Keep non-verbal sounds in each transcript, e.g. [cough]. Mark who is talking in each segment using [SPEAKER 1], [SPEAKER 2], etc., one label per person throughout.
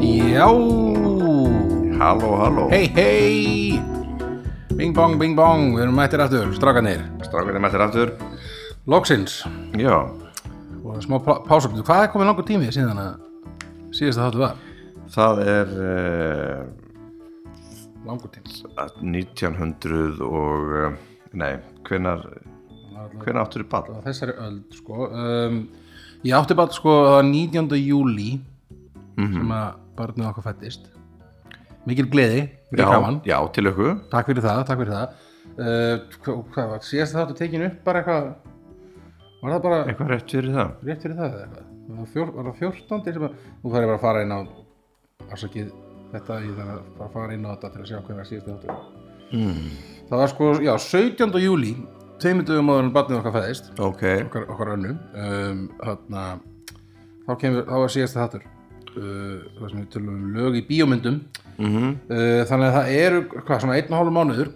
[SPEAKER 1] Já
[SPEAKER 2] Halló, halló
[SPEAKER 1] Hei, hei Bing bong, bing bong, við erum mættir aftur, strákanir
[SPEAKER 2] Strákarnir mættir aftur
[SPEAKER 1] Loksins
[SPEAKER 2] Já,
[SPEAKER 1] og smá pá- pásabundu Hvað er komið langur tími síðan að síðast að þáttu var?
[SPEAKER 2] það er uh,
[SPEAKER 1] Langur tími
[SPEAKER 2] 1900 og uh, Nei, hvenar Hvenar áttur í ball?
[SPEAKER 1] á þessari öld sko um, Ég átti bara sko það var 19. júli sem að barnið okkar fættist Mikil gleði, mikil gaman
[SPEAKER 2] já, til ykkur
[SPEAKER 1] Takk fyrir það, takk fyrir það uh, hva- Hvað var, síðast þáttu tekin upp bara eitthvað Var það bara
[SPEAKER 2] Eitthvað rétt fyrir það
[SPEAKER 1] rétt fyrir það eða eitthvað Var það fjór- var það 14 sem að nú þarf ég bara að fara inn á afsakið þetta ég þarf að bara að fara inn á þetta til að sjá hvað var síðast þáttur mm.
[SPEAKER 2] Hmm.
[SPEAKER 1] það var sko, já, 17. júli tveimur dögum áður en barnið okkar fæðist
[SPEAKER 2] Ok,
[SPEAKER 1] okkar, okkar önnu um, þarna, þá kemur þá var síðast þáttur uh, það sem við tölum um lög í bíómyndum
[SPEAKER 2] Mhm.
[SPEAKER 1] uh, þannig að það eru hvað, svona einn og hálf mánuður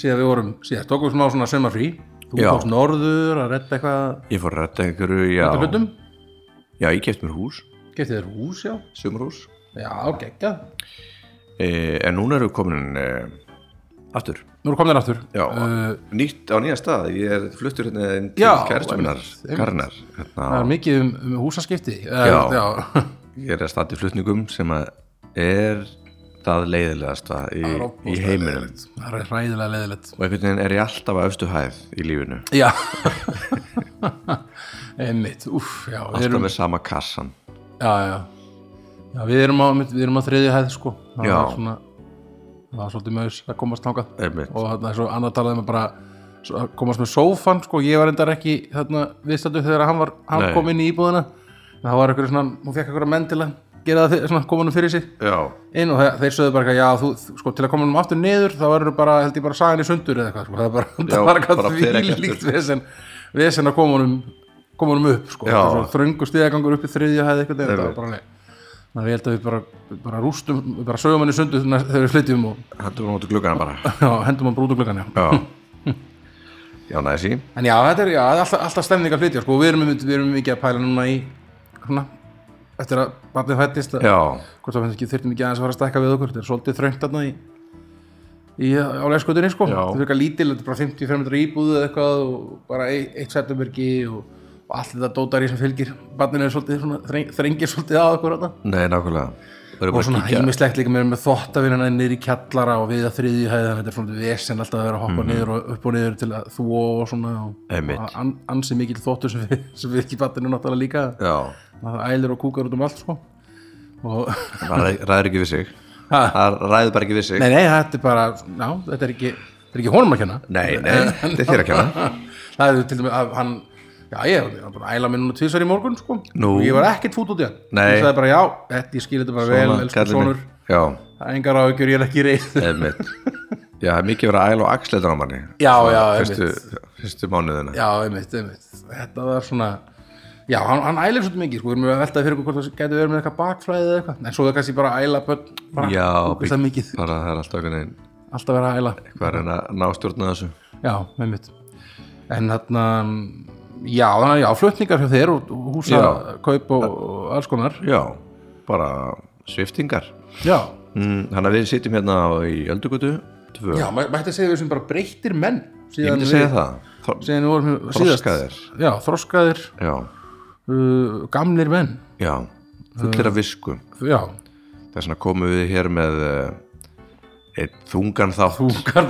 [SPEAKER 1] síðan við vorum, síðan tókum við smá svona sömafrí þú
[SPEAKER 2] Já.
[SPEAKER 1] tókst norður að redda eitthvað
[SPEAKER 2] ég fór að rætta einhverju Já,
[SPEAKER 1] hlutum
[SPEAKER 2] já ég keft mér hús,
[SPEAKER 1] Getið þér hús, já?
[SPEAKER 2] sumurhús
[SPEAKER 1] Já, geggjað.
[SPEAKER 2] e, En núna eru komin e, Aftur
[SPEAKER 1] Nú erum komin þér aftur.
[SPEAKER 2] Já,
[SPEAKER 1] Eh,
[SPEAKER 2] nýtt á nýja stað Ég er fluttur hérna inn til
[SPEAKER 1] Já,
[SPEAKER 2] kæristuminnar
[SPEAKER 1] einmitt, einmitt.
[SPEAKER 2] Karnar hérna,
[SPEAKER 1] það er mikið um, um húsaskipti. Eh,
[SPEAKER 2] Já.
[SPEAKER 1] já.
[SPEAKER 2] Ég er að standa í flutningum sem að er það leiðilegasta í, í
[SPEAKER 1] ofboðslega
[SPEAKER 2] heiminum
[SPEAKER 1] Það er hræðilega leðilegt.
[SPEAKER 2] og einhvern veginn er ég alltaf að öfstu hæð í lífinu
[SPEAKER 1] Já. [laughs] Einmitt, úff, já. Við
[SPEAKER 2] alltaf
[SPEAKER 1] erum,
[SPEAKER 2] með sama kassan
[SPEAKER 1] já, já. Já, við erum á, við erum á þriðju hæð, sko. Það
[SPEAKER 2] Já.
[SPEAKER 1] var svona, það var svolítið mjög að komast þangað.
[SPEAKER 2] Einmitt.
[SPEAKER 1] Og þarna er svo annar talaði með bara svo- að komast með sófan, sko. Ég var endar ekki þarna viðstættu þegar hann, var, hann
[SPEAKER 2] Nei.
[SPEAKER 1] kom inn í íbúðina. En það var eitthvað svona, hún fekk eitthvað menn til að gera það fyrir- svona, koma hann fyrir sig.
[SPEAKER 2] Já,
[SPEAKER 1] inn og þe- þeir sögðu bara eitthvað, já, þú, þú- sko, til að koma um aftur niður þá verður bara, held ég bara, sagan í sundur eða eitthvað, sko, það er bara,
[SPEAKER 2] Já,
[SPEAKER 1] það var
[SPEAKER 2] bara
[SPEAKER 1] eitthvað
[SPEAKER 2] fer
[SPEAKER 1] því
[SPEAKER 2] ekkert
[SPEAKER 1] líkt
[SPEAKER 2] upp.
[SPEAKER 1] vesen, vesen að koma honum koma honum upp, sko,
[SPEAKER 2] Já.
[SPEAKER 1] Það var svo þröngu stiðagangur upp í þriðja hæði eitthvað, þetta
[SPEAKER 2] Einmitt.
[SPEAKER 1] var bara leið þannig að ég held að við bara, við bara rústum við bara sögum hann í sundur næst- þegar við flytjum og [laughs]
[SPEAKER 2] hættum við áttu gluggana [laughs] bara
[SPEAKER 1] já, hendum hann brútuglögan, já
[SPEAKER 2] Já, já næsi
[SPEAKER 1] en já, þetta er, já, það er alltaf, alltaf stemning að flytja, sko, og við erum, einmitt- við erum mikið að pæla núna í, svona eftir að barnið fættist að-
[SPEAKER 2] Já,
[SPEAKER 1] hvort það finnst ekki þurftum ekki aðeins að fara að stækka við okkur þetta er svolítið þröngt þarna í, í á leðskutinni sko
[SPEAKER 2] Já.
[SPEAKER 1] þetta er eitthvað lítil, þetta er bara 55 metra íbúð eða eitthvað og bara eitt, eitt settumverki og, og allt þetta dótar í sem fylgir barninu er svolítið svona, þreng, þrengir svolítið að okkur þarna
[SPEAKER 2] nei nákvæmlega Það er
[SPEAKER 1] og
[SPEAKER 2] bara
[SPEAKER 1] svona
[SPEAKER 2] kíkja
[SPEAKER 1] ímislegt líka með, með þottavinnana niður í kjallara og við að þriðju hæði þannig þetta er svona vesen alltaf að vera að hoppa niður og upp og niður til að þvó og svona og
[SPEAKER 2] Mhm. Einmitt.
[SPEAKER 1] að- an, ansi mikill þottur sem, við- [laughs] sem við ekki barninu náttúrulega líka
[SPEAKER 2] Já,
[SPEAKER 1] það ælir og kúkar út um allt sko og [laughs]
[SPEAKER 2] það ræ- ræður ekki við sig
[SPEAKER 1] Ha?
[SPEAKER 2] Það ræður bara ekki við sig
[SPEAKER 1] Nei, nei, þetta er bara, já, þetta er ekki, þetta er ekki honum að kenna.
[SPEAKER 2] Nei, nei, þetta er þér að kenna
[SPEAKER 1] Það er til dæmis að hann, já, ég var bara að æla mér núna tvisar í morgun, sko.
[SPEAKER 2] Nú.
[SPEAKER 1] Og ég var ekkert fút út í hann.
[SPEAKER 2] Nei.
[SPEAKER 1] Ég sagði bara, já, þetta, ég skil þetta bara
[SPEAKER 2] Svona,
[SPEAKER 1] vel, elsku
[SPEAKER 2] kallinn minn.
[SPEAKER 1] sonur.
[SPEAKER 2] Já,
[SPEAKER 1] Það er engar áhyggjur, ég er
[SPEAKER 2] [laughs]
[SPEAKER 1] ekki reyð.
[SPEAKER 2] einmitt Já, það er mikið verið að æla og axleita á manni
[SPEAKER 1] Já, já,
[SPEAKER 2] Fyrstu, fyrstu mánuðina
[SPEAKER 1] já, einmitt, einmitt. Þetta var svona, já, hann, hann ælir svolítið mikið, sko. Við erum að velta fyrir okkur hvort það getur verið með eitthvað bakflæðið eða eitthvað. En svo er kannski bara að æla börn, bara,
[SPEAKER 2] Já,
[SPEAKER 1] ógeðslega mikið.
[SPEAKER 2] bara það er alltaf einhvern veginn
[SPEAKER 1] Alltaf vera að æla.
[SPEAKER 2] hvað er að ná stjórna þessu
[SPEAKER 1] Já, með mitt En þarna, já, þannig að já, flutningar hjá þér og og húsakaup og og alls konar
[SPEAKER 2] já, bara sviftingar
[SPEAKER 1] Já,
[SPEAKER 2] mm, þannig að við sitjum hérna á- í Öldugutu tvö,
[SPEAKER 1] já mæ- mætti að segja við sem bara breyttir menn
[SPEAKER 2] ég myndi segja það Þor-
[SPEAKER 1] Síðan við vorum
[SPEAKER 2] Þroskaðir.
[SPEAKER 1] síðast Já, þroskaðir,
[SPEAKER 2] já,
[SPEAKER 1] uh, gamlir menn
[SPEAKER 2] já, fullir af visku
[SPEAKER 1] Já,
[SPEAKER 2] þess vegna komum við hér með eh, einn þungan þátt
[SPEAKER 1] þungar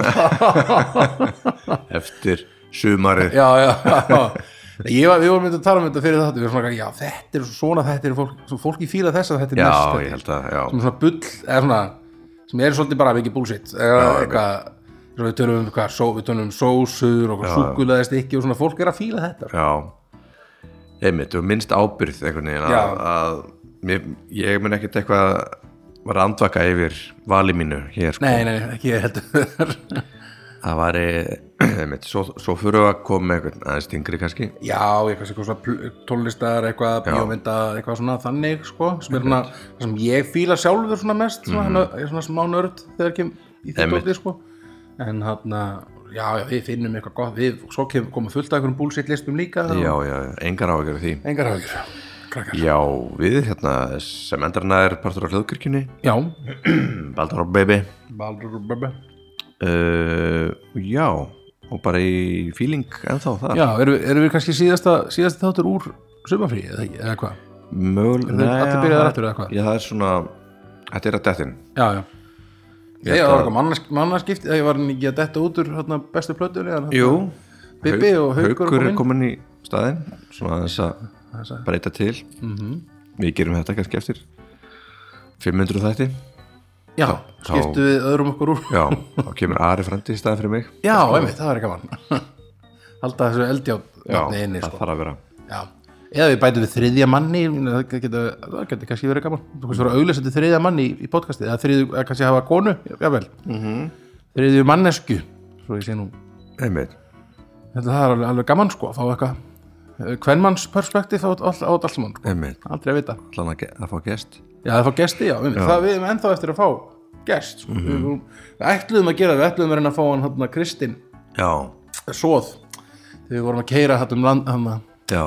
[SPEAKER 2] eftir sumarið
[SPEAKER 1] [laughs] Já, já, já Ég var, við vorum myndið að tala um þetta fyrir þetta Við vorum svona, já, þetta er svona, þetta er fólk svo Fólki fíla þess að þetta er
[SPEAKER 2] já,
[SPEAKER 1] mest þetta er-
[SPEAKER 2] ég held að já,
[SPEAKER 1] sem er svona bull eða svona, sem er svolítið bara mikið bullshit eða eitthvað eins og við tölum um hvað, só, við tölum um sósur og súkuleðist ekki og svona fólk er að fíla þetta
[SPEAKER 2] já einmitt, og minnst ábyrð einhvern veginn að,
[SPEAKER 1] Já.
[SPEAKER 2] að mér, ég mun ekkert eitthvað var andvaka yfir vali mínu hér sko
[SPEAKER 1] nei, nei, nei, ekki ég heldur [laughs]
[SPEAKER 2] Það var, eh, [clears throat] einmitt, svo, svo fyrir við að koma með einhvern aðeins tingri kannski.
[SPEAKER 1] já, eitthvað, eitthvað svona pl- tónlistar eitthvað, bíómynda, eitthvað svona þannig sko, sem er svona, það sem ég fíla sjálfur svona mest, svona, mm. er svona smá nörd þegar kem í
[SPEAKER 2] Einmitt.
[SPEAKER 1] þittóti sko en hann já, já, við finnum eitthvað gott, við, svo kem, komum fullt af einhverjum bullshit listum líka
[SPEAKER 2] Já, já, engar á að gera því.
[SPEAKER 1] engar hafður krakkar
[SPEAKER 2] Já, við hérna sem endarna er partur á hljóðkirkjunni
[SPEAKER 1] Já,
[SPEAKER 2] Baldur Baby
[SPEAKER 1] Baldur og Böbbe
[SPEAKER 2] uh, Já, og bara í feeling ennþá það
[SPEAKER 1] Já, erum við, erum við kannski síðasta, síðasta þáttur úr sumafríi eða, ekki, eða hvað?
[SPEAKER 2] Mögul...
[SPEAKER 1] Eru þeir allir byrjaðir aftur eða hvað?
[SPEAKER 2] Já, það er svona, þetta er að dettin
[SPEAKER 1] Já, já
[SPEAKER 2] Ég
[SPEAKER 1] Ég
[SPEAKER 2] held
[SPEAKER 1] var
[SPEAKER 2] að-
[SPEAKER 1] eitthvað mannask- mannaskipt eða ég var hann ekki að detta út úr hérna, bestu plötunni eða
[SPEAKER 2] Jú,
[SPEAKER 1] Bibbi og Haukur er
[SPEAKER 2] Haukur er
[SPEAKER 1] kominn.
[SPEAKER 2] komin í staðinn svona þess að
[SPEAKER 1] Þessa.
[SPEAKER 2] breyta til
[SPEAKER 1] Mhm.
[SPEAKER 2] Við gerum þetta kannski eftir 500 þætti
[SPEAKER 1] Já,
[SPEAKER 2] þá-
[SPEAKER 1] skiptu við öðrum okkur úr
[SPEAKER 2] Já, þá kemur Ari Frandi í staðin fyrir mig
[SPEAKER 1] Já, einmitt, það verður gaman [laughs] Halda þessu
[SPEAKER 2] Já,
[SPEAKER 1] eldjátt inni
[SPEAKER 2] það
[SPEAKER 1] sko.
[SPEAKER 2] þarf að vera
[SPEAKER 1] Já, eða við bætum við þriðja manni ég meina, það getur, það getur kannski verið gaman þú kannski vera auglesandi þriðja manni í, í podcasti eða þriðju, eða kannski hafa konu, jável mm -hmm. þriðju mannesku svo ég sé nú,
[SPEAKER 2] Einmitt
[SPEAKER 1] þetta það er alveg, alveg gaman sko að fá eitthvað kvenmannsperspektif á, á, á allt saman, sko.
[SPEAKER 2] Einmitt,
[SPEAKER 1] aldrei að vita
[SPEAKER 2] allan að, ge- að fá gest
[SPEAKER 1] Já, það fá gesti, já, já. það við erum ennþá eftir að fá gest sko. mm -hmm. við ætluðum að gera, það, við ætluðum að reyna að fá hann hann Kristinn
[SPEAKER 2] Já,
[SPEAKER 1] Svoð þegar við vorum að keira hann um land hann að
[SPEAKER 2] já,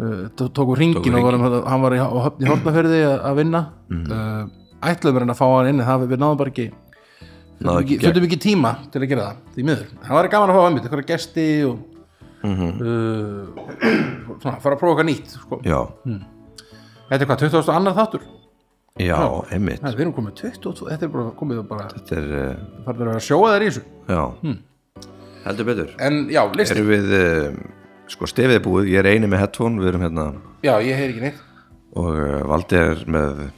[SPEAKER 1] uh, tó- tókum ringin og varum, hann var í, á höfn í hortnaferði að, að vinna uh, ætluðum við að fá hann inni það við, við náðum bara ekki
[SPEAKER 2] Náðu ekki gegn.
[SPEAKER 1] fyrir mikið tíma til að gera það því miður, það var gaman að fá einmitt einhverja gesti og uh, svona, fara að prófa eitthvað nýtt sko.
[SPEAKER 2] Mhm. já,
[SPEAKER 1] þetta er hvað, 20. annar þáttur
[SPEAKER 2] já, einmitt
[SPEAKER 1] Nei, við erum komið 22, þetta er bara komið og bara
[SPEAKER 2] Þetta er, eh,
[SPEAKER 1] farið að sjóa þær í þessu
[SPEAKER 2] já
[SPEAKER 1] Hm.
[SPEAKER 2] Heldur betur
[SPEAKER 1] en já, listi,
[SPEAKER 2] Erum við, eh, sko stefið er búið, ég er eini með headphone, við erum hérna
[SPEAKER 1] já, ég heyr ekki neitt
[SPEAKER 2] og eh, Valdi er með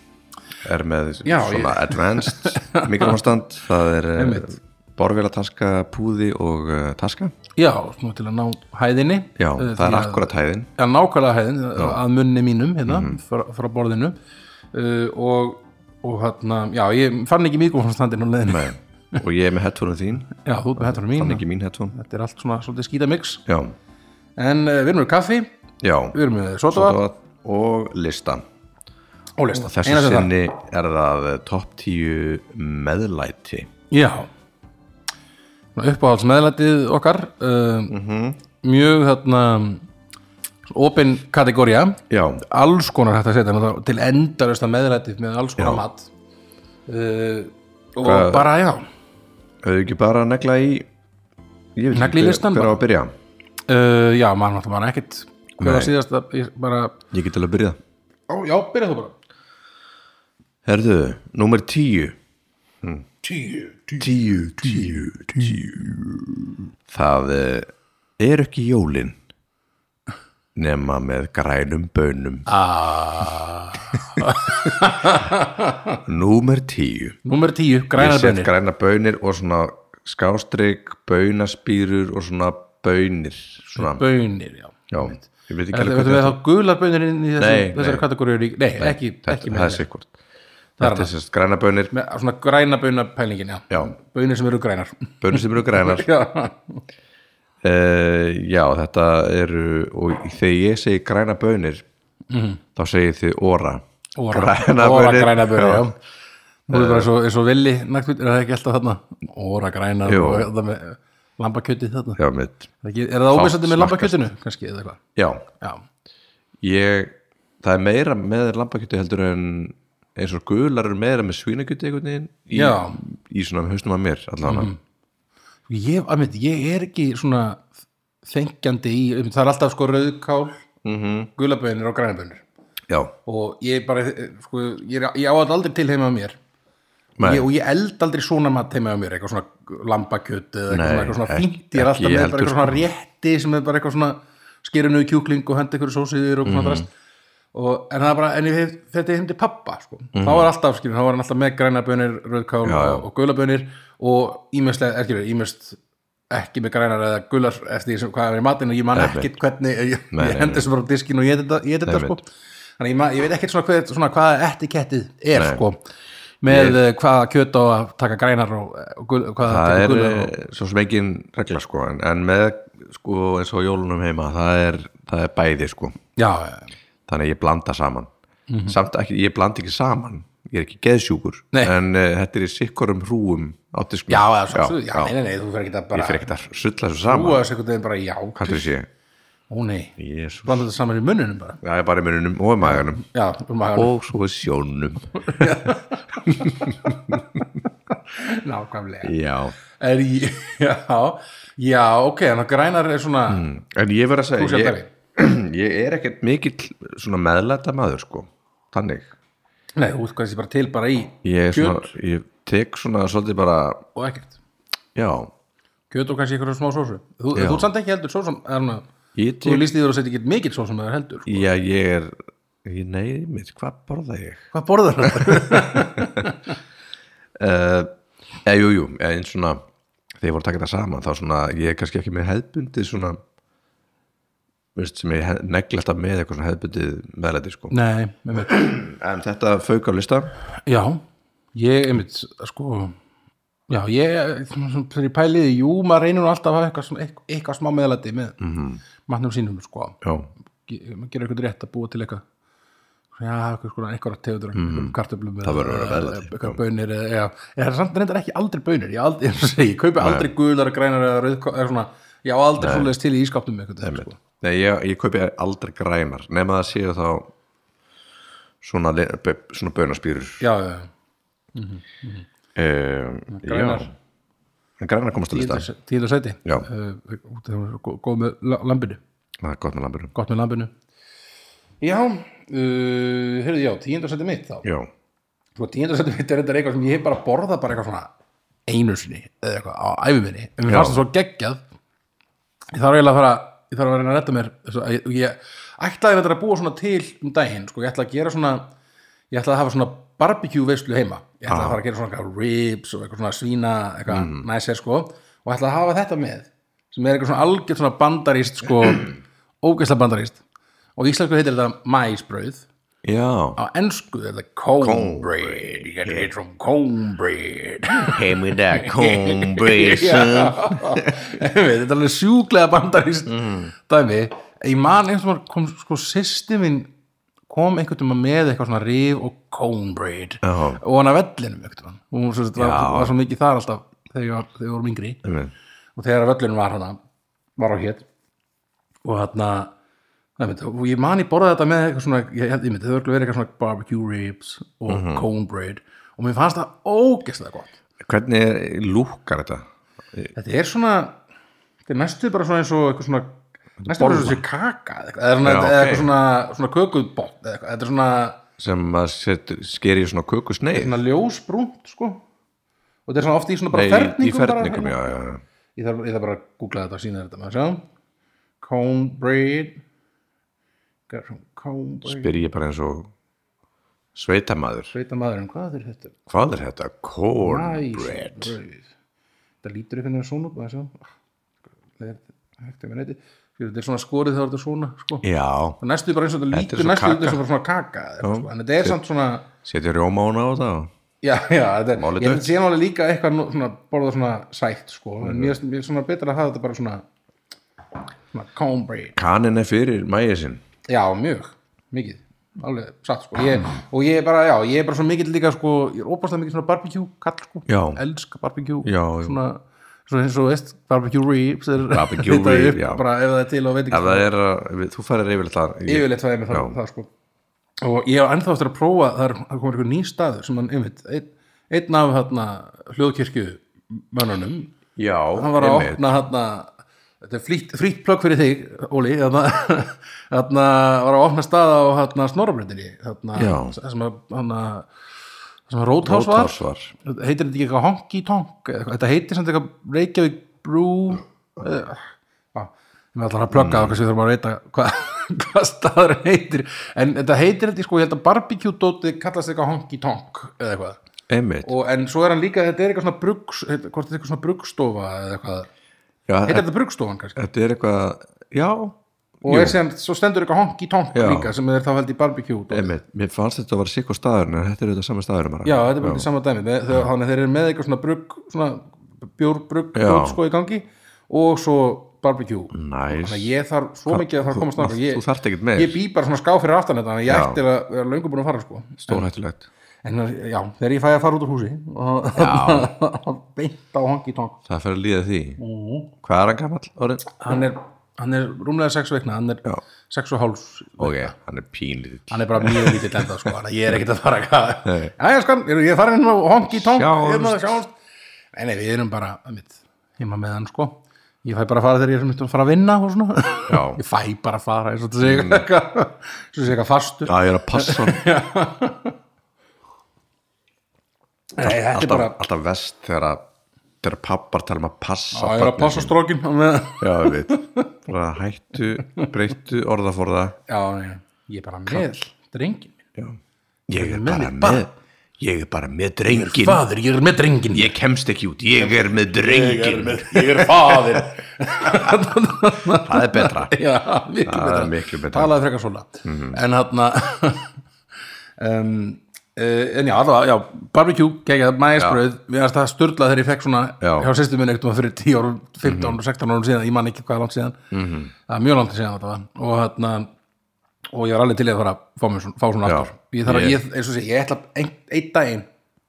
[SPEAKER 2] er með
[SPEAKER 1] Já,
[SPEAKER 2] svona
[SPEAKER 1] [laughs]
[SPEAKER 2] advanced mikrofonstand, það er eh,
[SPEAKER 1] Einmitt.
[SPEAKER 2] borfélataska, púði og uh, taska,
[SPEAKER 1] já, svona til að ná hæðinni
[SPEAKER 2] já,
[SPEAKER 1] Uh,
[SPEAKER 2] það er
[SPEAKER 1] því að-
[SPEAKER 2] akkurat hæðin
[SPEAKER 1] Já, nákvæmlega hæðin eh, að munni mínum hérna,
[SPEAKER 2] Mhm.
[SPEAKER 1] frá, frá borðinu uh, og, og hérna, já, ég fann ekki mikrofónstandinn á leiðinu.
[SPEAKER 2] Nei. og ég er með headphone þín,
[SPEAKER 1] Já, þú ert með hættur mín.
[SPEAKER 2] ekki mín headphone
[SPEAKER 1] Þetta er allt svona svolítið skítamix.
[SPEAKER 2] já,
[SPEAKER 1] En uh, við erum með kaffi,
[SPEAKER 2] já,
[SPEAKER 1] við erum með sotavatn
[SPEAKER 2] Sódavatn og lista
[SPEAKER 1] og lista.
[SPEAKER 2] Þessu
[SPEAKER 1] Eina sem það.
[SPEAKER 2] sinni er það eh, top 10 meðlæti
[SPEAKER 1] Já. Uppáhalds meðlætið okkar, uh,
[SPEAKER 2] Mhm.
[SPEAKER 1] mjög þarna opin kategória.
[SPEAKER 2] Já,
[SPEAKER 1] alls konar hægt að setja náttúrulega til endarösta meðrættið með alls konar mat uh, og
[SPEAKER 2] Hvað-
[SPEAKER 1] bara já
[SPEAKER 2] auðvitað ekki bara að negla í ég veit
[SPEAKER 1] Negla í
[SPEAKER 2] ekki hver,
[SPEAKER 1] listan
[SPEAKER 2] hver á
[SPEAKER 1] bara.
[SPEAKER 2] að byrja
[SPEAKER 1] uh, já, maður náttúrulega bara ekkert hver
[SPEAKER 2] Nei.
[SPEAKER 1] var síðast að ég bara
[SPEAKER 2] Ég get alveg að byrja
[SPEAKER 1] ó, já, byrja þú bara
[SPEAKER 2] Herðu, númer 10 Hmm.
[SPEAKER 1] tíu, tíu
[SPEAKER 2] 10, 10, 10 Það eh, er ekki jólin nema með grænum bönum Ah. Númer 10
[SPEAKER 1] Númer tíu,
[SPEAKER 2] Ég
[SPEAKER 1] grænar
[SPEAKER 2] set
[SPEAKER 1] bönir
[SPEAKER 2] græna bönir og svona skástrík, bönaspýrur og svona bönir svona,
[SPEAKER 1] bönir, já
[SPEAKER 2] já, ég veit ekki
[SPEAKER 1] Þetta
[SPEAKER 2] alveg
[SPEAKER 1] verður
[SPEAKER 2] hvað
[SPEAKER 1] þá gular bönir inn í þessu,
[SPEAKER 2] Nei,
[SPEAKER 1] þessari
[SPEAKER 2] nei.
[SPEAKER 1] kategóriur í, nei, ekki,
[SPEAKER 2] þetta,
[SPEAKER 1] ekki
[SPEAKER 2] það er
[SPEAKER 1] með henni.
[SPEAKER 2] sikkert þetta er sérst græna bönir
[SPEAKER 1] með svona græna bönar pælingin, já.
[SPEAKER 2] já,
[SPEAKER 1] Bönir sem
[SPEAKER 2] [laughs]
[SPEAKER 1] eru grænar
[SPEAKER 2] bönir sem eru
[SPEAKER 1] [laughs]
[SPEAKER 2] grænar
[SPEAKER 1] Já,
[SPEAKER 2] uh, já, þetta eru og þegar ég segi græna bönir
[SPEAKER 1] Mhm.
[SPEAKER 2] þá segir þið óra
[SPEAKER 1] óra,
[SPEAKER 2] Grænar
[SPEAKER 1] óra
[SPEAKER 2] baunir.
[SPEAKER 1] græna bönir, já Nú er bara eins og, eins og villi, nægt, er það ekki alltaf þarna? Óra grænar
[SPEAKER 2] Jú.
[SPEAKER 1] og það með lambakjötið þarna.
[SPEAKER 2] já, mitt,
[SPEAKER 1] Er það ekki- Er það ómissandi með
[SPEAKER 2] smakkast.
[SPEAKER 1] lambakjötinu, kannski, eða eitthvað?
[SPEAKER 2] já,
[SPEAKER 1] Já,
[SPEAKER 2] ég það er meira með lambakjöti heldur en eins og gular eru meira með svínakjöti einhvern veginn í,
[SPEAKER 1] Já. Mhm.
[SPEAKER 2] í svona hausnum að mér allan
[SPEAKER 1] ég, að mynd, ég er ekki svona þengjandi í, einmitt, það er alltaf sko rauðkál, mm -hmm.
[SPEAKER 2] Mhm.
[SPEAKER 1] gulabönir og grænabönir
[SPEAKER 2] já,
[SPEAKER 1] og ég bara, eh, sko, ég, er- ég á þetta aldrei til heima á mér
[SPEAKER 2] Nei.
[SPEAKER 1] ég, og ég eld aldrei svona mat heima á mér, eitthvað svona lambakjöt eða eitthvað,
[SPEAKER 2] Nei,
[SPEAKER 1] svona- eitthvað svona
[SPEAKER 2] ek-
[SPEAKER 1] fínt, ég er alltaf
[SPEAKER 2] ekki
[SPEAKER 1] með bara
[SPEAKER 2] heldur, sko.
[SPEAKER 1] eitthvað svona rétti sem er bara eitthvað svona skerinu kjúkling og hendi ykkur sósiðir
[SPEAKER 2] Mhm.
[SPEAKER 1] og svona drast og, en það er bara, en ég hef þetta heim til pappa, sko, þá var alltaf skilur, þá var hann alltaf með græna bönir, rauðkál
[SPEAKER 2] Mhm. Já, já.
[SPEAKER 1] og, og gulabönir og ímestlega, ekki verið, ímest ekki með grænar eða gular eftir því sem hvað er í matinn og ég man
[SPEAKER 2] Nei,
[SPEAKER 1] ekkit hvernig ég,
[SPEAKER 2] Nei,
[SPEAKER 1] ég
[SPEAKER 2] nei,
[SPEAKER 1] hendi þessu bara á diskin og ég þetta, ég þetta
[SPEAKER 2] Nei,
[SPEAKER 1] sko þannig ég, ma- ég veit ekkert svona, hver, svona hvað etikettið er sko með ég... hvaða kjöt á að taka grænar og, og gul, hvaða
[SPEAKER 2] það
[SPEAKER 1] taka
[SPEAKER 2] er
[SPEAKER 1] gular og,
[SPEAKER 2] eh, svo sem engin regla sko en, en með sko eins og jólunum heima það er, það er bæði sko
[SPEAKER 1] já, já,
[SPEAKER 2] þannig að ég blanda saman samt ekki, ég blanda ekki saman ég er ekki geðsjúkur
[SPEAKER 1] Mhm. Nei.
[SPEAKER 2] en uh, þetta er í sikkorum hrúum á diskum
[SPEAKER 1] já, já, já, já, nei, nei, nei þú fyrir ekki að
[SPEAKER 2] ég
[SPEAKER 1] bara
[SPEAKER 2] fyrir ekkert að sulla þessu saman
[SPEAKER 1] búa þessu einhvern veginn bara já
[SPEAKER 2] hvað þú sé,
[SPEAKER 1] Ó nei,
[SPEAKER 2] Jésus
[SPEAKER 1] blanda þetta saman í munnunum bara
[SPEAKER 2] Það er bara í mununum og í maganum
[SPEAKER 1] Já, um að
[SPEAKER 2] og svo í sjónum
[SPEAKER 1] [laughs] nákvæmlega [laughs]
[SPEAKER 2] Já
[SPEAKER 1] Er ég, já, já, ok, en það grænar er svona
[SPEAKER 2] En ég verð að
[SPEAKER 1] Þú
[SPEAKER 2] segja
[SPEAKER 1] sért
[SPEAKER 2] ég, [clears throat] ég er ekkert mikill svona meðlæta maður sko Þannig
[SPEAKER 1] Nei, þú ert kannski bara til bara í
[SPEAKER 2] Ég, er svona,
[SPEAKER 1] kjöt
[SPEAKER 2] ég tek svona svolítið bara
[SPEAKER 1] og ekkert
[SPEAKER 2] Já
[SPEAKER 1] Kjöt og kannski einhverjum smá sósu Þú,
[SPEAKER 2] Já.
[SPEAKER 1] þú ert samt ekki heldur sósum er hana,
[SPEAKER 2] Ég
[SPEAKER 1] Þú
[SPEAKER 2] tek
[SPEAKER 1] líst í þér að setja ekki mikið sósum eða heldur sko.
[SPEAKER 2] Já ég er ég, Nei mitt hvað borða ég
[SPEAKER 1] Hvað borðar það?
[SPEAKER 2] uh, eða, Jú jú eða, eins svona Þegar ég voru að taka þetta saman þá svona ég er kannski ekki með hefðbundið svona veist, sem ég negla alltaf með eitthvað svona hefðbundið meðlæti sko
[SPEAKER 1] [laughs] Nei, með mér
[SPEAKER 2] En þetta fauk á lista
[SPEAKER 1] Já, ég, einmitt, sko Já, ég, þegar ég pæliði Jú, maður reynir nú alltaf að hafa eitthvað, svona- eitthvað, eitthvað smá meðlæti með mm
[SPEAKER 2] Mhm.
[SPEAKER 1] matnum sínum, sko
[SPEAKER 2] Já
[SPEAKER 1] Ge- maður gerir eitthvað rétt að búa til eitthvað já, eitthvað sko, eitthvað tegudur mm. kartöflum
[SPEAKER 2] Mhm. Það verður að vera meðlæti,
[SPEAKER 1] eitthvað bönir eða, já, ég er samt reyndar ekki aldrei bönir ég, aldrei, [laughs] ég, segi, ég kaupi aldrei gular, grænar eða rauðkó eða svona, já, aldrei svoleiðis til í ískapnum eitthvað, sko.
[SPEAKER 2] Nei, ég, ég kaupi aldrei grænar nema það séu þá svona, le- be- svona bönaspýrur
[SPEAKER 1] já, já, já,
[SPEAKER 2] um,
[SPEAKER 1] Grænar.
[SPEAKER 2] já. En grænar komast að lista
[SPEAKER 1] tíðindu- tíðindu sæti
[SPEAKER 2] Já.
[SPEAKER 1] uh, út af þessu gó- góð með la- lambinu
[SPEAKER 2] Það er gott með lamburum
[SPEAKER 1] gott með lambinu já, uh, heyrðu, já, tíðindu sæti mitt þá
[SPEAKER 2] Já,
[SPEAKER 1] sko tíundarsættu mitt er þetta eitthvað sem ég hef bara borða bara eitthvað svona einu sinni eða eitthvað á æfi minni en mér
[SPEAKER 2] Já.
[SPEAKER 1] fannst það svo geggjað ég þarf eiginlega að fara ég þarf að reyna að redda mér þess að ég, ég ætlaði þetta að búa svona til um daginn sko ég ætlaði að gera svona ég ætlaði að hafa svona barbecue veislu heima ég ætlaði að fara að gera svona eitthvað ribs og eitthvað svona svína eitthvað mm. næsir sko og ætlaði að hafa þetta með sem er eitthvað svona algjörn svona bandaríst sko [clears throat] ógeðslega bandaríst og í íslensku heitir þetta mæsbrauð
[SPEAKER 2] já.
[SPEAKER 1] á ennsku er það cornbread you gotta get some cornbread
[SPEAKER 2] [laughs] Hey me [laughs] that cornbread
[SPEAKER 1] Já. Einmitt, þetta er alveg sjúklega bandarist
[SPEAKER 2] Mm.
[SPEAKER 1] dæmi, ég man eins og kom sko sýsti minn kom einhvern tíma með eitthvað svona rif og cornbread
[SPEAKER 2] Já.
[SPEAKER 1] og hann að vellinum einhvern tíma og hún svo, var,
[SPEAKER 2] Já.
[SPEAKER 1] var svo mikið þar alltaf þegar ég var- þegar við vorum yngri
[SPEAKER 2] Einmitt.
[SPEAKER 1] og þegar völlunum var hana var á hér og hérna nefnt, og ég man ég borðaði þetta með eitthvað svona ég held ég myndi, þau verið eitthvað svona barbecue ribs og
[SPEAKER 2] Mhm.
[SPEAKER 1] cornbread og mér fannst það ógeðslega gott
[SPEAKER 2] Hvernig er, lúkar þetta?
[SPEAKER 1] þetta er svona, þetta er næstu bara svona eins og eitthvað svona næstu bara eins og þessi kaka eða eitthvað, eða svona,
[SPEAKER 2] Já,
[SPEAKER 1] eða
[SPEAKER 2] ok.
[SPEAKER 1] eitthvað svona, svona kökubott eða eitthvað, þetta er svona,
[SPEAKER 2] Sem maður setur, sker í svona kökusneið
[SPEAKER 1] svona ljósbrúnt sko og þetta er svona oft í svona Hérna, bara
[SPEAKER 2] Nei, í, í
[SPEAKER 1] ferningum bara, hérna.
[SPEAKER 2] ferningum, já, já, já
[SPEAKER 1] ég þarf, ég þarf bara að googla þetta og sína þetta maður sjá cornbread Got some cornbread
[SPEAKER 2] Spyr ég bara eins og sveitamaður
[SPEAKER 1] sveita maðurinn, hvað er þetta?
[SPEAKER 2] Hvað er þetta? Cornbread
[SPEAKER 1] Æs, brauð. þetta lítur einhvern veginn svona út, maður sjá hægt er með neyti þetta er svona skorið þegar þetta er svona sko.
[SPEAKER 2] Já,
[SPEAKER 1] Það er næstu bara eins og þetta
[SPEAKER 2] Þetta er
[SPEAKER 1] lítur
[SPEAKER 2] svo
[SPEAKER 1] næstu
[SPEAKER 2] kaka.
[SPEAKER 1] út eins og bara svona kaka eða eitthvað, sko. en þetta er samt svona
[SPEAKER 2] Setja rjóma á hana á það
[SPEAKER 1] Já, já, þetta er,
[SPEAKER 2] Málið
[SPEAKER 1] ég
[SPEAKER 2] dautt.
[SPEAKER 1] held síðan alveg líka eitthvað nú- svona, borða svona sætt, sko,
[SPEAKER 2] Mhm.
[SPEAKER 1] en mér mér er svona betra að hafa þetta bara svona, svona cornbread
[SPEAKER 2] Kanin er fyrir mæið sinn
[SPEAKER 1] Já, mjög, mikið alveg satt sko ég, og ég er bara, já, ég er bara svo mikill líka sko, ég er óbærslega mikið svona barbecue kall sko,
[SPEAKER 2] Já.
[SPEAKER 1] elska barbecue
[SPEAKER 2] Já, já.
[SPEAKER 1] svona, svona eins og veist barbecue ribs er [laughs]
[SPEAKER 2] Barbecue
[SPEAKER 1] hitaði
[SPEAKER 2] rib,
[SPEAKER 1] upp
[SPEAKER 2] já.
[SPEAKER 1] bara ef það er til og veit
[SPEAKER 2] Ef
[SPEAKER 1] ekki
[SPEAKER 2] það er að, við- þú færir yfirleitt það
[SPEAKER 1] yfirleitt það er með það, það sko og ég á ennþá eftir að prófa það, er, það komur einhver ný staður sem hann, einmitt, einn, einn af þarna hljóðkirkju mönnunum
[SPEAKER 2] Já,
[SPEAKER 1] hann var að
[SPEAKER 2] einmitt.
[SPEAKER 1] opna hérna þetta er frýtt, frýtt plögg fyrir þig, Óli hérna, [laughs] hérna var að opna stað á hérna snorabröndinni hérna,
[SPEAKER 2] Já.
[SPEAKER 1] sem að hérna, sem að Róthás var
[SPEAKER 2] Róthás var.
[SPEAKER 1] heitir þetta ekki eitthvað honky tonk eða eitthvað? þetta heitir samt eitthvað Reykjavík Brew eða- á, ég með allar að plugga mm. við þurfum að reyta hvað hva [laughs] staður heitir en þetta heitir þetta, sko, ég held að barbecue dóti kallast eitthvað honky tonk eða eitthvað
[SPEAKER 2] Einmitt
[SPEAKER 1] og, en svo er hann líka, þetta er eitthvað svona brugs, heit- hvort þetta er eitthvað svona brugstofa eða eitthvað,
[SPEAKER 2] já,
[SPEAKER 1] heitir
[SPEAKER 2] þetta,
[SPEAKER 1] þetta brugstofan kannski
[SPEAKER 2] þetta er eitthvað, já
[SPEAKER 1] og er sem, svo stendur eitthvað honky tonk
[SPEAKER 2] Já.
[SPEAKER 1] líka sem er þá held í barbecue dót.
[SPEAKER 2] Einmitt, mér fannst þetta að vera sikkur staður en þetta er auðvitað saman staður bara.
[SPEAKER 1] já, þetta er bara saman dæmi með, þau, þannig að þeir eru með eitthvað svona brugg svona bjórbrugg
[SPEAKER 2] Já.
[SPEAKER 1] dót, sko í gangi og svo barbecue
[SPEAKER 2] Næs,
[SPEAKER 1] þannig að ég þarf svo mikið að þarf að komast
[SPEAKER 2] þú-
[SPEAKER 1] náttúrulega ég,
[SPEAKER 2] þú þarft ekkert meir.
[SPEAKER 1] ég bý bara svona ská fyrir aftan þetta þannig að ég
[SPEAKER 2] Já.
[SPEAKER 1] ætti að vera löngu búin að fara sko
[SPEAKER 2] stórhættulegt
[SPEAKER 1] en eh, já, þegar ég fæ að fara út úr húsi og [laughs] beint á honky tonk Mhm.
[SPEAKER 2] Það fer að líða því Hvað er hann gamall? Orðin?
[SPEAKER 1] hann er hann er rúmlega sex veikna, hann er
[SPEAKER 2] Já.
[SPEAKER 1] sex og hálf
[SPEAKER 2] ok, hann er pínlítill
[SPEAKER 1] hann er bara mjög lítill enda sko, þannig að ég er ekkert að fara eitthvað
[SPEAKER 2] Nei.
[SPEAKER 1] Jæja skan, ég ég er farin inn á hongi tóng
[SPEAKER 2] Sjáumst.
[SPEAKER 1] hérna, sjáumst Nei, nei, við erum bara einmitt, heima með hann sko Ég fæ bara að fara þegar ég er sem mitt að fara að vinna og svona
[SPEAKER 2] Já.
[SPEAKER 1] [laughs] Ég fæ bara að fara, eins og þetta segja mm. eitthvað [laughs] Svo segja eitthvað fastur
[SPEAKER 2] já, ég er að passa hann
[SPEAKER 1] Nei, þetta er
[SPEAKER 2] alltaf,
[SPEAKER 1] bara
[SPEAKER 2] alltaf vest þegar að þegar pappar tala um að passa
[SPEAKER 1] Já, ég er að
[SPEAKER 2] barnið
[SPEAKER 1] passa
[SPEAKER 2] sín.
[SPEAKER 1] strókin með...
[SPEAKER 2] já, ég veit bara hættu, breyttu orðaforða
[SPEAKER 1] Já, nei, ég er bara með drengin minn
[SPEAKER 2] já. ég er
[SPEAKER 1] Með
[SPEAKER 2] bara
[SPEAKER 1] mitt
[SPEAKER 2] með ég er bara með drengin
[SPEAKER 1] Fadur, ég er með drengin
[SPEAKER 2] ég kemst ekki út, ég er með drengin
[SPEAKER 1] ég er fadur [laughs]
[SPEAKER 2] það er betra
[SPEAKER 1] Já, miklu
[SPEAKER 2] Það er
[SPEAKER 1] betra,
[SPEAKER 2] miklu betra.
[SPEAKER 1] Talaði frekar svona En hann [laughs] um, uh, En já, allavega, já, barbecue Gekjað mæsbröð, við erum það sturla Þegar ég fekk svona
[SPEAKER 2] Já. Mhm.
[SPEAKER 1] hjá sýstum minn Ektum að fyrir 10 árum, 15 árum, 16 árum síðan Ég man ekki hvað er langt síðan -hmm. Það er mjög langt síðan þetta var Og hann Og ég var alveg til í að fara að fá, mér svona, fá svona
[SPEAKER 2] Já.
[SPEAKER 1] aftur Ég þarf að,
[SPEAKER 2] Ég-
[SPEAKER 1] ég, eins og sé, ég ætla Einn ein daginn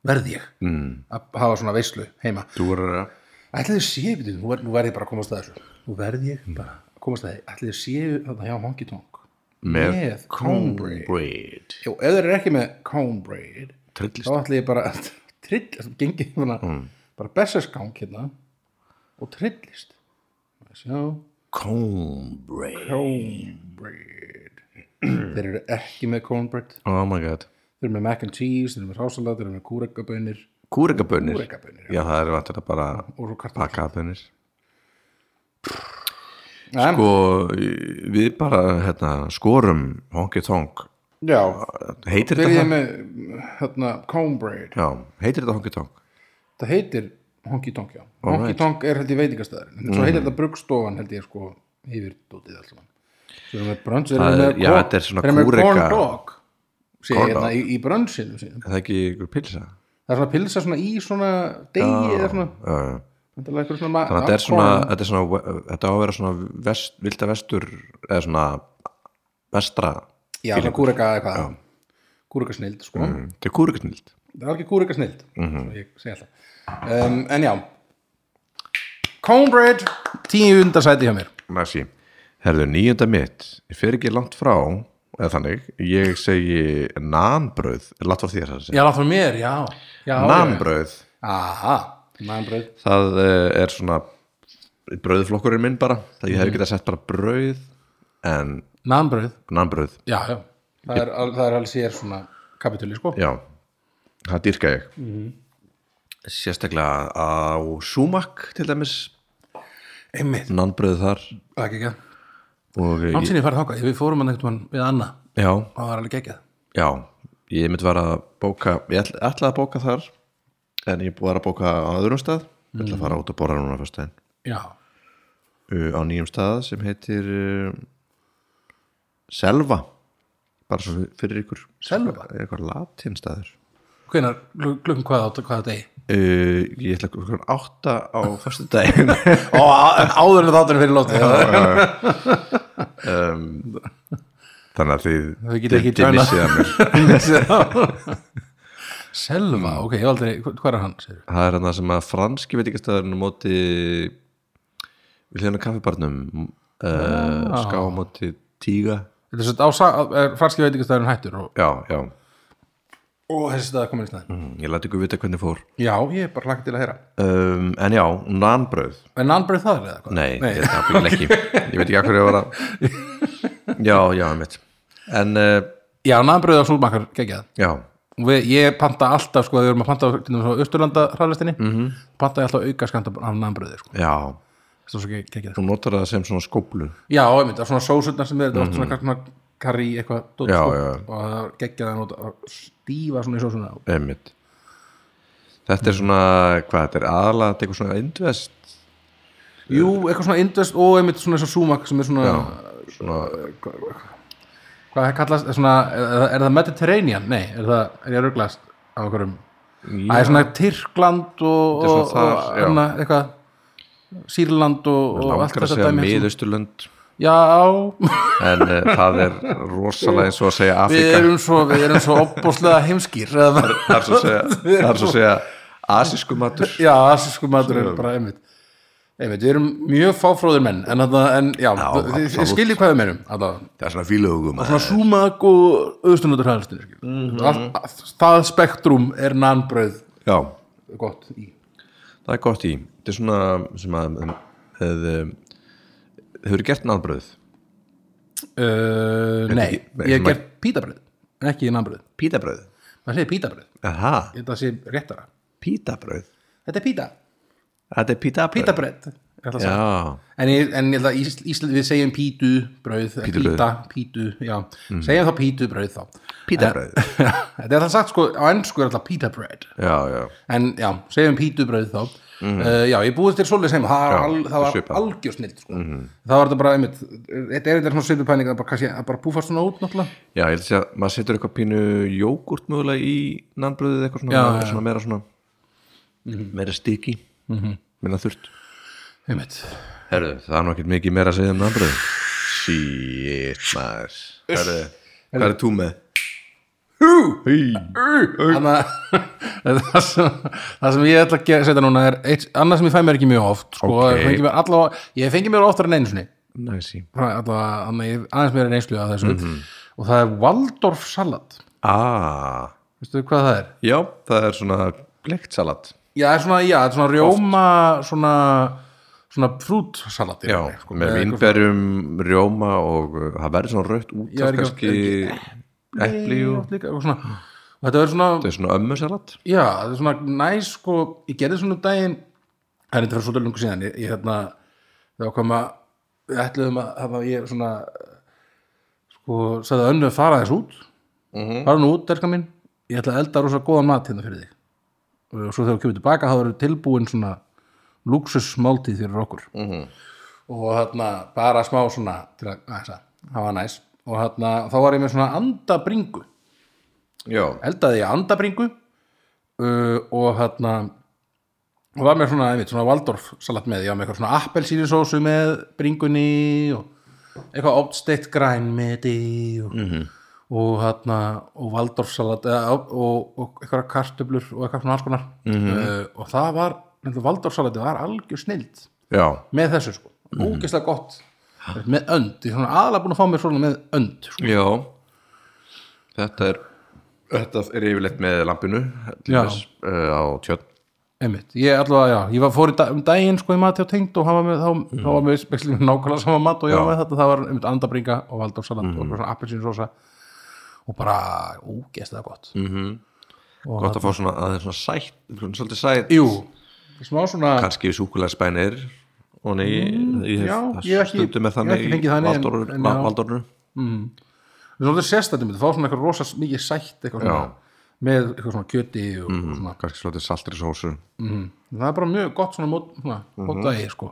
[SPEAKER 1] verð ég mm. Að hafa svona veislu heima
[SPEAKER 2] þú er að
[SPEAKER 1] Ætlaði séu, býtum, nú, ver, nú verð ég bara að komast að þessu Nú verð ég bara að komast að þessu Ætlaði séu þarna hjá Honky Tonk
[SPEAKER 2] með
[SPEAKER 1] Með cornbread
[SPEAKER 2] cornbread
[SPEAKER 1] Jó, ef þeir eru ekki með cornbread
[SPEAKER 2] trillist
[SPEAKER 1] Þá ætlaði ég bara að trillist Gengi svona, bara bessersgang hérna Og trillist Sjá,
[SPEAKER 2] cornbread
[SPEAKER 1] cornbread Þeir eru ekki með cornbread
[SPEAKER 2] oh my god
[SPEAKER 1] Þeir eru með mac and cheese, þeir eru með rásalat Þeir eru með kúrekabönir
[SPEAKER 2] kúrekabönir
[SPEAKER 1] Kúrekabönir,
[SPEAKER 2] já, það er vant að bara
[SPEAKER 1] og svo kartaflur.
[SPEAKER 2] pakkaðabönir
[SPEAKER 1] En-
[SPEAKER 2] sko, við bara hérna, skorum honky tonk
[SPEAKER 1] Já,
[SPEAKER 2] heitir
[SPEAKER 1] þegar
[SPEAKER 2] þetta
[SPEAKER 1] ég
[SPEAKER 2] það?
[SPEAKER 1] með hérna, cornbread
[SPEAKER 2] já, heitir þetta honky tonk
[SPEAKER 1] það heitir Honky Tonk já Honky Tonk er held ég veitingastæður en
[SPEAKER 2] Mhm.
[SPEAKER 1] svo heitir þetta Bruggstofan held ég sko yfir dótið alls saman svo erum við brunch erum
[SPEAKER 2] Það
[SPEAKER 1] við
[SPEAKER 2] er-
[SPEAKER 1] með
[SPEAKER 2] já,
[SPEAKER 1] corn-
[SPEAKER 2] þetta er svona
[SPEAKER 1] erum við með
[SPEAKER 2] kúreka-
[SPEAKER 1] corn dog sé
[SPEAKER 2] Corn
[SPEAKER 1] ég hérna
[SPEAKER 2] dog.
[SPEAKER 1] í, í brunchinu sínum
[SPEAKER 2] er það ekki ykkur pilsa
[SPEAKER 1] það er svona pilsa svona í svona degi eða svona
[SPEAKER 2] Já.
[SPEAKER 1] þetta er eitthvað svona
[SPEAKER 2] Uh,
[SPEAKER 1] ma-
[SPEAKER 2] þannig að þetta er
[SPEAKER 1] corn-
[SPEAKER 2] svona þetta, er svona, þetta á að vera svona vest, vilda vestur eða svona vestra
[SPEAKER 1] já svona kúreka eitthvað kúreka snild sko
[SPEAKER 2] Mm, þetta er kúrekasnild
[SPEAKER 1] það er alveg kúrika snild
[SPEAKER 2] Mhm.
[SPEAKER 1] ég segi alltaf um, en já cornbread tíu undarsæti hjá mér
[SPEAKER 2] Messi Herðu, nýjunda mitt, ég fer ekki langt frá eða þannig, ég segi nanbröð, er látt frá þér það að segja
[SPEAKER 1] já, frá mér, já, já já, já.
[SPEAKER 2] nanbröð,
[SPEAKER 1] aha, nanbröð
[SPEAKER 2] það eh, er svona bröðflokkurinn minn bara það ég hef ekki að sett bara bröð en
[SPEAKER 1] Nambröð,
[SPEAKER 2] nanbröð,
[SPEAKER 1] já, já Það er, al- það er alveg sér svona kapitúli, sko
[SPEAKER 2] já það dýrka ég sérstaklega á súmak til dæmis,
[SPEAKER 1] Einmitt,
[SPEAKER 2] nanbröð þar
[SPEAKER 1] það er geggjað
[SPEAKER 2] og ég,
[SPEAKER 1] Námsinni farið þáka, við fórum hann einhvern mann við Anna
[SPEAKER 2] já,
[SPEAKER 1] og það var alveg geggjað
[SPEAKER 2] já ég mynd var að bóka ég ætl, ætlaði að bóka þar en ég var að bóka á öðrum stað ég ætla að fara út að borða núna fyrst en
[SPEAKER 1] Já,
[SPEAKER 2] uh, á nýjum stað sem heitir uh, Selva bara svo fyrir ykkur
[SPEAKER 1] Selva?
[SPEAKER 2] Er eitthvað latinstaður
[SPEAKER 1] hvenær, gl- klukkan hvað átt, hvað degi?
[SPEAKER 2] uh, ég ætla að klukkan átta á fyrstu daginn
[SPEAKER 1] Ó, á- áður en þáttunum fyrir lótið
[SPEAKER 2] [laughs]
[SPEAKER 1] [laughs]
[SPEAKER 2] þannig að þið
[SPEAKER 1] Þau geta ekki
[SPEAKER 2] þið
[SPEAKER 1] tjánað.
[SPEAKER 2] missið af
[SPEAKER 1] [laughs]
[SPEAKER 2] mér
[SPEAKER 1] Selva, ok, ég hef aldrei, hv- hvað er hann, segir við?
[SPEAKER 2] það er hann sem að franski veitingastæðurinn á móti við hljóðan kaffibarnum uh,
[SPEAKER 1] Ah.
[SPEAKER 2] ská á móti tíga
[SPEAKER 1] Þetta er svo á sa- er franski veitingastæðurinn hættur og,
[SPEAKER 2] já, já,
[SPEAKER 1] og þessi stað er komin í staðin
[SPEAKER 2] Mm, ég læti ykkur vita hvernig fór
[SPEAKER 1] Já, ég er bara hlakka til að heyra
[SPEAKER 2] um, en já, nanbröð
[SPEAKER 1] En Nambröð það er eða hvað?
[SPEAKER 2] nei, Nei. Ég, það byggilega ekki ég veit ekki að hverju ég var að [laughs] já, já, mitt en uh,
[SPEAKER 1] Já, Nambröð á Súlmakar, geggjað
[SPEAKER 2] já,
[SPEAKER 1] Og við, ég panta alltaf sko, við erum að panta á, til dæmis á Östurlanda hraðlistinni mm -hmm. panta ég alltaf auka skanda af nambröði sko.
[SPEAKER 2] já
[SPEAKER 1] Þetta er svo sko. ekki ekki það
[SPEAKER 2] þú notar það sem svona skóplu
[SPEAKER 1] Já, einmitt, af svona sósutnar sem er þetta mm -hmm. svona, svona karri eitthvað dót,
[SPEAKER 2] Já,
[SPEAKER 1] sko,
[SPEAKER 2] já.
[SPEAKER 1] og það er geggjað að nota að stífa svona í sósuna
[SPEAKER 2] Einmitt. þetta er svona hvað þetta er aðalega, þetta er eitthvað svona indvest
[SPEAKER 1] Jú, eitthvað svona indvest og einmitt svona eins og súmak sem er svona,
[SPEAKER 2] svona,
[SPEAKER 1] hvað það kallast er, svona, er, er það Mediterranean? Nei, er, það, er ég að ruglast á einhverjum Það er svona Tyrkland og,
[SPEAKER 2] Þetta er
[SPEAKER 1] og,
[SPEAKER 2] svona
[SPEAKER 1] og
[SPEAKER 2] þar, já.
[SPEAKER 1] annað, eitthvað Sýrland og, og allt
[SPEAKER 2] langar að
[SPEAKER 1] þetta
[SPEAKER 2] segja
[SPEAKER 1] dæmi er svona-
[SPEAKER 2] miðausturlönd
[SPEAKER 1] Já,
[SPEAKER 2] en uh, það er rosalega eins og að segja
[SPEAKER 1] Við
[SPEAKER 2] Afrika
[SPEAKER 1] erum svo, við erum svo opbóslega heimskýr eða bara-
[SPEAKER 2] það er svo að segja, það er svo að segja asísku matur
[SPEAKER 1] Já, asísku matur er bara einmitt Einmitt, við erum mjög fáfróðir menn en, þarna, en já,
[SPEAKER 2] Já,
[SPEAKER 1] þið- þið
[SPEAKER 2] absolutt.
[SPEAKER 1] skiljið hvað við mennum allavega.
[SPEAKER 2] það er svona fílugum
[SPEAKER 1] svona súmak og auðstunundur hræðastunir mm
[SPEAKER 2] Mhm.
[SPEAKER 1] það spektrum er nannbröð
[SPEAKER 2] já,
[SPEAKER 1] gott í
[SPEAKER 2] það er gott í þetta er svona sem að um, hefði hefur gert náðbröð
[SPEAKER 1] uh, nei,
[SPEAKER 2] ekki- nei,
[SPEAKER 1] ég hef
[SPEAKER 2] sem að-
[SPEAKER 1] gert pítabröð en ekki nannbröð,
[SPEAKER 2] pítabröð
[SPEAKER 1] maður segir pítabröð
[SPEAKER 2] aha,
[SPEAKER 1] ég held að það sé réttara,
[SPEAKER 2] pítabröð
[SPEAKER 1] þetta er píta
[SPEAKER 2] þetta er pítabröð
[SPEAKER 1] pítabröð er það að segja.
[SPEAKER 2] já,
[SPEAKER 1] en, ég- en ég held að Ís, Ísland, við segjum pítu bröð,
[SPEAKER 2] Pítubrauð.
[SPEAKER 1] píta, pítu já, segjum þá pítu bröð þá
[SPEAKER 2] [laughs] Pítabrauð.
[SPEAKER 1] En- þetta er það sagt sko, á ennsku er alltaf pítabröð
[SPEAKER 2] Eh, já, já
[SPEAKER 1] en já, segjum pítubröð þá uh, já, ég búist til svolítið sem það,
[SPEAKER 2] Mhm. Já,
[SPEAKER 1] var al, það var
[SPEAKER 2] svipað. Mhm.
[SPEAKER 1] algjör snill sko. það var þetta bara einmitt þetta er þetta svona svipupæning að bara, kannski, að bara púfast svona út náttúrulega
[SPEAKER 2] já, ég held að segja, maður setur eitthvað pínu jógurt mögulega í náðbröðið eitthvað svona,
[SPEAKER 1] Já, já.
[SPEAKER 2] svona meira svona meira stiki mm -hmm. minna þurrt
[SPEAKER 1] einmitt,
[SPEAKER 2] Herðu, það er nú ekkert mikið meira að segja um námbröð Shit, maður Herðu, hvað er þú með? Hú,
[SPEAKER 1] þannig að [laughs] það sem, það sem ég ætla að gera- setja núna er eitt, annað sem ég fæ mér ekki mjög oft sko,
[SPEAKER 2] Ok.
[SPEAKER 1] okay. fengi mér allavega, ég fengi mér oftar en einu sinni
[SPEAKER 2] Næsi
[SPEAKER 1] Frá- allavega, annað, ég- aðeins meira en einslu af þessu og það er Waldorf salat
[SPEAKER 2] Ah,
[SPEAKER 1] veistu hvað það er?
[SPEAKER 2] já, það er svona glegt salat
[SPEAKER 1] Já, það er svona, já, það er svona rjóma svona, svona frútsalat í
[SPEAKER 2] Já,
[SPEAKER 1] rauninni, sko,
[SPEAKER 2] með
[SPEAKER 1] eitthvað-
[SPEAKER 2] vinnberjum, rjóma og uh, það verður svona rautt út
[SPEAKER 1] Já,
[SPEAKER 2] af
[SPEAKER 1] er ekki-
[SPEAKER 2] kannski epli og
[SPEAKER 1] Oft líka, eitthvað svona. og þetta verður svona
[SPEAKER 2] það er svona ömmu salat
[SPEAKER 1] já, þetta er svona næs sko, ég gerði svona um daginn það er þetta fyrir svolítið lungu síðan ég, ég hérna, það var koma við ætluðum að hafa ég svona sko, sagði önnu fara þess út fara nú út, derka mín ég ætla að elda rosa góðan mat hérna fyrir þig og svo þegar við kemur tilbaka þá eru tilbúin svona luxusmáltíð fyrir okkur og þarna bara smá svona til að, að það var næs og þarna, þá var ég með svona andabringu
[SPEAKER 2] Já,
[SPEAKER 1] eldaði ég andabringu uh, og hérna og var með svona, einmitt, svona Waldorf salat með, ég var með eitthvað svona appelsínusósu með bringunni og eitthvað oddsteitt græn með og, og hérna og Waldorf salat eða, og, og, og eitthvað kartöblur og eitthvað svona alls konar uh, og það var, Waldorf salati var algjör snild
[SPEAKER 2] já,
[SPEAKER 1] með þessu sko, ógeðslega gott með önd, ég er svona aðalega búin að fá mér svona með önd sko.
[SPEAKER 2] já Þetta er Þetta er yfirleitt með lampinu til
[SPEAKER 1] Já.
[SPEAKER 2] þess, uh, á tjörn
[SPEAKER 1] Einmitt, ég allavega, já, ég var fór í dag, um daginn sko í mati á tengd og hann var með, þá, þá var með spekslum nákvæmlega sama mat og ég var
[SPEAKER 2] Mhm. Já. Mhm.
[SPEAKER 1] með þetta það var einmitt andabringa og valdorsalat mm. og svona appelsínusósa og bara ógeðslega gott
[SPEAKER 2] Mhm.
[SPEAKER 1] mm.
[SPEAKER 2] gott að fá svona aðeins svona sætt svona svolítið sætt,
[SPEAKER 1] Jú, smá svona
[SPEAKER 2] kannski súkulæðspænir og nei, ég hef
[SPEAKER 1] Mm, já,
[SPEAKER 2] það
[SPEAKER 1] ég hef ekki-
[SPEAKER 2] stundum er
[SPEAKER 1] ég hef
[SPEAKER 2] þannig
[SPEAKER 1] ekki fengið þannig, en-
[SPEAKER 2] Valdorfur-
[SPEAKER 1] en já.
[SPEAKER 2] Va- Valdorfur.
[SPEAKER 1] svolítið sérstættum, það fá svona eitthvað rosa mikið sætt eitthvað svona
[SPEAKER 2] Já. Mhm.
[SPEAKER 1] með eitthvað svona kjöti og svona
[SPEAKER 2] kannski svolítið saltri sósu
[SPEAKER 1] það er bara mjög gott svona mót, svona, mót
[SPEAKER 2] Mhm.
[SPEAKER 1] dagi sko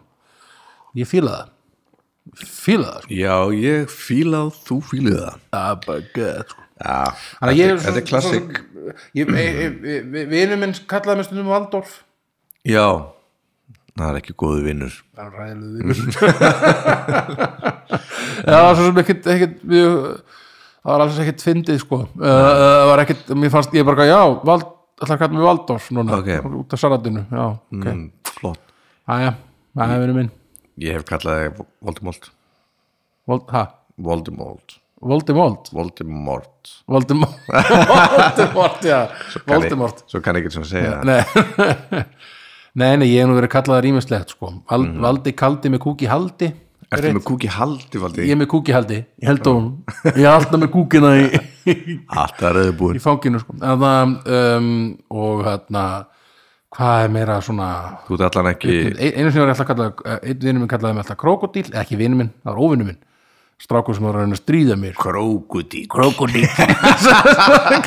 [SPEAKER 1] ég fíla það fíla það sko,
[SPEAKER 2] já, ég fíla og þú fílið það
[SPEAKER 1] það er bara gett sko
[SPEAKER 2] já,
[SPEAKER 1] Þannig að ég er
[SPEAKER 2] þetta er
[SPEAKER 1] svo-
[SPEAKER 2] klassik
[SPEAKER 1] svo- ég- ég- ég- ég- vi- Vinur minn kallaði mér stundum Valdorf
[SPEAKER 2] já, það er ekki góðu vinnur
[SPEAKER 1] Það er ræðilegu vinur
[SPEAKER 2] [laughs]
[SPEAKER 1] Já, það var svo sem ekkit, ekkit mjög, það var alls ekkit fyndið sko Eh, eh, það var ekkit, mér fannst ég bara já, vald, ætla að kalla mér Valdorf núna,
[SPEAKER 2] Ok.
[SPEAKER 1] út af salatinu já, ok,
[SPEAKER 2] mm, flott,
[SPEAKER 1] aðja, aðja vinur minn
[SPEAKER 2] ég hef kallaði Voldemort
[SPEAKER 1] Vold, ha,
[SPEAKER 2] Voldemort,
[SPEAKER 1] Voldemort
[SPEAKER 2] Voldemort [laughs]
[SPEAKER 1] Voldemort Voldemort, já,
[SPEAKER 2] Kann ég-
[SPEAKER 1] Voldemort
[SPEAKER 2] svo kann ég ekki svona segja það.
[SPEAKER 1] Nei. [laughs] nei, nei, ég hef nú verið kallaðar ímislegt sko. Val, Valdi kaldi með kúki haldi
[SPEAKER 2] Mhm. ertu með kúki haldi, Valdi
[SPEAKER 1] Ég er með kúki haldi, ég held á hún Ég er alltaf með kúkina í, í [laughs]
[SPEAKER 2] alltaf er auðbúin
[SPEAKER 1] fanginu sko. Þarna, um, Og hérna Hvað er meira svona
[SPEAKER 2] þú ert allan ekki
[SPEAKER 1] Ein- Einu sinni var ég alltaf kallað Einn vinur minn kallaði mig alltaf krókodíl eða Ekki vinur minn, það var óvinur minn Strákur sem var að reyna að stríða
[SPEAKER 2] [laughs]
[SPEAKER 1] mér
[SPEAKER 2] krókudík [laughs]
[SPEAKER 1] Krokodíl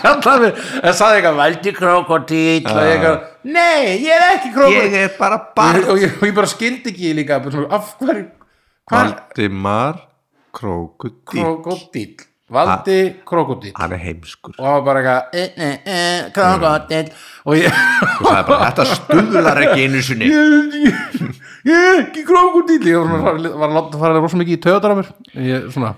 [SPEAKER 1] Kallaði mér, það sagði eitthvað Valdi krokodíl og ég eitthvað Nei, ég er ekki krokodíl
[SPEAKER 2] Ah. er bara
[SPEAKER 1] og, og, ég, og ég bara skildi ekki líka bara svona, af hverju hvað
[SPEAKER 2] Valdimar Krókudík
[SPEAKER 1] krokodíll valdi krokodíll
[SPEAKER 2] Hann er heimskur
[SPEAKER 1] og hann var bara eitthvað eh, eh, eh, krokodíll
[SPEAKER 2] [laughs]
[SPEAKER 1] og ég
[SPEAKER 2] Það er bara, þetta stuðlar ekki einu sinni
[SPEAKER 1] ég ég er ekki krokodíll ég var,
[SPEAKER 2] Mm.
[SPEAKER 1] svona, var að láta fara rosa mikið í töðar á mér ég, svona,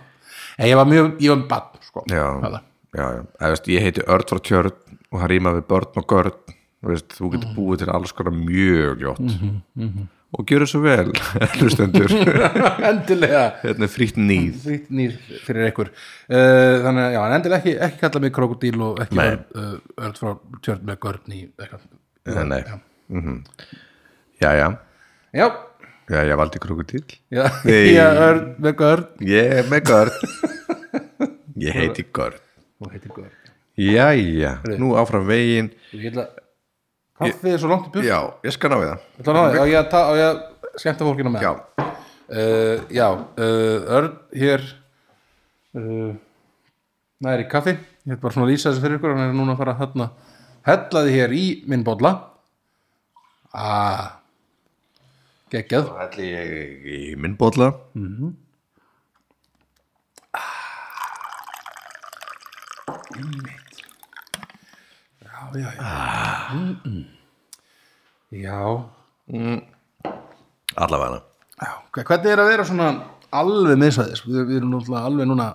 [SPEAKER 1] en ég var mjög ég var bann sko
[SPEAKER 2] Já, já, já Eða, veist, Ég heiti Örd frá Tjörn og Mhm. það rýma við börn og görn Þú veist, þú getur búið til alls konar mjög gjótt og gjöru svo vel [laughs] hlustendur,
[SPEAKER 1] [laughs]
[SPEAKER 2] [laughs]
[SPEAKER 1] endilega
[SPEAKER 2] hérna er frýtt nýð
[SPEAKER 1] frýtt nýr fyrir ykkur uh, þannig að já, en endilega ekki, ekki kalla mig krokodíl og ekki
[SPEAKER 2] Nei.
[SPEAKER 1] örn, uh, örn frá tjörn með görn í eitthvað
[SPEAKER 2] Nei, nei. Mhm.
[SPEAKER 1] Já.
[SPEAKER 2] já, já,
[SPEAKER 1] já,
[SPEAKER 2] já, ég valdi krokodil
[SPEAKER 1] já,
[SPEAKER 2] Nei.
[SPEAKER 1] já örn með görn
[SPEAKER 2] ég er með görn [laughs] ég heiti görn
[SPEAKER 1] og heitir görn
[SPEAKER 2] já, já, nú áfram veginn
[SPEAKER 1] ég ætla kaffið er svo langt í burt
[SPEAKER 2] já, ég skal ná við það
[SPEAKER 1] Ætlar hann á því, á ég að ta- á ég að skemmta fólkinu með
[SPEAKER 2] já,
[SPEAKER 1] uh, Já, uh, Örn hér uh, næri kaffi ég er bara svona að lýsa þessu fyrir ykkur hann er núna að fara að hella hellaði hér í minn bolla aaa ah, geggjað
[SPEAKER 2] ætli ég í minn bólla
[SPEAKER 1] já, já, já. Mm, mm. Ah. já,
[SPEAKER 2] allavega
[SPEAKER 1] já Hva- hvernig er að vera svona alveg miðsvæðis við, við erum náttúrulega alveg núna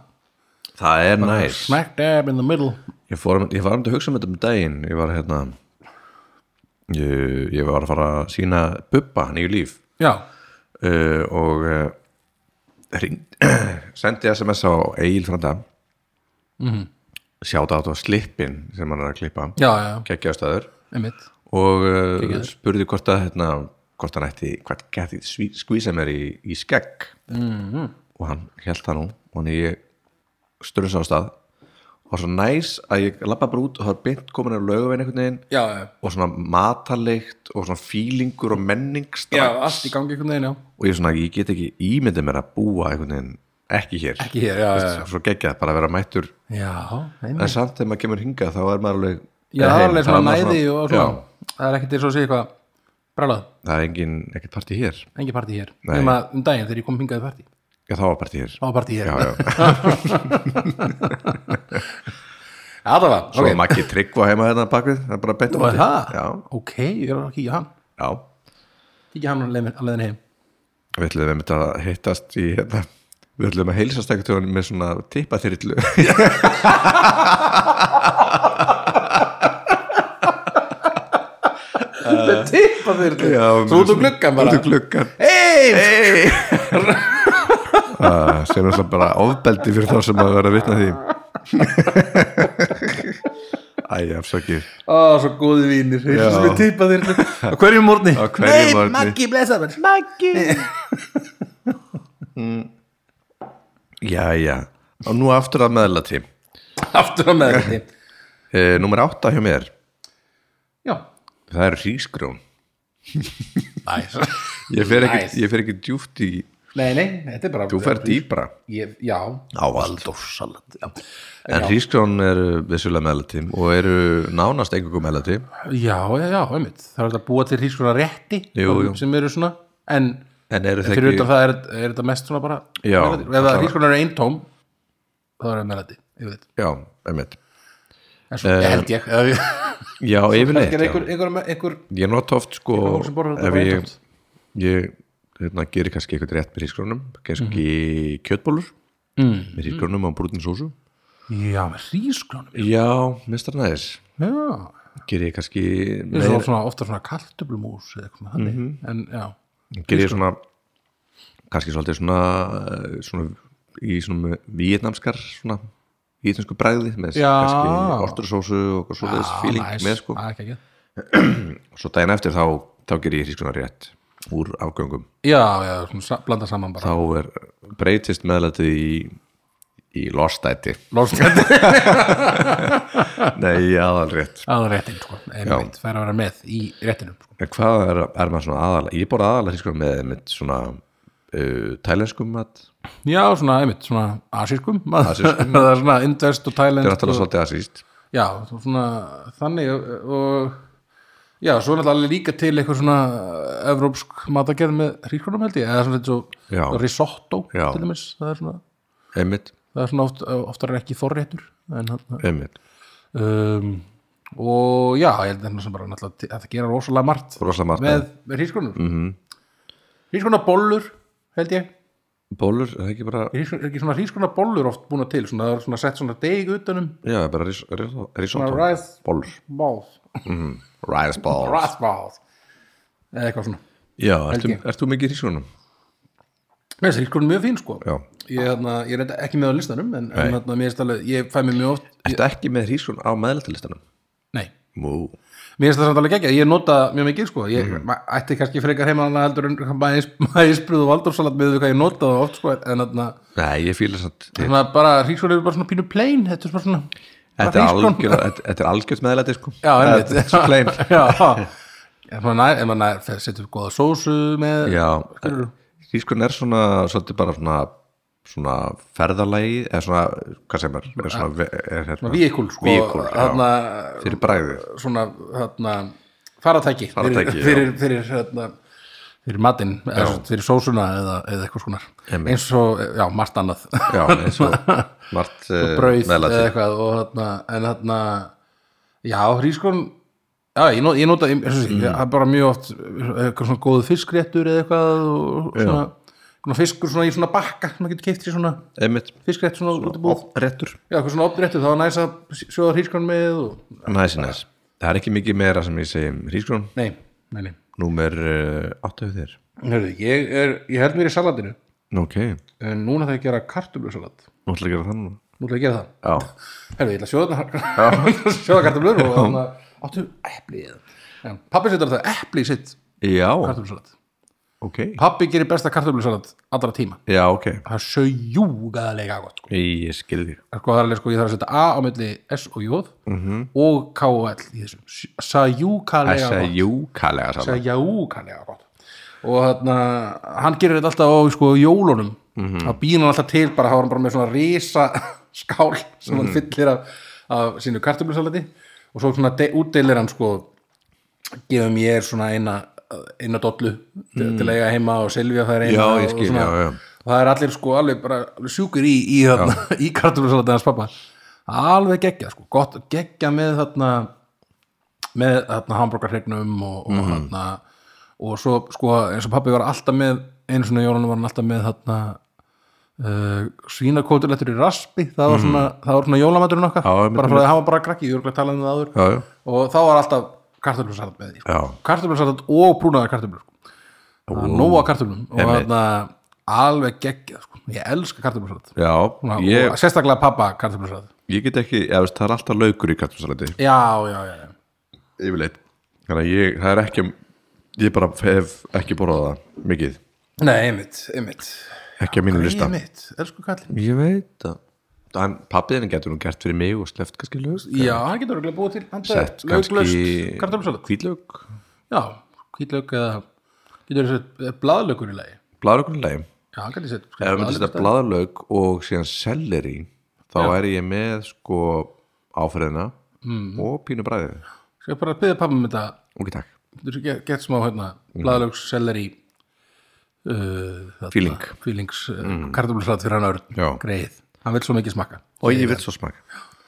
[SPEAKER 2] það er næs
[SPEAKER 1] smack dab in the middle
[SPEAKER 2] ég fór, ég var um til að hugsa um þetta um daginn ég var hérna ég, ég var að fara að sína Bubba, nýju líf
[SPEAKER 1] já,
[SPEAKER 2] uh, og uh, ring, [clears throat] sendi sms á Egil frá það mm -hmm. sjáta á slippin sem hann er að klippa
[SPEAKER 1] já, já,
[SPEAKER 2] geggjastæður
[SPEAKER 1] einmitt
[SPEAKER 2] og uh, spurði hvort að hérna, hvort hann ætti, hvað gæti sví- skvísa mér í, í skegg mm
[SPEAKER 1] Mhm.
[SPEAKER 2] -hmm. og hann held það nú og hann ég sturðs á stað og var svo næs að ég lappa bara út og það var beint komin af löguvegin einhvern veginn
[SPEAKER 1] já, já,
[SPEAKER 2] og svona matarleikt og svona fílingur og menningstra
[SPEAKER 1] já, allt í gangi einhvern veginn, já
[SPEAKER 2] og ég, svona, ég get ekki ímyndið mér að búa einhvern veginn ekki hér,
[SPEAKER 1] ekki hér, já, já, já
[SPEAKER 2] svo geggjað bara að vera mættur
[SPEAKER 1] Já,
[SPEAKER 2] en
[SPEAKER 1] einmitt.
[SPEAKER 2] samt þegar maður kemur hingað þá er maður alveg
[SPEAKER 1] Já,
[SPEAKER 2] eða
[SPEAKER 1] það er
[SPEAKER 2] heim,
[SPEAKER 1] alveg
[SPEAKER 2] þá
[SPEAKER 1] svona
[SPEAKER 2] maður
[SPEAKER 1] næði og
[SPEAKER 2] já,
[SPEAKER 1] svona, það er ekkert eins og að segja eitthvað brælað,
[SPEAKER 2] það er engin, ekkert partí hér
[SPEAKER 1] engin partí hér
[SPEAKER 2] Nei.
[SPEAKER 1] nema um daginn þegar ég kom hingaði partí þá
[SPEAKER 2] Já, það var partí hér.
[SPEAKER 1] var partí hér,
[SPEAKER 2] Já, já.
[SPEAKER 1] [laughs] Já, það var,
[SPEAKER 2] Svo
[SPEAKER 1] ok
[SPEAKER 2] okay. Maggi Tryggva heima hérna bakvið, það er bara beint á
[SPEAKER 1] Nú er
[SPEAKER 2] móti.
[SPEAKER 1] það,
[SPEAKER 2] Já,
[SPEAKER 1] ok, ég er að kíkja á hann
[SPEAKER 2] já.
[SPEAKER 1] kíkja á hann á leiðin- á leiðin heim
[SPEAKER 2] Við ætlum einmitt að hittast í hérna. Við ætlum að heilsast ekkert til hann með svona
[SPEAKER 1] [laughs]
[SPEAKER 2] tippaþyrlu.
[SPEAKER 1] Þetta [laughs] tippa þér
[SPEAKER 2] Já,
[SPEAKER 1] Svo út úr gluggan bara
[SPEAKER 2] Út um úr gluggan.
[SPEAKER 1] Hey!
[SPEAKER 2] Hey! Ah, sem er svona bara ofbeldi fyrir þá sem að vera að
[SPEAKER 1] [laughs]
[SPEAKER 2] vitna því. Æ, afsakið.
[SPEAKER 1] Ó, svo góði vínir,
[SPEAKER 2] Já.
[SPEAKER 1] heilsum við tippa þér Á hverjum morgni
[SPEAKER 2] Á hverjum morgni.
[SPEAKER 1] Nei, Maggi, blessar mér Maggi [laughs]
[SPEAKER 2] Já, já. Og nú aftur að meðlati.
[SPEAKER 1] Aftur á meðinni
[SPEAKER 2] E, númer átta hjá mér.
[SPEAKER 1] Já,
[SPEAKER 2] Það eru hrísgrjón.
[SPEAKER 1] næs
[SPEAKER 2] Ég fer ekki,
[SPEAKER 1] Nice.
[SPEAKER 2] ég fer ekki djúft í...
[SPEAKER 1] Nei, nei, þetta er bara
[SPEAKER 2] Þú fer dýbra.
[SPEAKER 1] Ég- Já,
[SPEAKER 2] Ávaldórsalat En hrísgrjón eru vissulega meðlæti og eru nánast einhverjum meðlæti
[SPEAKER 1] Já, já, já, einmitt Það er hægt að búa til hrískona rétti
[SPEAKER 2] Jú, jú.
[SPEAKER 1] sem eru svona en
[SPEAKER 2] En eru þeir
[SPEAKER 1] fyrir utan
[SPEAKER 2] ekki
[SPEAKER 1] það er, er þetta mest svona bara
[SPEAKER 2] Já,
[SPEAKER 1] melódí. Ef
[SPEAKER 2] allavega.
[SPEAKER 1] það hrískona er eintóm þá er það melati yfirleitt.
[SPEAKER 2] Já, einmitt
[SPEAKER 1] En
[SPEAKER 2] Eh,
[SPEAKER 1] svo ég held [laughs] ég eða ég-
[SPEAKER 2] Já, yfirleitt
[SPEAKER 1] Kannski er einhver,
[SPEAKER 2] já.
[SPEAKER 1] einhver, einhver
[SPEAKER 2] Ég nota oft sko
[SPEAKER 1] fólk sem borðar þetta
[SPEAKER 2] ef
[SPEAKER 1] bara
[SPEAKER 2] ég,
[SPEAKER 1] eintómt.
[SPEAKER 2] ég hérna, gerir kannski eitthvað rétt með hrísgrjónum kannski kjötbólur
[SPEAKER 1] Mm.
[SPEAKER 2] með hrísgrjónum og brútin sósu
[SPEAKER 1] Já, með hrískonum
[SPEAKER 2] Já, mistar næðis
[SPEAKER 1] Já,
[SPEAKER 2] Gerir ég kannski
[SPEAKER 1] eins og
[SPEAKER 2] meira-
[SPEAKER 1] svona ofta svona kartöflumús eða eitthvað með þannig en já,
[SPEAKER 2] gerir ég
[SPEAKER 1] sko.
[SPEAKER 2] svona kannski svolítið svona, eh, svona í svona vietnamskar svona vietnamsku bræði með
[SPEAKER 1] Já.
[SPEAKER 2] kannski ortursósu og svo þess fíling
[SPEAKER 1] næs.
[SPEAKER 2] með sko
[SPEAKER 1] Að, ekki, ekki.
[SPEAKER 2] og svo daginn eftir þá, þá gerir ég hrískuna rétt úr afgöngum
[SPEAKER 1] Já, já, svona sa- blanda saman bara
[SPEAKER 2] þá er breytist meðlætið í í
[SPEAKER 1] [laughs]
[SPEAKER 2] lostæti
[SPEAKER 1] Lófstætt
[SPEAKER 2] nei, aðal rétt
[SPEAKER 1] að réttin sko, einmitt, fær að vera með í réttinum sko.
[SPEAKER 2] en hvað er, er maður svona aðal ég borða aðal hrískuna með, með svona uh, tælenskum mat
[SPEAKER 1] Já, svona, einmitt, svona asískum [laughs]
[SPEAKER 2] Asískum.
[SPEAKER 1] Það er svona indvest og
[SPEAKER 2] þetta er
[SPEAKER 1] tælend
[SPEAKER 2] náttúrulega
[SPEAKER 1] og,
[SPEAKER 2] svolítið asíst
[SPEAKER 1] Já, svona þannig og- og já, svo er náttúrulega líka til eitthvað svona eh, evrópsk matagerð með hrískonum held ég, eða svona eins og
[SPEAKER 2] Já.
[SPEAKER 1] risotto
[SPEAKER 2] Já.
[SPEAKER 1] til dæmis, það er svona
[SPEAKER 2] einmitt,
[SPEAKER 1] það er svona oft, oftar en ekki forréttur en hann
[SPEAKER 2] einmitt,
[SPEAKER 1] um, og já, ég held þarna sem bara náttúrulega til- að það gera rosalega margt
[SPEAKER 2] rosalega Mhm. mat
[SPEAKER 1] með, með hrískonum mm -hmm. hrískonabollur held ég
[SPEAKER 2] bólur, er það ekki bara
[SPEAKER 1] er ekki- er ekki svona hrískona bollur oft búna til svona, það er svona sett svona deig utanum
[SPEAKER 2] Já, bara ris- ris- risotto
[SPEAKER 1] rice-
[SPEAKER 2] Bólur
[SPEAKER 1] balls,
[SPEAKER 2] Rice balls
[SPEAKER 1] rathballs eða eitthvað svona
[SPEAKER 2] Já, ertu,
[SPEAKER 1] Helgi.
[SPEAKER 2] ertu mikið í rískunum?
[SPEAKER 1] Mér finnst ríkskórn mjög fín sko
[SPEAKER 2] Já.
[SPEAKER 1] Ég, hérna, ég er þetta ekki með á listanum en,
[SPEAKER 2] Nei.
[SPEAKER 1] en hérna, mér finnst alveg, ég fæ mér mjög oft
[SPEAKER 2] Ertu ekki með rískun á meðlættalistanum?
[SPEAKER 1] Nei,
[SPEAKER 2] Mú.
[SPEAKER 1] mér finnst það samt alveg ekki ég nota mjög mikið sko Ég
[SPEAKER 2] Mhm.
[SPEAKER 1] ma- ætti kannski frekar heima hana heldur en [laughs] maðisbrúð og valdórsalat með því hvað ég nota það oft sko en þarna,
[SPEAKER 2] Nei, ég fýla samt
[SPEAKER 1] svona, bara ríkskórn er bara svona pínu plain Þetta er bara svona bara
[SPEAKER 2] Þetta er
[SPEAKER 1] hrísgrjón.
[SPEAKER 2] algjör- þetta- þetta er algjört meðlæti sko.
[SPEAKER 1] Já, einmitt
[SPEAKER 2] Þetta er svo plain
[SPEAKER 1] [laughs] Já, en maður nær, en maður nær fer- setur góða sósu með
[SPEAKER 2] Já,
[SPEAKER 1] Skilurðu?
[SPEAKER 2] rískun er svona svolítið bara svona, svona ferðalagi eða svona, hvað sem er, er svona ve- er hérna,
[SPEAKER 1] víkul sko
[SPEAKER 2] víkúl, já,
[SPEAKER 1] þarna,
[SPEAKER 2] fyrir bræðið
[SPEAKER 1] svona þarna, faratæki,
[SPEAKER 2] Farartæki, já.
[SPEAKER 1] fyrir, fyrir, fyrir, hérna, fyrir matinn eða sem sagt fyrir sósuna eða, eða eitthvað skonar
[SPEAKER 2] Einmitt.
[SPEAKER 1] eins og, já, margt annað
[SPEAKER 2] Já, eins
[SPEAKER 1] [laughs]
[SPEAKER 2] og margt eh,
[SPEAKER 1] brauð eða
[SPEAKER 2] meðlæti
[SPEAKER 1] eitthvað og, þarna, en þarna já, hrískon já, ég, not, ég nota, ég, ég, ég,
[SPEAKER 2] Mm.
[SPEAKER 1] það er bara mjög oft eh, eitthvað svona góðu fiskréttur eða eitthvað og svona, svona fiskur svona í svona bakka, sem maður getur keift í svona
[SPEAKER 2] einmitt,
[SPEAKER 1] fiskrétt svona, svona út í búð
[SPEAKER 2] réttur
[SPEAKER 1] já, eitthvað svona opnréttur, þá er næs að sjóða hrískon með og,
[SPEAKER 2] næs, næs, það er ekki mikið meira sem ég segi um rískun,
[SPEAKER 1] nei, nei, nei
[SPEAKER 2] númer eh, átta hjá þér
[SPEAKER 1] Hörðu, ég, er, ég held mér í salatinu
[SPEAKER 2] ok, nú
[SPEAKER 1] en núna það ég að gera kartöflusalat
[SPEAKER 2] ætla að gera það nú
[SPEAKER 1] nú ætla ég að gera það
[SPEAKER 2] já,
[SPEAKER 1] Hörðu, ég ætla að [laughs] sjóða þarna- sjóða kartöflur og þannig að áttu epli eða Pappi setur það epli í sitt
[SPEAKER 2] já,
[SPEAKER 1] kartöflusalat
[SPEAKER 2] ok
[SPEAKER 1] Pappi gerir besta kartöflusalat allra tíma
[SPEAKER 2] já, ok,
[SPEAKER 1] Það er sögjúgaðlega gott sko.
[SPEAKER 2] ég skil þig
[SPEAKER 1] En Sko, það er alveg sko, ég þarf að setja A á milli S og J -hmm. og K og L í þessu Sajúkalega
[SPEAKER 2] þess
[SPEAKER 1] gott
[SPEAKER 2] að jú, kallega saman
[SPEAKER 1] segja jáúkanlega gott og þarna, hann gerir þetta alltaf á sko, jólunum, mm
[SPEAKER 2] Mhm.
[SPEAKER 1] -hmm. að býna hann alltaf til bara hafa hann bara með svona risa [laughs] skál sem
[SPEAKER 2] Mhm.
[SPEAKER 1] hann fyllir af, af sínu kartöflusalati og svo svona de- útdeilir hann sko gefur mér svona eina eina dollu til, til að eiga heima og Silvía fær eina
[SPEAKER 2] Mhm. Já,
[SPEAKER 1] og,
[SPEAKER 2] ég skil,
[SPEAKER 1] svona,
[SPEAKER 2] já, já.
[SPEAKER 1] og það er allir sko alveg bara alveg sjúkur í, í, þarna, [laughs] í kartöflusalati hans pappa alveg geggja sko, gott geggja með þarna með þarna hambúrgarhregnum og, og
[SPEAKER 2] Mhm.
[SPEAKER 1] þarna og svo sko eins og pappi var alltaf með einu svona jólunum var hann alltaf með þarna uh, svínakótulettur í raspi það var svona, það var svona jólamaturinn okkar
[SPEAKER 2] Mhm. Já, einmitt,
[SPEAKER 1] bara frá því að hann var bara krakki, ég örgulega talaði um það áður
[SPEAKER 2] já, já,
[SPEAKER 1] og þá var alltaf kartöflusalat með því sko.
[SPEAKER 2] já,
[SPEAKER 1] kartöflusalat og brúnaðar kartöflur sko. það var nóa kartöflum og
[SPEAKER 2] Einmitt.
[SPEAKER 1] þarna alveg geggjað sko. ég elska kartöflusalat
[SPEAKER 2] já ég,
[SPEAKER 1] og sérstaklega pappa kartöflusalat
[SPEAKER 2] Ég get ekki, eða, þú veist, það er alltaf laukur í kartumsalati
[SPEAKER 1] já, já, já, já
[SPEAKER 2] yfirleitt Þannig að ég, það er ekki um, ég bara hef ekki borðað það mikið,
[SPEAKER 1] Nei, einmitt, einmitt
[SPEAKER 2] ekki á mínu lista
[SPEAKER 1] Einmitt, elsku kallin
[SPEAKER 2] Ég veit að en pappiðin getur hún gert fyrir mig og sleft kannski lögst
[SPEAKER 1] Já, hann getur örgulega búið til handa
[SPEAKER 2] sett kannski
[SPEAKER 1] löglaust kartöflusalat
[SPEAKER 2] hvítlög,
[SPEAKER 1] Já, hvítlaug eða getur þessi blaðlaugur í lagi
[SPEAKER 2] blaðlögunlegi
[SPEAKER 1] Já, hann getur sett
[SPEAKER 2] Ef við myndum setja blaðlög og síðan selleri þá er ég með sko áferðina og pínu bræðið
[SPEAKER 1] Skal ég bara byrja pappum þetta
[SPEAKER 2] Ok, takk,
[SPEAKER 1] getur þessi gett smá hérna
[SPEAKER 2] Mhm.
[SPEAKER 1] blaðlaugs, selleri uh,
[SPEAKER 2] Feeling. Mhm.
[SPEAKER 1] Fílings uh, kartöflusalat fyrir hann örn
[SPEAKER 2] Já.
[SPEAKER 1] Greið, hann vil svo mikið smakka
[SPEAKER 2] Og ég vil svo smak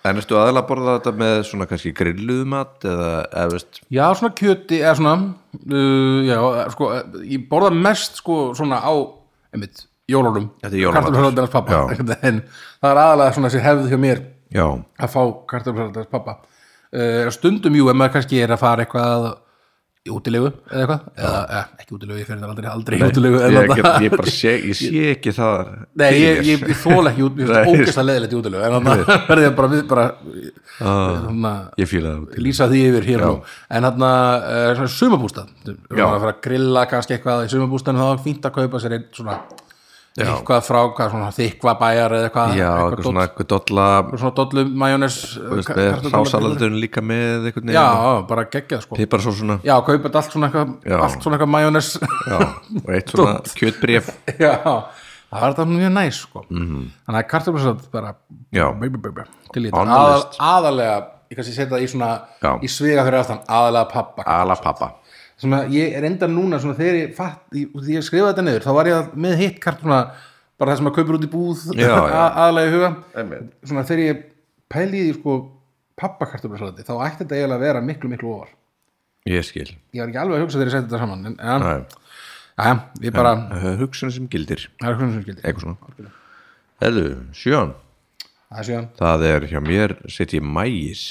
[SPEAKER 2] En ertu aðeins að borða þetta með svona kannski grilluðmat eða, eða veist,
[SPEAKER 1] Já, svona kjöti eða svona uh, Já, eh, sko, eh, ég borða mest sko svona á, einmitt, jólunum
[SPEAKER 2] Þetta er jólamatur.
[SPEAKER 1] Kartöflusalat pappa En það er aðalega svona þessi hefð hjá mér
[SPEAKER 2] já,
[SPEAKER 1] að fá kartöflusalat hans pappa uh, stundum jú, ef maður kannski er að fara eitthvað í útilegu eða eitthvað, eða eh, ekki útilegu, ég fyrir það aldrei aldrei í útilegu eða
[SPEAKER 2] ég,
[SPEAKER 1] það
[SPEAKER 2] get, ég bara sé, ég sé ekki það
[SPEAKER 1] [laughs] Nei,
[SPEAKER 2] fyrir
[SPEAKER 1] ég,
[SPEAKER 2] mér.
[SPEAKER 1] ég, ég þól ekki út, ég
[SPEAKER 2] Nei.
[SPEAKER 1] finnst ógæslega leðilegt í útilegu en þannig að verði ég bara við bara
[SPEAKER 2] Ah.
[SPEAKER 1] þannig að
[SPEAKER 2] ég fíla það út
[SPEAKER 1] lýsa því yfir hér og nú. en þarna uh, svona sumabústað Ef maður er að fara að grilla kannski eitthvað í sumabústaðinu þá er fínt að kaupa sér einn svona eitthvað frá, hvað svona þykva bæjar eða eitthvað,
[SPEAKER 2] já,
[SPEAKER 1] eitthvað
[SPEAKER 2] eitthvað svona, eitthvað dolla
[SPEAKER 1] doll- svona dollu majónes
[SPEAKER 2] sásalandun líka með eitthvað
[SPEAKER 1] Já,
[SPEAKER 2] neginn
[SPEAKER 1] já, bara geggjað sko
[SPEAKER 2] pipar svo svona
[SPEAKER 1] Já, kaupa þetta allt svona eitthvað
[SPEAKER 2] Já.
[SPEAKER 1] allt svona eitthvað majónes [laughs]
[SPEAKER 2] já, og eitt svona kjötbréf
[SPEAKER 1] Já, það var þetta mjög næs sko. -hmm.
[SPEAKER 2] Mhm.
[SPEAKER 1] Þannig að kartöflusalat bara
[SPEAKER 2] já,
[SPEAKER 1] bæ, bæ, bæ, bæ, til í þetta Aðal,
[SPEAKER 2] Ánalist.
[SPEAKER 1] aðalega, ég kannski setja það í svona
[SPEAKER 2] Já.
[SPEAKER 1] í svega fyrir aftan, aðalega pappa
[SPEAKER 2] ala pappa
[SPEAKER 1] svona, ég er enda núna svona, þegar ég, fatt, ég, því ég skrifaði þetta niður þá var ég að- með hitt kartuna bara það sem maður kaupir út í búð
[SPEAKER 2] Já,
[SPEAKER 1] [laughs]
[SPEAKER 2] já.
[SPEAKER 1] að- aðalega í huga
[SPEAKER 2] Einmitt.
[SPEAKER 1] svona, þegar ég pæli í því, sko, pappakartöflusalati þá ætti þetta eiginlega að vera miklu miklu ofar
[SPEAKER 2] ég skil,
[SPEAKER 1] ég var ekki alveg að hugsa þegar ég seti þetta saman en, en,
[SPEAKER 2] Nei.
[SPEAKER 1] já, ég bara,
[SPEAKER 2] hugsun sem gildir
[SPEAKER 1] það er hvernig sem skildi
[SPEAKER 2] eitthvað svona Heðu, sjón,
[SPEAKER 1] Það er síðan
[SPEAKER 2] það er hjá mér
[SPEAKER 1] Mm.
[SPEAKER 2] setjum mægis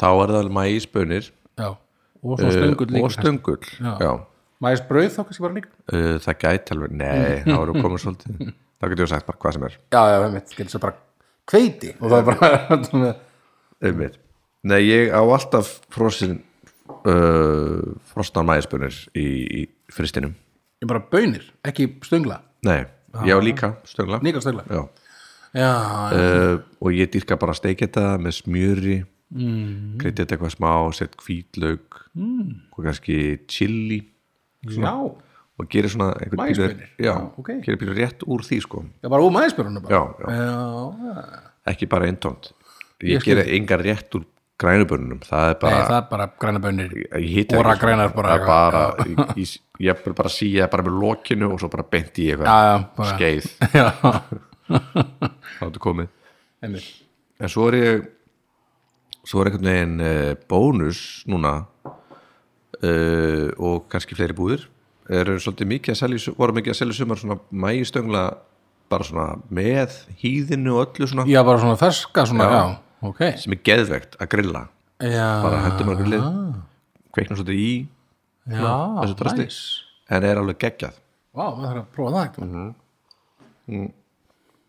[SPEAKER 2] þá er það mægisbönir
[SPEAKER 1] Já, og svo stöngull líka
[SPEAKER 2] Eh, og stöngull
[SPEAKER 1] Já.
[SPEAKER 2] já.
[SPEAKER 1] maður brauð þá kannski bara líka
[SPEAKER 2] Uh, það gæti alveg, nei, þá
[SPEAKER 1] [laughs]
[SPEAKER 2] erum komin svolítið þá getur við sagt bara hvað sem er
[SPEAKER 1] já, já, það mitt, getur svo bara kveiti og það er bara [laughs]
[SPEAKER 2] um nei, ég á alltaf frosin uh, frostan maðurspunir í, í fristinum
[SPEAKER 1] ég bara bönir, ekki stöngla
[SPEAKER 2] nei, ég á líka stöngla
[SPEAKER 1] líka stöngla
[SPEAKER 2] já,
[SPEAKER 1] já, já,
[SPEAKER 2] uh, og ég dýrka bara steiketa með smjöri mm. kreitið eitthvað smá, sett hvítlaug mm. og kannski chili
[SPEAKER 1] já.
[SPEAKER 2] og gerir svona einhvern
[SPEAKER 1] Maísbaunir?
[SPEAKER 2] já,
[SPEAKER 1] Já, ok.
[SPEAKER 2] gerir pínu rétt úr því sko
[SPEAKER 1] já bara úr maðurspyrunum bara
[SPEAKER 2] já, já,
[SPEAKER 1] já, já.
[SPEAKER 2] ekki bara eintónt ég,
[SPEAKER 1] Ég
[SPEAKER 2] ég
[SPEAKER 1] skil.
[SPEAKER 2] gerir engar rétt úr grænubörnunum það er bara
[SPEAKER 1] Nei, það er bara græna bönir
[SPEAKER 2] ég hita
[SPEAKER 1] Óra
[SPEAKER 2] ekki svona.
[SPEAKER 1] grænar bara
[SPEAKER 2] Það er
[SPEAKER 1] eitthvað,
[SPEAKER 2] bara ég, ég, ég vil bara síja bara með lokinu og svo bara beint í eitthvað
[SPEAKER 1] já, bara
[SPEAKER 2] skeið,
[SPEAKER 1] já,
[SPEAKER 2] [laughs] þá er þetta komið
[SPEAKER 1] einmitt
[SPEAKER 2] en svo er ég svo er einhvern veginn uh, bónus núna uh, og kannski fleiri búðir eru svolítið mikið að selja í su- voru mikið að selja í sumar svona mægistöngla bara svona með hýðinu og öllu svona
[SPEAKER 1] já, bara svona ferska svona, já, ok
[SPEAKER 2] sem er geðvegt að grilla
[SPEAKER 1] já,
[SPEAKER 2] bara hendur maður grillið kveikna svolítið í
[SPEAKER 1] já,
[SPEAKER 2] þessu drasli.
[SPEAKER 1] næs.
[SPEAKER 2] en er alveg geggjað
[SPEAKER 1] vá, maður þarf að prófa það eitthvað
[SPEAKER 2] Mhm.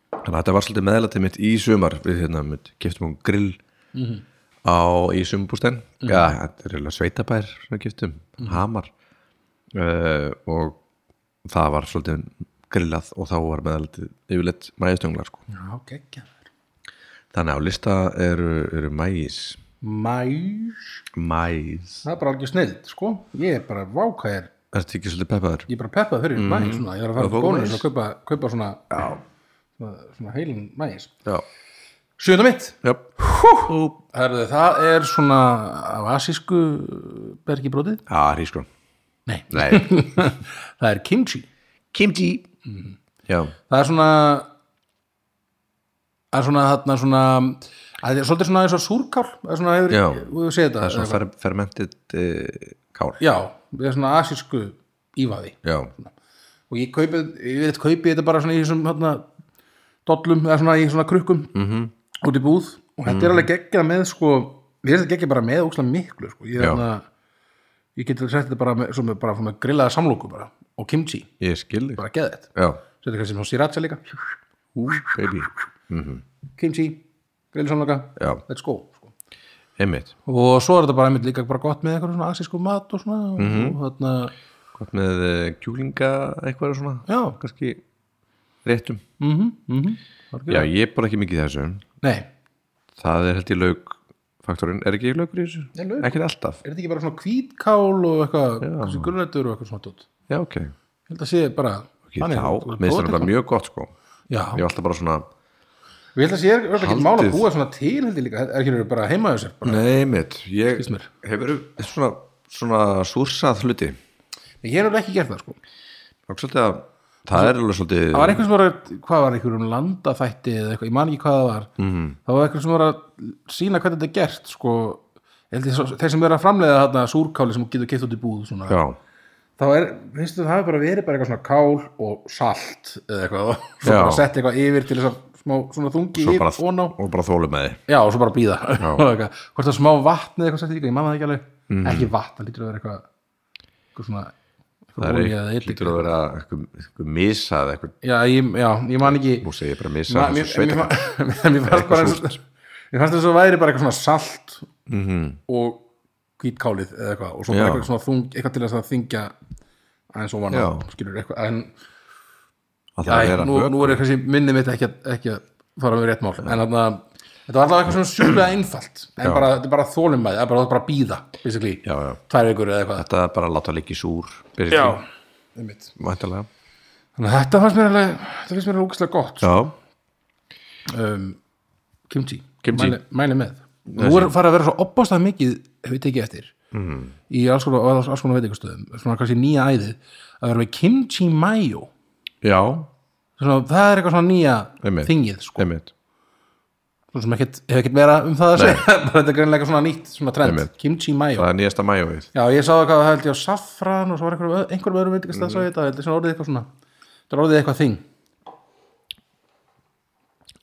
[SPEAKER 2] Þannig að þetta var svolítið meðlætið mitt í sumar við hérna, mitt, keftum um grill á, í sumarbústæn Já, þetta er eiginlega sveitabær svona keftum, hamar uh, og það var svolítið grillað og þá var meðlætið yfirleitt mægistönglar sko.
[SPEAKER 1] já, geggjaður
[SPEAKER 2] Þannig að á lista eru, eru mægis
[SPEAKER 1] mæs,
[SPEAKER 2] mæs
[SPEAKER 1] það er bara algjör snild sko, ég er bara vákæðir
[SPEAKER 2] Er þetta ekki svolítið peppaður?
[SPEAKER 1] ég er bara peppað fyrir mm. mæs svona, ég er að fara
[SPEAKER 2] fá
[SPEAKER 1] til bónus
[SPEAKER 2] Mhm. mæs.
[SPEAKER 1] og kaupa, kaupa svona, svona, svona heilin mæs
[SPEAKER 2] Já,
[SPEAKER 1] sjönda mitt,
[SPEAKER 2] já
[SPEAKER 1] Herðu, það er svona af asísku bergi
[SPEAKER 2] [laughs]
[SPEAKER 1] brotið
[SPEAKER 2] Já, hrískron
[SPEAKER 1] Nei.
[SPEAKER 2] Nei.
[SPEAKER 1] það er kimchi
[SPEAKER 2] [laughs] Kimchi Já,
[SPEAKER 1] það er svona það er svona þarna svona það er svolítið svona eins og súrkál það er svona hefur,
[SPEAKER 2] Já.
[SPEAKER 1] hefur séð þetta
[SPEAKER 2] það er svona fer, fermentið uh, kár
[SPEAKER 1] já, það er svona asísku ívaði
[SPEAKER 2] Já,
[SPEAKER 1] og ég kaupi, ég veit kaupi þetta bara svona í þessum þarna dollum eða svona í svona krukkum
[SPEAKER 2] Mhm.
[SPEAKER 1] -hmm. út í búð og þetta er alveg geggja með sko ég veist þetta geggja bara með ókslega miklu sko. ég,
[SPEAKER 2] Já.
[SPEAKER 1] þarna, ég geti sett þetta bara með, svo með, bara með grillaða samlóku bara og kimchi,
[SPEAKER 2] ég skil þig
[SPEAKER 1] bara geða þetta
[SPEAKER 2] Já,
[SPEAKER 1] setja kannski svona sriracha líka
[SPEAKER 2] Ú, baby
[SPEAKER 1] kimchi, grillaða samlóka
[SPEAKER 2] Já,
[SPEAKER 1] let's go sko.
[SPEAKER 2] einmitt
[SPEAKER 1] og svo er þetta bara einmitt líka bara gott með eitthvað svona asísku mat og svona mm
[SPEAKER 2] Mhm.
[SPEAKER 1] -hmm. og þarna,
[SPEAKER 2] Hvað með eh, kjúklinga eitthvað svona
[SPEAKER 1] já,
[SPEAKER 2] Kannski réttum
[SPEAKER 1] mhm, mhm
[SPEAKER 2] Já, ég er bara ekki mikið í þessu
[SPEAKER 1] nei,
[SPEAKER 2] Það er held í lauk faktorinn Er ekki laukur í þessu?
[SPEAKER 1] Er laukur?
[SPEAKER 2] Ekki alltaf
[SPEAKER 1] er þetta ekki bara svona hvítkál og eitthvað, kannski grunnættur og eitthvað svona tótt
[SPEAKER 2] Já, ok
[SPEAKER 1] Ég held að sé bara
[SPEAKER 2] Ekki þá, minnst það bara mjög gott sko
[SPEAKER 1] Já,
[SPEAKER 2] Ég var alltaf bara svona
[SPEAKER 1] ég held að sé er ekki
[SPEAKER 2] Haldið.
[SPEAKER 1] mála að búa svona til held ég líka, er ekki bara heima þessir bara.
[SPEAKER 2] Nei, mitt Ég
[SPEAKER 1] Skilst mér.
[SPEAKER 2] hefur svona, svona súrsað hluti
[SPEAKER 1] Ég hef alveg ekki gert það sko
[SPEAKER 2] Og svolítið að Það er alveg svolítið
[SPEAKER 1] Það var einhver sem var, að- hvað var einhver um landaþætti eða eitthvað, ég man ekki hvað það var
[SPEAKER 2] Mhm.
[SPEAKER 1] mm. Það var einhver sem var að sína hvað þetta er gert sko, Ég held ég, svo- þeir sem eru að framleiða þarna súrkáli sem getur keitt út í búð svona,
[SPEAKER 2] Já,
[SPEAKER 1] þá er, veistu, það hefur bara verið bara eitthvað svona kál og salt eða eitthvað, og svo
[SPEAKER 2] Já.
[SPEAKER 1] bara sett eitthvað yfir til þess að smá svona þungi
[SPEAKER 2] svo
[SPEAKER 1] yfir
[SPEAKER 2] bara,
[SPEAKER 1] og ná
[SPEAKER 2] og bara þólum með þið
[SPEAKER 1] Já, [laughs] og svo bara býða Hvort það smá vatn eða eitthvað sætti líka, ég manna það ekki alveg
[SPEAKER 2] Mhm.
[SPEAKER 1] Ekki vatn, það lítur að vera eitthvað eitthvað svona
[SPEAKER 2] Það
[SPEAKER 1] eitthvað
[SPEAKER 2] er
[SPEAKER 1] olía eða
[SPEAKER 2] eitthvað,
[SPEAKER 1] eitthvað
[SPEAKER 2] lítur að vera eitthvað, eitthvað misað, eitthvað,
[SPEAKER 1] Já, ég, já, ég man ekki
[SPEAKER 2] nú segir ég bara misað,
[SPEAKER 1] Ma-
[SPEAKER 2] Ma,
[SPEAKER 1] Mér
[SPEAKER 2] þessu
[SPEAKER 1] mér-
[SPEAKER 2] sveita.
[SPEAKER 1] mér- mér fannst bara eins og- Mér fannst þess að væri bara eitthvað svona salt og hvítkálið eða eitthvað og svo bara
[SPEAKER 2] Mhm. Já.
[SPEAKER 1] eitthvað svona þung eitthvað til þess að þingja aðeins og vann
[SPEAKER 2] Já.
[SPEAKER 1] skilur eitthvað en
[SPEAKER 2] Að það
[SPEAKER 1] Æ,
[SPEAKER 2] vera
[SPEAKER 1] nú,
[SPEAKER 2] vökvi.
[SPEAKER 1] nú er eitthvað sem minni mitt ekki, að- ekki að fara með rétt mál en þarna, þetta var allavega eitthvað svona sjúlega einfalt en bara, þetta er bara þólum með það er bara, bara að býða, basically
[SPEAKER 2] Já, já.
[SPEAKER 1] tvær vikur eða eitthvað
[SPEAKER 2] Þetta er bara að láta líka í súr, byrjum
[SPEAKER 1] Já, einmitt.
[SPEAKER 2] Mæntalega.
[SPEAKER 1] þannig að þetta fannst mér alveg þetta finnst mér alveg úkislega gott
[SPEAKER 2] Já,
[SPEAKER 1] um, kimchi,
[SPEAKER 2] Kimchi.
[SPEAKER 1] Mæli, mæli með nú er farið að vera svo opbástað mikið ef við tekið eftir mm.
[SPEAKER 2] Mhm.
[SPEAKER 1] í alls konar, á alls konar veitingastöðum svona kannski nýja æðið að vera með kimchi mayo
[SPEAKER 2] já,
[SPEAKER 1] svona, það er eitthvað svona nýja
[SPEAKER 2] Einmitt.
[SPEAKER 1] þingið sko.
[SPEAKER 2] einmitt.
[SPEAKER 1] Svo sem ekkert, hef ekkert vera um það að segja [laughs] bara þetta er greinlega eitthvað svona nýtt, svona trend
[SPEAKER 2] Einmitt.
[SPEAKER 1] kimchi mayo
[SPEAKER 2] Það er nýjasta mæjóið.
[SPEAKER 1] já, ég sá það hvað það held ég á safran og svo var einhverjum, öð- einhverjum öðrum veitingast að
[SPEAKER 2] Mhm.
[SPEAKER 1] ég þetta held ég svona orðið eitthvað svona þetta er orðið eitthvað þing,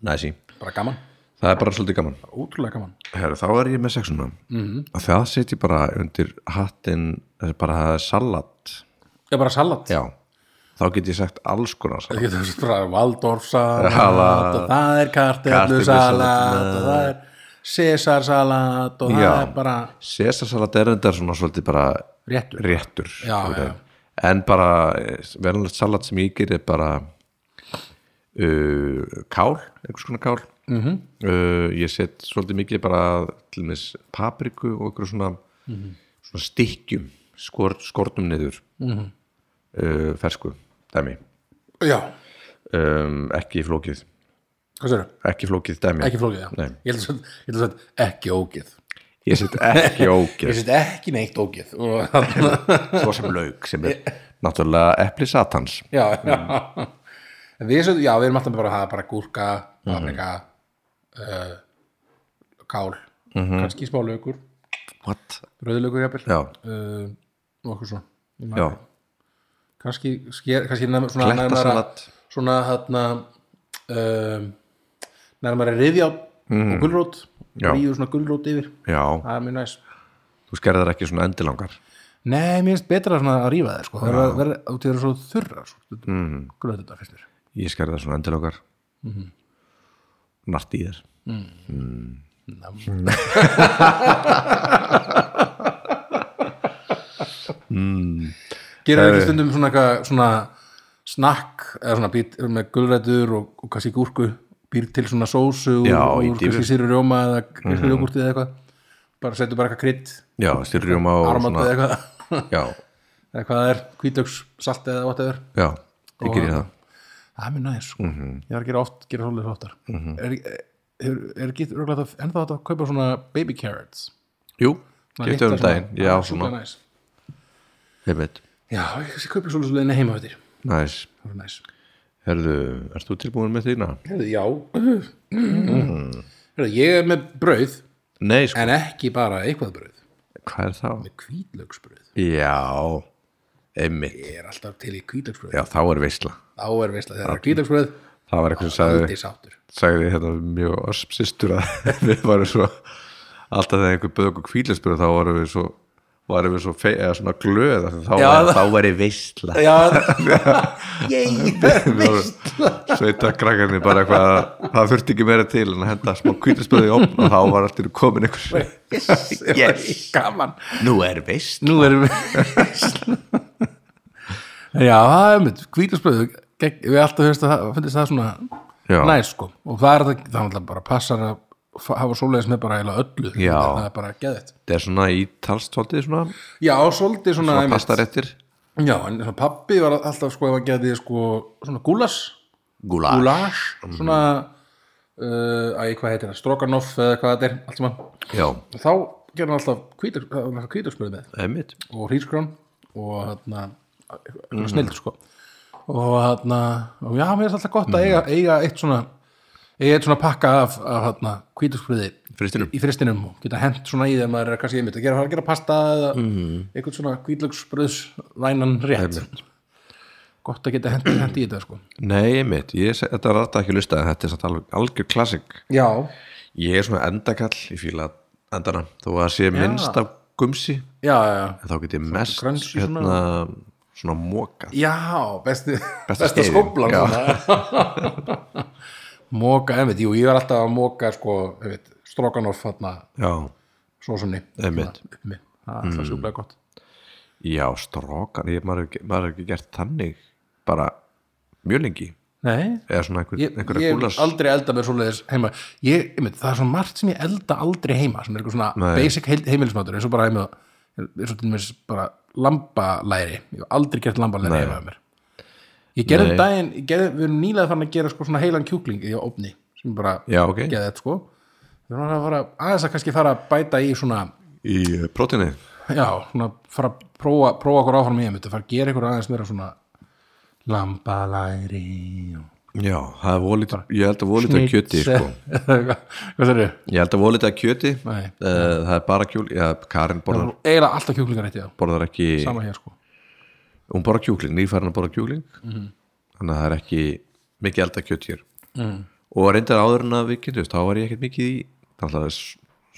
[SPEAKER 2] Næsi.
[SPEAKER 1] bara gaman
[SPEAKER 2] það er bara svolítið gaman
[SPEAKER 1] Ótrúlega gaman
[SPEAKER 2] Heru, þá er ég með sexuna mm. það setjum bara undir hattinn eh, bara það er salat
[SPEAKER 1] Ég bara salat
[SPEAKER 2] já, þá get ég sagt alls konar salat
[SPEAKER 1] Ég get þess bara Valdorfsalat
[SPEAKER 2] Salat.
[SPEAKER 1] og það er kartöflusalat
[SPEAKER 2] Kartöflusalat.
[SPEAKER 1] og það er Cæsarsalat og það
[SPEAKER 2] Já.
[SPEAKER 1] er bara
[SPEAKER 2] sesarsalat er þetta svona svolítið bara
[SPEAKER 1] réttur
[SPEAKER 2] réttur
[SPEAKER 1] Já,
[SPEAKER 2] Þú
[SPEAKER 1] já.
[SPEAKER 2] veit. en bara verðanlegt salat sem ég gerir er bara uh, kál einhvers konar kál mm
[SPEAKER 1] Mhm.
[SPEAKER 2] -hmm. uh, ég set svolítið mikið bara til mis papriku og einhverjum svona,
[SPEAKER 1] Mhm.
[SPEAKER 2] svona stykkjum skort, skortum niður mm
[SPEAKER 1] Mhm.
[SPEAKER 2] -hmm. uh, fersku dæmi
[SPEAKER 1] Já,
[SPEAKER 2] um, ekki flókið
[SPEAKER 1] hvað sér
[SPEAKER 2] ekki flókið dæmi
[SPEAKER 1] Ekki flókið, já
[SPEAKER 2] Nei.
[SPEAKER 1] Ég held að- ég held að þetta ekki ógið
[SPEAKER 2] ég set
[SPEAKER 1] [laughs]
[SPEAKER 2] ekki ógeð
[SPEAKER 1] Ég set ekki neitt ógið Og þarna
[SPEAKER 2] svo sem lauk sem er náttúrulega epli satans
[SPEAKER 1] já, já. En Við, svo, já, við erum alltaf bara að hafa bara gúrka,
[SPEAKER 2] Mhm.
[SPEAKER 1] paprika, uh, kál, kannski smá lögur,
[SPEAKER 2] what?
[SPEAKER 1] rauðlögur jafnvel,
[SPEAKER 2] Mhm. já,
[SPEAKER 1] uh, nokkuð svona. Ég man-
[SPEAKER 2] já,
[SPEAKER 1] Kannski, sker, kannski nefn, svona
[SPEAKER 2] klettasalat
[SPEAKER 1] svona þarna, um, nærmari riðjá og gulrót,
[SPEAKER 2] Mhm. Já.
[SPEAKER 1] ríður svona gulrót yfir,
[SPEAKER 2] já,
[SPEAKER 1] það er mjög næst.
[SPEAKER 2] þú skerðar ekki svona endilangar
[SPEAKER 1] Nei, mér finnst betra svona að rífa þeir, sko, það er að vera út í að vera svo þurra, svo, mm.
[SPEAKER 2] Mhm.
[SPEAKER 1] gulrót þetta finnst þér.
[SPEAKER 2] ég skerðar svona endilangar mm
[SPEAKER 1] Mhm.
[SPEAKER 2] -hmm. nart í þér
[SPEAKER 1] Gerðu ekki stundum svona eitthvað svona snakk eða svona být með gulrætur og, og kannski gúrku býr til svona sósu
[SPEAKER 2] Já,
[SPEAKER 1] og,
[SPEAKER 2] í Mhm.
[SPEAKER 1] og
[SPEAKER 2] dýfu.
[SPEAKER 1] kannski sýru rjóma eða kannski jógurti eða eitthvað bara settu bara eitthvað krydd,
[SPEAKER 2] já, styrrjum á
[SPEAKER 1] armat eða
[SPEAKER 2] svona,
[SPEAKER 1] eitthvað [laughs]
[SPEAKER 2] já,
[SPEAKER 1] eða hvað það er, hvítlöks, salt eða whatever
[SPEAKER 2] já, ég gerir það
[SPEAKER 1] það er mjög næs, sko.
[SPEAKER 2] Mhm.
[SPEAKER 1] ég er að gera oft gera svolítið hóttar mm -hmm. er, er, er ekki röglega það ennþá hægt að kaupa svona baby carrots
[SPEAKER 2] jú,
[SPEAKER 1] Svona
[SPEAKER 2] getur
[SPEAKER 1] litlar
[SPEAKER 2] um daginn
[SPEAKER 1] svona.
[SPEAKER 2] já,
[SPEAKER 1] Það er
[SPEAKER 2] svona,
[SPEAKER 1] sjúklega næs.
[SPEAKER 2] ég veit
[SPEAKER 1] já, ég kaupa svolítið svolítið heima þetta
[SPEAKER 2] næs,
[SPEAKER 1] það er næs
[SPEAKER 2] herðu, ert þú tilbúin með þína?
[SPEAKER 1] Herðu, já Herðu, ég er með brauð
[SPEAKER 2] nei, sko,
[SPEAKER 1] en ekki bara eitthvað brauð
[SPEAKER 2] hvað er það?
[SPEAKER 1] kvítlöksbrauð,
[SPEAKER 2] já, einmitt
[SPEAKER 1] ég er alltaf til í kvítlöksbrauð
[SPEAKER 2] já, þá er veisla,
[SPEAKER 1] þá er veist að þeirra kvítlöksbrauð
[SPEAKER 2] það var eitthvað sem sagði
[SPEAKER 1] aldrei sáttur
[SPEAKER 2] sagði hérna mjög öspsistur að [laughs] við varum svo alltaf þegar einhver bög og kvílasbyrðu þá varum við svo varum við svo fe, eða svona glöð af því þá,
[SPEAKER 1] Já,
[SPEAKER 2] var,
[SPEAKER 1] það-
[SPEAKER 2] þá var ég veistla [laughs]
[SPEAKER 1] já, [laughs] ég
[SPEAKER 2] sveita krakkarnir bara eitthvað að það þurfti ekki meira til en að henda smá kvílasbyrðu í opn og þá var allt í einu komin einhver
[SPEAKER 1] yes, gaman
[SPEAKER 2] nú er veist
[SPEAKER 1] nú erum við já, það er mitt kvítlöksbrauð við alltaf hefðist að það finnst það svona
[SPEAKER 2] já,
[SPEAKER 1] næs sko og það er það, það er bara passar að fa- hafa svoleiðis með bara eiginlega öllu
[SPEAKER 2] Já.
[SPEAKER 1] það er bara geðið
[SPEAKER 2] þetta er svona í talstóltið svona,
[SPEAKER 1] já, svolítið svona,
[SPEAKER 2] svona
[SPEAKER 1] einmitt.
[SPEAKER 2] pastarettir
[SPEAKER 1] Já, en svona pappi var alltaf sko ef að geti sko svona gúlas
[SPEAKER 2] gula,
[SPEAKER 1] gúlas, svona uh, æ, hvað heitir það, stroganoff eða hvað þetta er, allt saman
[SPEAKER 2] já,
[SPEAKER 1] og þá gerði hann alltaf kvítarsmöðu með
[SPEAKER 2] einmitt
[SPEAKER 1] og hrískrón og þarna mm. snill sko og þarna, og já, mér er alltaf gott að eiga, eiga eitt svona eiga eitt svona pakka af, af hérna, þarna kvítarsmöði
[SPEAKER 2] fristinum,
[SPEAKER 1] í fristinum og geta hent svona í þegar maður er kannski einmitt að gera, að gera pasta eða
[SPEAKER 2] Mhm.
[SPEAKER 1] einhvern svona kvítlöksbröðsvænan rétt gott að geta hent, hent í þetta sko
[SPEAKER 2] nei einmitt ég, se- þetta er alltaf ekki listað en þetta er samt alveg algjör klassik
[SPEAKER 1] já,
[SPEAKER 2] Ég er svona endakall, ég fíla endana, þó að það sé minnst af gumsi,
[SPEAKER 1] já, já
[SPEAKER 2] en þá get ég mest
[SPEAKER 1] crunchy svona.
[SPEAKER 2] hérna, svona moka
[SPEAKER 1] já, besti,
[SPEAKER 2] Besta
[SPEAKER 1] besta
[SPEAKER 2] skeiðin,
[SPEAKER 1] skóplan
[SPEAKER 2] já.
[SPEAKER 1] [laughs] móka, einmitt, jú, ég var alltaf að móka sko, einmitt, strókanoff þarna
[SPEAKER 2] Já,
[SPEAKER 1] sósunni
[SPEAKER 2] Einmitt. Mm.
[SPEAKER 1] Svona, uppi. það er alltaf sjúklega gott
[SPEAKER 2] já, strókan, ég, maður, er ekki- maður er ekki gert þannig, bara mjög lengi,
[SPEAKER 1] nei,
[SPEAKER 2] eða svona einhver,
[SPEAKER 1] ég,
[SPEAKER 2] einhverja
[SPEAKER 1] ég
[SPEAKER 2] gúlas
[SPEAKER 1] hef aldrei elda með svoleiðis heima ég, einmitt, það er svo margt sem ég elda aldrei heima sem er eitthvað svona
[SPEAKER 2] Nei.
[SPEAKER 1] basic heil, heimilismátur eins og bara heima eins og til mér bara lambalæri ég hef aldrei gert lambalæri heima með mér ég gerði um daginn, ég gerði, við erum nýlega þannig að gera sko svona heilan kjúkling í ofni sem bara
[SPEAKER 2] Já, ok,
[SPEAKER 1] geða þetta sko við erum að fara aðeins að kannski fara að bæta í svona
[SPEAKER 2] í eh, próteinið
[SPEAKER 1] já, svona fara að prófa, prófa okkur áfram í einmitt að fara að gera ykkur aðeins meira svona lambalæri og [laughs]
[SPEAKER 2] Já, það er volítið, ég held að volítið að kjöti, sko
[SPEAKER 1] Hvað- hvað það eru?
[SPEAKER 2] Ég held að volítið að kjöti, uh,
[SPEAKER 1] Nei,
[SPEAKER 2] það er bara kjúl, já, Karin borðar,
[SPEAKER 1] eiginlega alltaf kjúklingar eitt já,
[SPEAKER 2] borðar ekki,
[SPEAKER 1] sama hér sko
[SPEAKER 2] hún
[SPEAKER 1] Mhm. Mhm.
[SPEAKER 2] borðar kjúkling, nýfærin að borða kjúkling þannig að það er ekki mikið elda kjöt hér mm. og reyndar áður en að við kynntumst þá var ég ekkert mikið í þannig að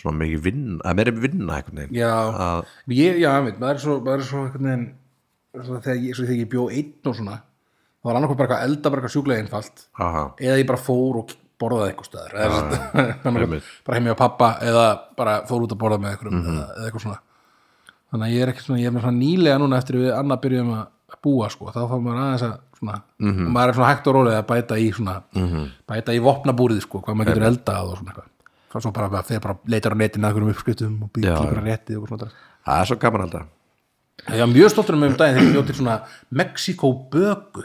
[SPEAKER 2] svona mikið vinna að mér er vinna einhvern veginn
[SPEAKER 1] já,
[SPEAKER 2] að,
[SPEAKER 1] ég, já, einmitt, maður er svo, maður er svo einhvern veginn svona þegar ég, svo þegar ég bjó einn og svona það var annarkoð bara eitthvað elda bara eitthvað sjúklega einfalt
[SPEAKER 2] aha,
[SPEAKER 1] eða ég bara fór og borðaði eitthvað staðar eða, [laughs] ja,
[SPEAKER 2] einmitt. Mhm.
[SPEAKER 1] bara heim ég á pappa eða bara fór út að borða með eitthvað eða, eða eitthvað svona þannig að ég er ekki svona, ég er með svona nýlega núna eftir við annað byrjum að að búa sko, þá fá maður aðeins að svona,
[SPEAKER 2] Mhm.
[SPEAKER 1] og maður er svona hægt og rólega að bæta í svona, -hmm. bæta í vopnabúrið sko, hvað maður getur eldað og svona eitthvað Frá svo bara, þegar bara leitar á netinu að einhverjum uppskriftum og býr
[SPEAKER 2] Já,
[SPEAKER 1] til bara rétti og svona drasl.
[SPEAKER 2] það er svo gaman alltaf
[SPEAKER 1] Ég var mjög stoltur um mig um daginn þegar ég bjóð til svona Mexiko böku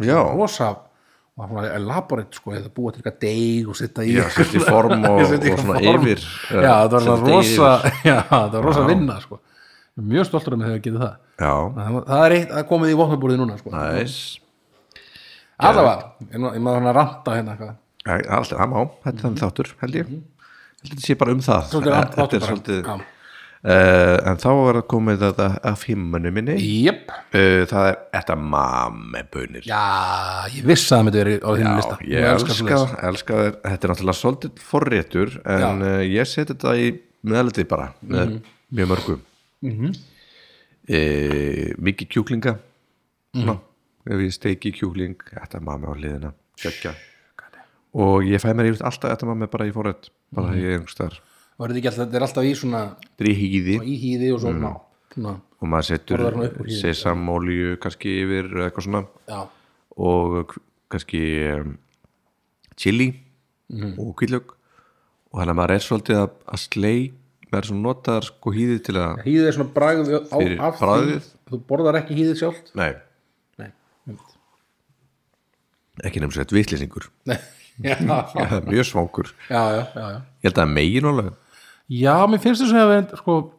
[SPEAKER 2] já,
[SPEAKER 1] rosa og það var elaborate sko eða búa til eitthvað deig og setja í
[SPEAKER 2] Já, setja í form og-
[SPEAKER 1] [laughs] Setja í
[SPEAKER 2] og svona
[SPEAKER 1] form.
[SPEAKER 2] yfir,
[SPEAKER 1] já,
[SPEAKER 2] já,
[SPEAKER 1] það var
[SPEAKER 2] setja
[SPEAKER 1] svona
[SPEAKER 2] deigið
[SPEAKER 1] rosa [laughs] já, það var rosa vinna sko Ég er mjög stoltur um mig þegar ég getið það
[SPEAKER 2] já,
[SPEAKER 1] það, var- það er eitt, það er komið í vopnabúrið núna sko
[SPEAKER 2] næs
[SPEAKER 1] allavega, ég, nú- ég maður hann að ranta hérna eitthvað
[SPEAKER 2] Æ, alltaf, það má, þetta er þannig þáttur held ég, held þetta sé bara um það
[SPEAKER 1] Mhm. Svolítið rant-
[SPEAKER 2] þetta
[SPEAKER 1] þáttur
[SPEAKER 2] er
[SPEAKER 1] bara.
[SPEAKER 2] svolítið
[SPEAKER 1] Já.
[SPEAKER 2] uh, en þá var að komið þetta af himmanu minni
[SPEAKER 1] jöp,
[SPEAKER 2] uh, það er þetta mammebunir
[SPEAKER 1] já, ég vissi að það myndi verið á þínum lista
[SPEAKER 2] ég elska, elska þér þetta er náttúrulega svolítið forréttur en uh, ég seti þetta í meðaliti bara með
[SPEAKER 1] Mhm.
[SPEAKER 2] mjög mörgum mm mikið kjúklinga
[SPEAKER 1] Mhm.
[SPEAKER 2] Ná, ef ég steiki kjúkling þetta er mamma á hliðina Kjökja. og ég fæ mér yfir alltaf þetta mamma bara í forrétt bara
[SPEAKER 1] Mhm.
[SPEAKER 2] mm -hmm. ég einhverstaðar
[SPEAKER 1] var þetta ekki alltaf, þetta er alltaf í svona
[SPEAKER 2] þetta er í hýði
[SPEAKER 1] í hýði og svo mm. svona,
[SPEAKER 2] og maður setur
[SPEAKER 1] Borðar hann upp úr hýði.
[SPEAKER 2] sesamolju kannski yfir eða eitthvað svona
[SPEAKER 1] já
[SPEAKER 2] og k- kannski um, chili
[SPEAKER 1] Mhm.
[SPEAKER 2] og kvíðlög og þannig að maður er svolítið að, að sleik maður er svona notaðar sko hýðið til að
[SPEAKER 1] hýðið er svona bragð á,
[SPEAKER 2] Fyrir
[SPEAKER 1] af
[SPEAKER 2] bragðið.
[SPEAKER 1] því þú borðar ekki hýðið sjálft
[SPEAKER 2] nei,
[SPEAKER 1] nei, einmitt.
[SPEAKER 2] ekki nefnum sér vitlýsingur [laughs]
[SPEAKER 1] nei. Já, já,
[SPEAKER 2] mjög svangur,
[SPEAKER 1] já, já, já
[SPEAKER 2] ég held að megin alveg
[SPEAKER 1] já, mér finnst þess að við sko,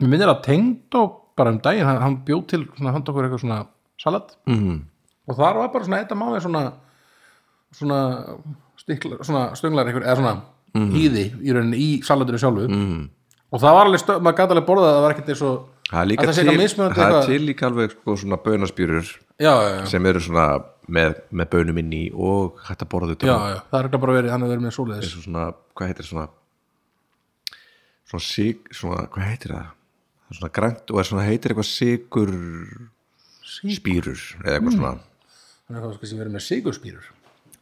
[SPEAKER 1] mér minnir að tengd og bara um daginn, hann, hann bjóð til svona, hann tókur eitthvað svona salat mm.
[SPEAKER 2] Mhm.
[SPEAKER 1] og þar var bara svona þetta máli svona svona, stiklar, svona stönglar eitthvað, eða svona
[SPEAKER 2] Mhm.
[SPEAKER 1] hýði í rauninni í salatinu sjálfu mm. og það var alveg, stöð, maður gæti alveg borðað að það var ekkert eins og
[SPEAKER 2] það er
[SPEAKER 1] Að
[SPEAKER 2] líka
[SPEAKER 1] það sé eitthvað
[SPEAKER 2] til,
[SPEAKER 1] mismunandi
[SPEAKER 2] það
[SPEAKER 1] eitthvað.
[SPEAKER 2] er til líka alveg sko svona bönaspjúrur
[SPEAKER 1] já, já, já,
[SPEAKER 2] sem eru svona með, með bönum inn í og hægt að borða
[SPEAKER 1] já,
[SPEAKER 2] þetta
[SPEAKER 1] já, það er ekki bara verið hann er verið með svoleiðis
[SPEAKER 2] eins og svona, hvað heitir svona svona sík svona, hvað heitir það það er svona grænt og er svona heitir eitthvað sigur spýrur eða eitthvað svona
[SPEAKER 1] Mm. hann er það sem verið með sigurspýrur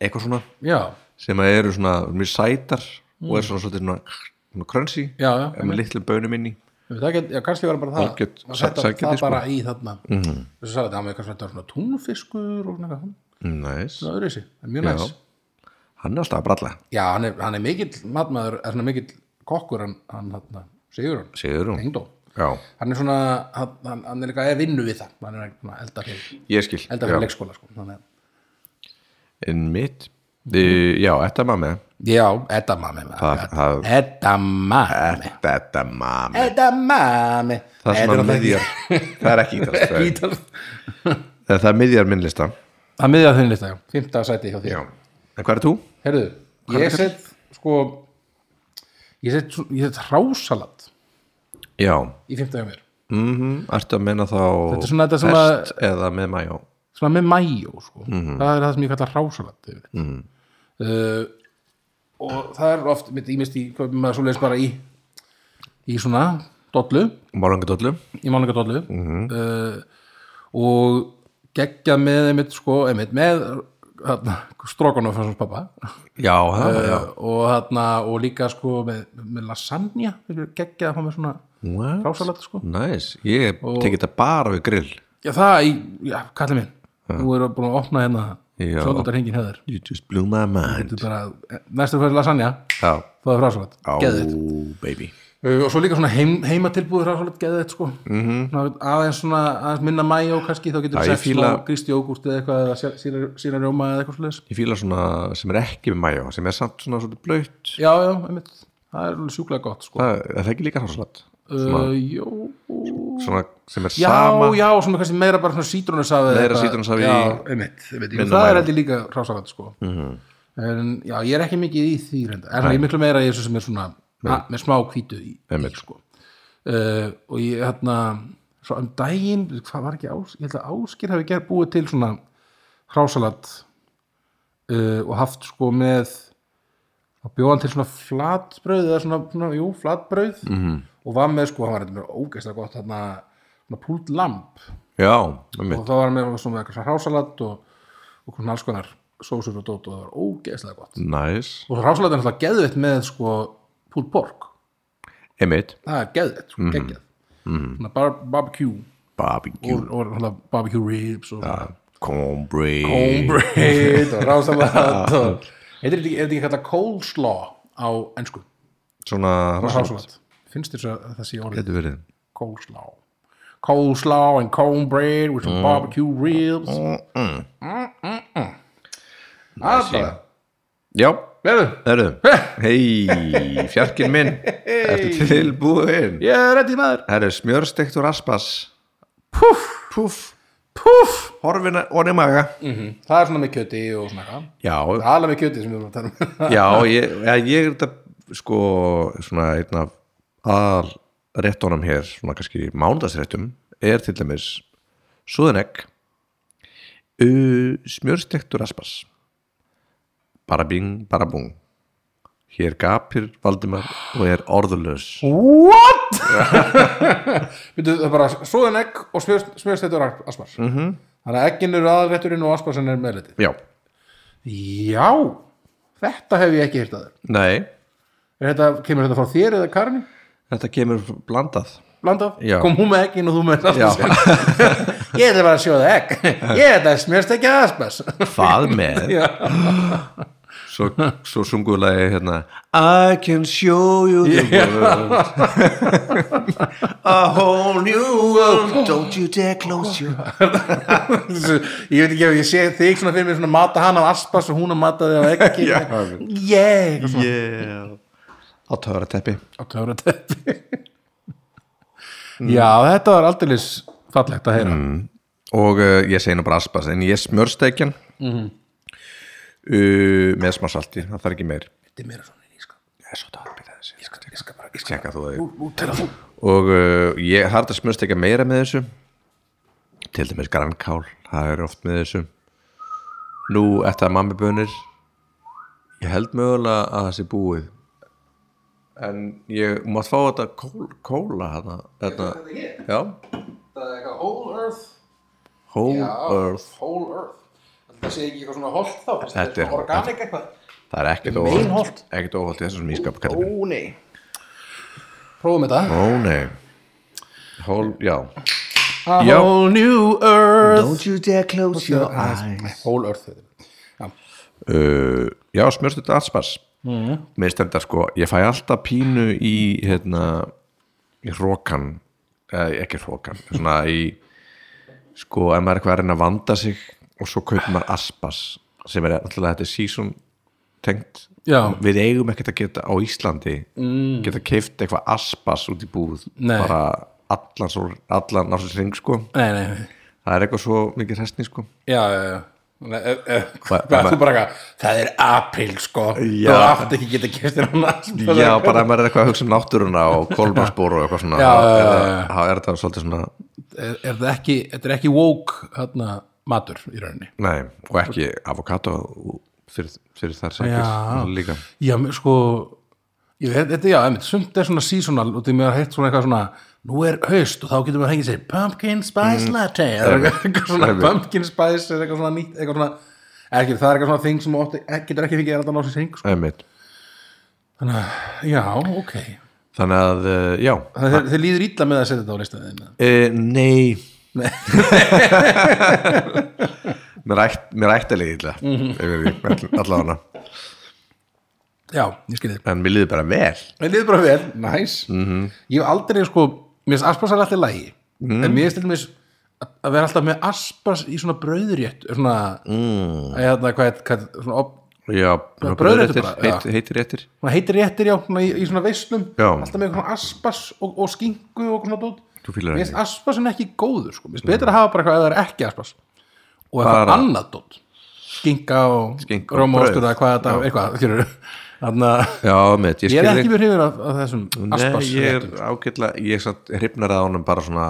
[SPEAKER 2] eitthvað svona
[SPEAKER 1] já,
[SPEAKER 2] sem að eru svona mjög sætar og er svona svolítið svona, svona krönsi
[SPEAKER 1] Mm. já, já,
[SPEAKER 2] en með litlum bönum inn í
[SPEAKER 1] Ég veit ekki, já, kannski var bara það
[SPEAKER 2] Algjört
[SPEAKER 1] var
[SPEAKER 2] sæ- Mhm.
[SPEAKER 1] þetta-
[SPEAKER 2] sælgæti,
[SPEAKER 1] það
[SPEAKER 2] sko.
[SPEAKER 1] bara í þarna þessu sagði þetta, hann var kannski þetta var svona túnfiskur og svona eitthvað,
[SPEAKER 2] næs,
[SPEAKER 1] það er öðruvísi, en mjög
[SPEAKER 2] Já.
[SPEAKER 1] næs
[SPEAKER 2] hann er alltaf að bralla
[SPEAKER 1] já, hann er, hann er mikill matmaður er svona mikill kokkur hann, hann þarna, sigur hann,
[SPEAKER 2] segður hún,
[SPEAKER 1] tengdó
[SPEAKER 2] já,
[SPEAKER 1] hann er svona, hann, hann- hann er líka eða vinnu við það hann er svona elda fyrir,
[SPEAKER 2] ég skil
[SPEAKER 1] elda fyrir
[SPEAKER 2] já.
[SPEAKER 1] leikskóla sko. þannig að,
[SPEAKER 2] en mitt, uh, já, þetta mamma
[SPEAKER 1] já, edda mami
[SPEAKER 2] það, það,
[SPEAKER 1] edda mami
[SPEAKER 2] þetta mamma
[SPEAKER 1] edda mami
[SPEAKER 2] það sem
[SPEAKER 1] Þetta er
[SPEAKER 2] að
[SPEAKER 1] náttúrulega
[SPEAKER 2] miðjar, það er ekki ítalst
[SPEAKER 1] [laughs] ekki
[SPEAKER 2] það er-
[SPEAKER 1] ítalskt.
[SPEAKER 2] það er miðjar minnlista
[SPEAKER 1] það miðja þinn lista, já, 15 sæti hjá þér
[SPEAKER 2] Já. En hvað er þú?
[SPEAKER 1] Herðu,
[SPEAKER 2] er
[SPEAKER 1] ég
[SPEAKER 2] þetta?
[SPEAKER 1] set sko ég set, svo- ég set hrásalat
[SPEAKER 2] Já.
[SPEAKER 1] í 15 hjá mér,
[SPEAKER 2] Mm Ertu að menna þá
[SPEAKER 1] Þetta er svona þetta sem að-
[SPEAKER 2] hest eða með mæjó?
[SPEAKER 1] svona með mæjó sko. það er það sem ég kalla hrásalat mm -hmm. uh, og það er oft mitt ímist í, hvað maður svo leist bara í í svona dollu
[SPEAKER 2] Málungadóllu?
[SPEAKER 1] í málinga dollu uh, og geggja með einmitt sko, einmitt með strókanu frá svona pappa
[SPEAKER 2] Já, það
[SPEAKER 1] Eh,
[SPEAKER 2] var já.
[SPEAKER 1] og, þarna, og líka sko með, með lasagna geggja að fá með svona
[SPEAKER 2] Wow.
[SPEAKER 1] hrásalat sko
[SPEAKER 2] Næs, ég tekið þetta bara við grill.
[SPEAKER 1] Já, það, í- já, kallið minn Nú erum við búin að opna hérna
[SPEAKER 2] Já.
[SPEAKER 1] Sjóndar hringin hefur
[SPEAKER 2] You just blew my mind.
[SPEAKER 1] Þetta er bara, næstu fyrir lasagna
[SPEAKER 2] Já.
[SPEAKER 1] Það er frásalat,
[SPEAKER 2] Á,
[SPEAKER 1] geðið
[SPEAKER 2] baby.
[SPEAKER 1] Og svo líka svona heim, heimatilbúið frásalat, geðið sko. mm -hmm. Aðeins svona, aðeins minna mæjó kannski Þá getur
[SPEAKER 2] Mhm. Já,
[SPEAKER 1] við
[SPEAKER 2] ég
[SPEAKER 1] sett
[SPEAKER 2] fíla-
[SPEAKER 1] smá grístjógúrt eða eitthvað Eða síra- síra- sírarjóma eða eitthvað svolítið
[SPEAKER 2] Ég fíla svona sem er ekki með mæjó, sem er samt svona svona blöytt.
[SPEAKER 1] Já, já, einmitt Það er alveg sjúklega gott sko.
[SPEAKER 2] Það er það ekki líka háslat.
[SPEAKER 1] uh, Jó
[SPEAKER 2] Svona sem er
[SPEAKER 1] Já,
[SPEAKER 2] sama.
[SPEAKER 1] já, svona kannski meira bara svona sítrónusafi
[SPEAKER 2] Meira sítrónusafi í-
[SPEAKER 1] Já, einmitt, einmitt
[SPEAKER 2] Minna Mhm.
[SPEAKER 1] Minna Það
[SPEAKER 2] mæjó.
[SPEAKER 1] er heldur líka hrásalat sko En já, ég er ekki mikið í því reynda En svona, ég er miklu meira í þessu sem er svona ha, með smá hvítu í, í
[SPEAKER 2] Einmitt.
[SPEAKER 1] sko uh, Og ég, hérna Svo um daginn, hvað var ekki ás Ég held að Áskir hafi gerð búið til svona hrásalat uh, og haft sko með að bjóða hann til svona flatbrauð eða svona, svona jú, flatbrauð
[SPEAKER 2] Mhm.
[SPEAKER 1] -hmm. og var með sko, hann var eitthvað ógeðslega gott þarna, svona púlt lamp
[SPEAKER 2] já, einmitt.
[SPEAKER 1] og þá var hann með svona með eitthvað hrásalat og, og svona alls konar sósur og dót og það var ógeðslega gott
[SPEAKER 2] næs,
[SPEAKER 1] og hrásalat er náttúrulega geðvitt með sko púlt borg,
[SPEAKER 2] einmitt
[SPEAKER 1] það er geðvitt,
[SPEAKER 2] Mhm.
[SPEAKER 1] sko, geggjað svona bar barbecue
[SPEAKER 2] barbecue,
[SPEAKER 1] og, og náttúrulega barbecue ribs og ja.
[SPEAKER 2] cornbread
[SPEAKER 1] cornbread og rásalat og heitir þetta ekki, er þetta ekki kallað coleslaw á ennsku
[SPEAKER 2] svona
[SPEAKER 1] rásalat finnst þér svo að það sé orðið
[SPEAKER 2] getur verið
[SPEAKER 1] coleslaw coleslaw and cornbread with
[SPEAKER 2] Mm.
[SPEAKER 1] some barbecue ribs mm, mm, mm. aðbara
[SPEAKER 2] já,
[SPEAKER 1] verðu,
[SPEAKER 2] [laughs] herru, hei fjarkinn minn, ertu tilbúin
[SPEAKER 1] ég er ready maður
[SPEAKER 2] herru, smjörstekt og raspas
[SPEAKER 1] puff,
[SPEAKER 2] puff,
[SPEAKER 1] puff
[SPEAKER 2] horfin orðið maga
[SPEAKER 1] það er svona með kjöti og svona eitthvað.
[SPEAKER 2] já,
[SPEAKER 1] það er alveg með kjöti sem við erum að tala um
[SPEAKER 2] Já, ég, ég, ég er þetta sko svona einn af aðal réttunum hér, svona kannski mánudagsréttum, er til dæmis súðanegg uh, smjörstektur aspas bara bing, bara bung hér gapir Valdimar og er orðulaus
[SPEAKER 1] What? [laughs] Býtu, það er bara svoðan egg og smjörstættur aspars mm
[SPEAKER 2] Mhm.
[SPEAKER 1] -hmm. Þannig að eggin eru aðrætturinn og asparsin er meðliti
[SPEAKER 2] Já,
[SPEAKER 1] Já, þetta hef ég ekki hýrt að þér
[SPEAKER 2] nei,
[SPEAKER 1] Er þetta, kemur þetta frá þér eða Karin?
[SPEAKER 2] þetta kemur blandað
[SPEAKER 1] Blandað?
[SPEAKER 2] Já.
[SPEAKER 1] Kom hún með eggin og þú með asparsin
[SPEAKER 2] [laughs]
[SPEAKER 1] Ég ætla bara að sjóða egg Ég ætla að smjörstækja aspars
[SPEAKER 2] hvað [laughs] með
[SPEAKER 1] Já.
[SPEAKER 2] svo, svo sunguðlega hérna I can show you the world a whole new world don't you dare close your eyes
[SPEAKER 1] [laughs] Ég veit ekki ef ég sé þig svona fyrir mér svona mata hann af aspars og hún að mata þig af eggi
[SPEAKER 2] [laughs] Já.
[SPEAKER 1] Yeah
[SPEAKER 2] yeah. á töfrateppi
[SPEAKER 1] á töfrateppi já, þetta var aldeilis fallegt að heyra
[SPEAKER 2] Mm. og uh, ég segi nú bara aspas en ég smörsteikjan mm uh, með smá salti, það þarf ekki meir
[SPEAKER 1] þetta er meira svona ég skal,
[SPEAKER 2] ég er svo dálítið þessi
[SPEAKER 1] ég skal, ég skal bara ég skal,
[SPEAKER 2] tjekka þú þig
[SPEAKER 1] ú, telefón
[SPEAKER 2] og uh, ég har þetta smurst ekki meira með þessu til dæmis grankál það er oft með þessu nú eftir að mammi bönir ég held mögulega að það sé búið en ég mátt fá þetta kól, kóla hana, þetta, já,
[SPEAKER 1] það er eitthvað whole earth
[SPEAKER 2] whole earth
[SPEAKER 1] whole earth það sé ekki eitthvað svona holt þá þetta,
[SPEAKER 2] Þetta er-
[SPEAKER 1] organic eitthvað
[SPEAKER 2] það er ekkert
[SPEAKER 1] Meinholt.
[SPEAKER 2] óholt ekkert óholt í þessum ískap kallum
[SPEAKER 1] ó nei prófum þetta
[SPEAKER 2] ó nei whole, já
[SPEAKER 1] a
[SPEAKER 2] Já.
[SPEAKER 1] whole new earth
[SPEAKER 2] don't you dare close your
[SPEAKER 1] whole earth heitir þetta.
[SPEAKER 2] uh, já, smjörstu þetta allspars
[SPEAKER 1] Mhm.
[SPEAKER 2] mm. mér stendar sko, ég fæ alltaf pínu í hérna í hrókan, eða ekki hrókan svona í sko, ef maður er eitthvað að reyna að vanda sig og svo kaupir maður aspas sem er alltaf þetta er season tengt
[SPEAKER 1] Já.
[SPEAKER 2] við eigum ekkert að geta á Íslandi mm. geta keift eitthvað aspas út í búð
[SPEAKER 1] Nei.
[SPEAKER 2] bara allan, svo, allan náttúrulega ring sko
[SPEAKER 1] nei, nei, nei
[SPEAKER 2] það er eitthvað svo mikið hræstni sko
[SPEAKER 1] Já, já, já. Nei, eh, eh,
[SPEAKER 2] Hva-
[SPEAKER 1] hvað,
[SPEAKER 2] hva-
[SPEAKER 1] þú bara eitthvað, það er apríl sko,
[SPEAKER 2] Já.
[SPEAKER 1] þú átt ekki geta kæft þér hann
[SPEAKER 2] Já, bara ef maður er eitthvað að hugsa um náttúruna
[SPEAKER 1] [laughs]
[SPEAKER 2] og kolmarsbór og eitthvað svona
[SPEAKER 1] Já,
[SPEAKER 2] þá
[SPEAKER 1] já,
[SPEAKER 2] er
[SPEAKER 1] já,
[SPEAKER 2] það- þá er þetta svolítið svona,
[SPEAKER 1] er, er það ekki, þetta er ekki woke hérna, matur í rauninni
[SPEAKER 2] nei, og ekki avokado fyrir, fyrir þar
[SPEAKER 1] Já.
[SPEAKER 2] sækir líka
[SPEAKER 1] já, mér, sko ég, veit- þetta, já, einmitt, sumt er svona seasonal og því mér heitt svona eitthvað svona nú er haust og þá getur maður hengið sér pumpkin spice latte eða eitthvað, eitthvað svona
[SPEAKER 2] einmitt.
[SPEAKER 1] pumpkin spice eða eitthvað svona nýtt, eitthvað svona ekki, það er eitthvað svona þing sem þú átt- getur ekki fengið að ná sér hring, sko.
[SPEAKER 2] Einmitt.
[SPEAKER 1] þannig að, já, ok
[SPEAKER 2] Þannig að, eh, já
[SPEAKER 1] það, þeir, þeir líður illa með að setja þetta á listaðin
[SPEAKER 2] e, [laughs] Nei Mér ætt mér ætti að liða
[SPEAKER 1] Mhm.
[SPEAKER 2] illa allavega
[SPEAKER 1] já, ég skil þið
[SPEAKER 2] en mér liði bara vel
[SPEAKER 1] Mér liður bara vel, næs
[SPEAKER 2] Mhm.
[SPEAKER 1] Ég hef aldrei sko, mér finnst aspas er alltaf lægi En mér finnst til dæmis að- að vera alltaf með aspas í svona brauðrétt Svona, mm. eða, hvað, heit- hvað svona, op,
[SPEAKER 2] Já,
[SPEAKER 1] brauðréttur
[SPEAKER 2] bröðréttir,
[SPEAKER 1] bara, já.
[SPEAKER 2] heit, heitir réttir
[SPEAKER 1] svona heitir réttir já, svona í, í svona veislum
[SPEAKER 2] Já.
[SPEAKER 1] Alltaf með svona aspas og, og skingu og svona dót
[SPEAKER 2] Þú fílar
[SPEAKER 1] Mér
[SPEAKER 2] ekki.
[SPEAKER 1] finnst aspasin ekki góður sko. Mér finnst betur að hafa bara eitthvað eða það er ekki aspas Og eitthvað
[SPEAKER 2] Bara-
[SPEAKER 1] annað dót Skinka og
[SPEAKER 2] Skinka og
[SPEAKER 1] róma og
[SPEAKER 2] brauð.
[SPEAKER 1] skurða Hvað þetta, eitthvað, skilur Þannig að
[SPEAKER 2] Já, mitt, ég
[SPEAKER 1] ég
[SPEAKER 2] skil
[SPEAKER 1] er
[SPEAKER 2] þig.
[SPEAKER 1] ekki mjög hrifin af, af þessum aspas
[SPEAKER 2] Nei, ég er ágætlega, ég er satt hrifnar að honum bara svona,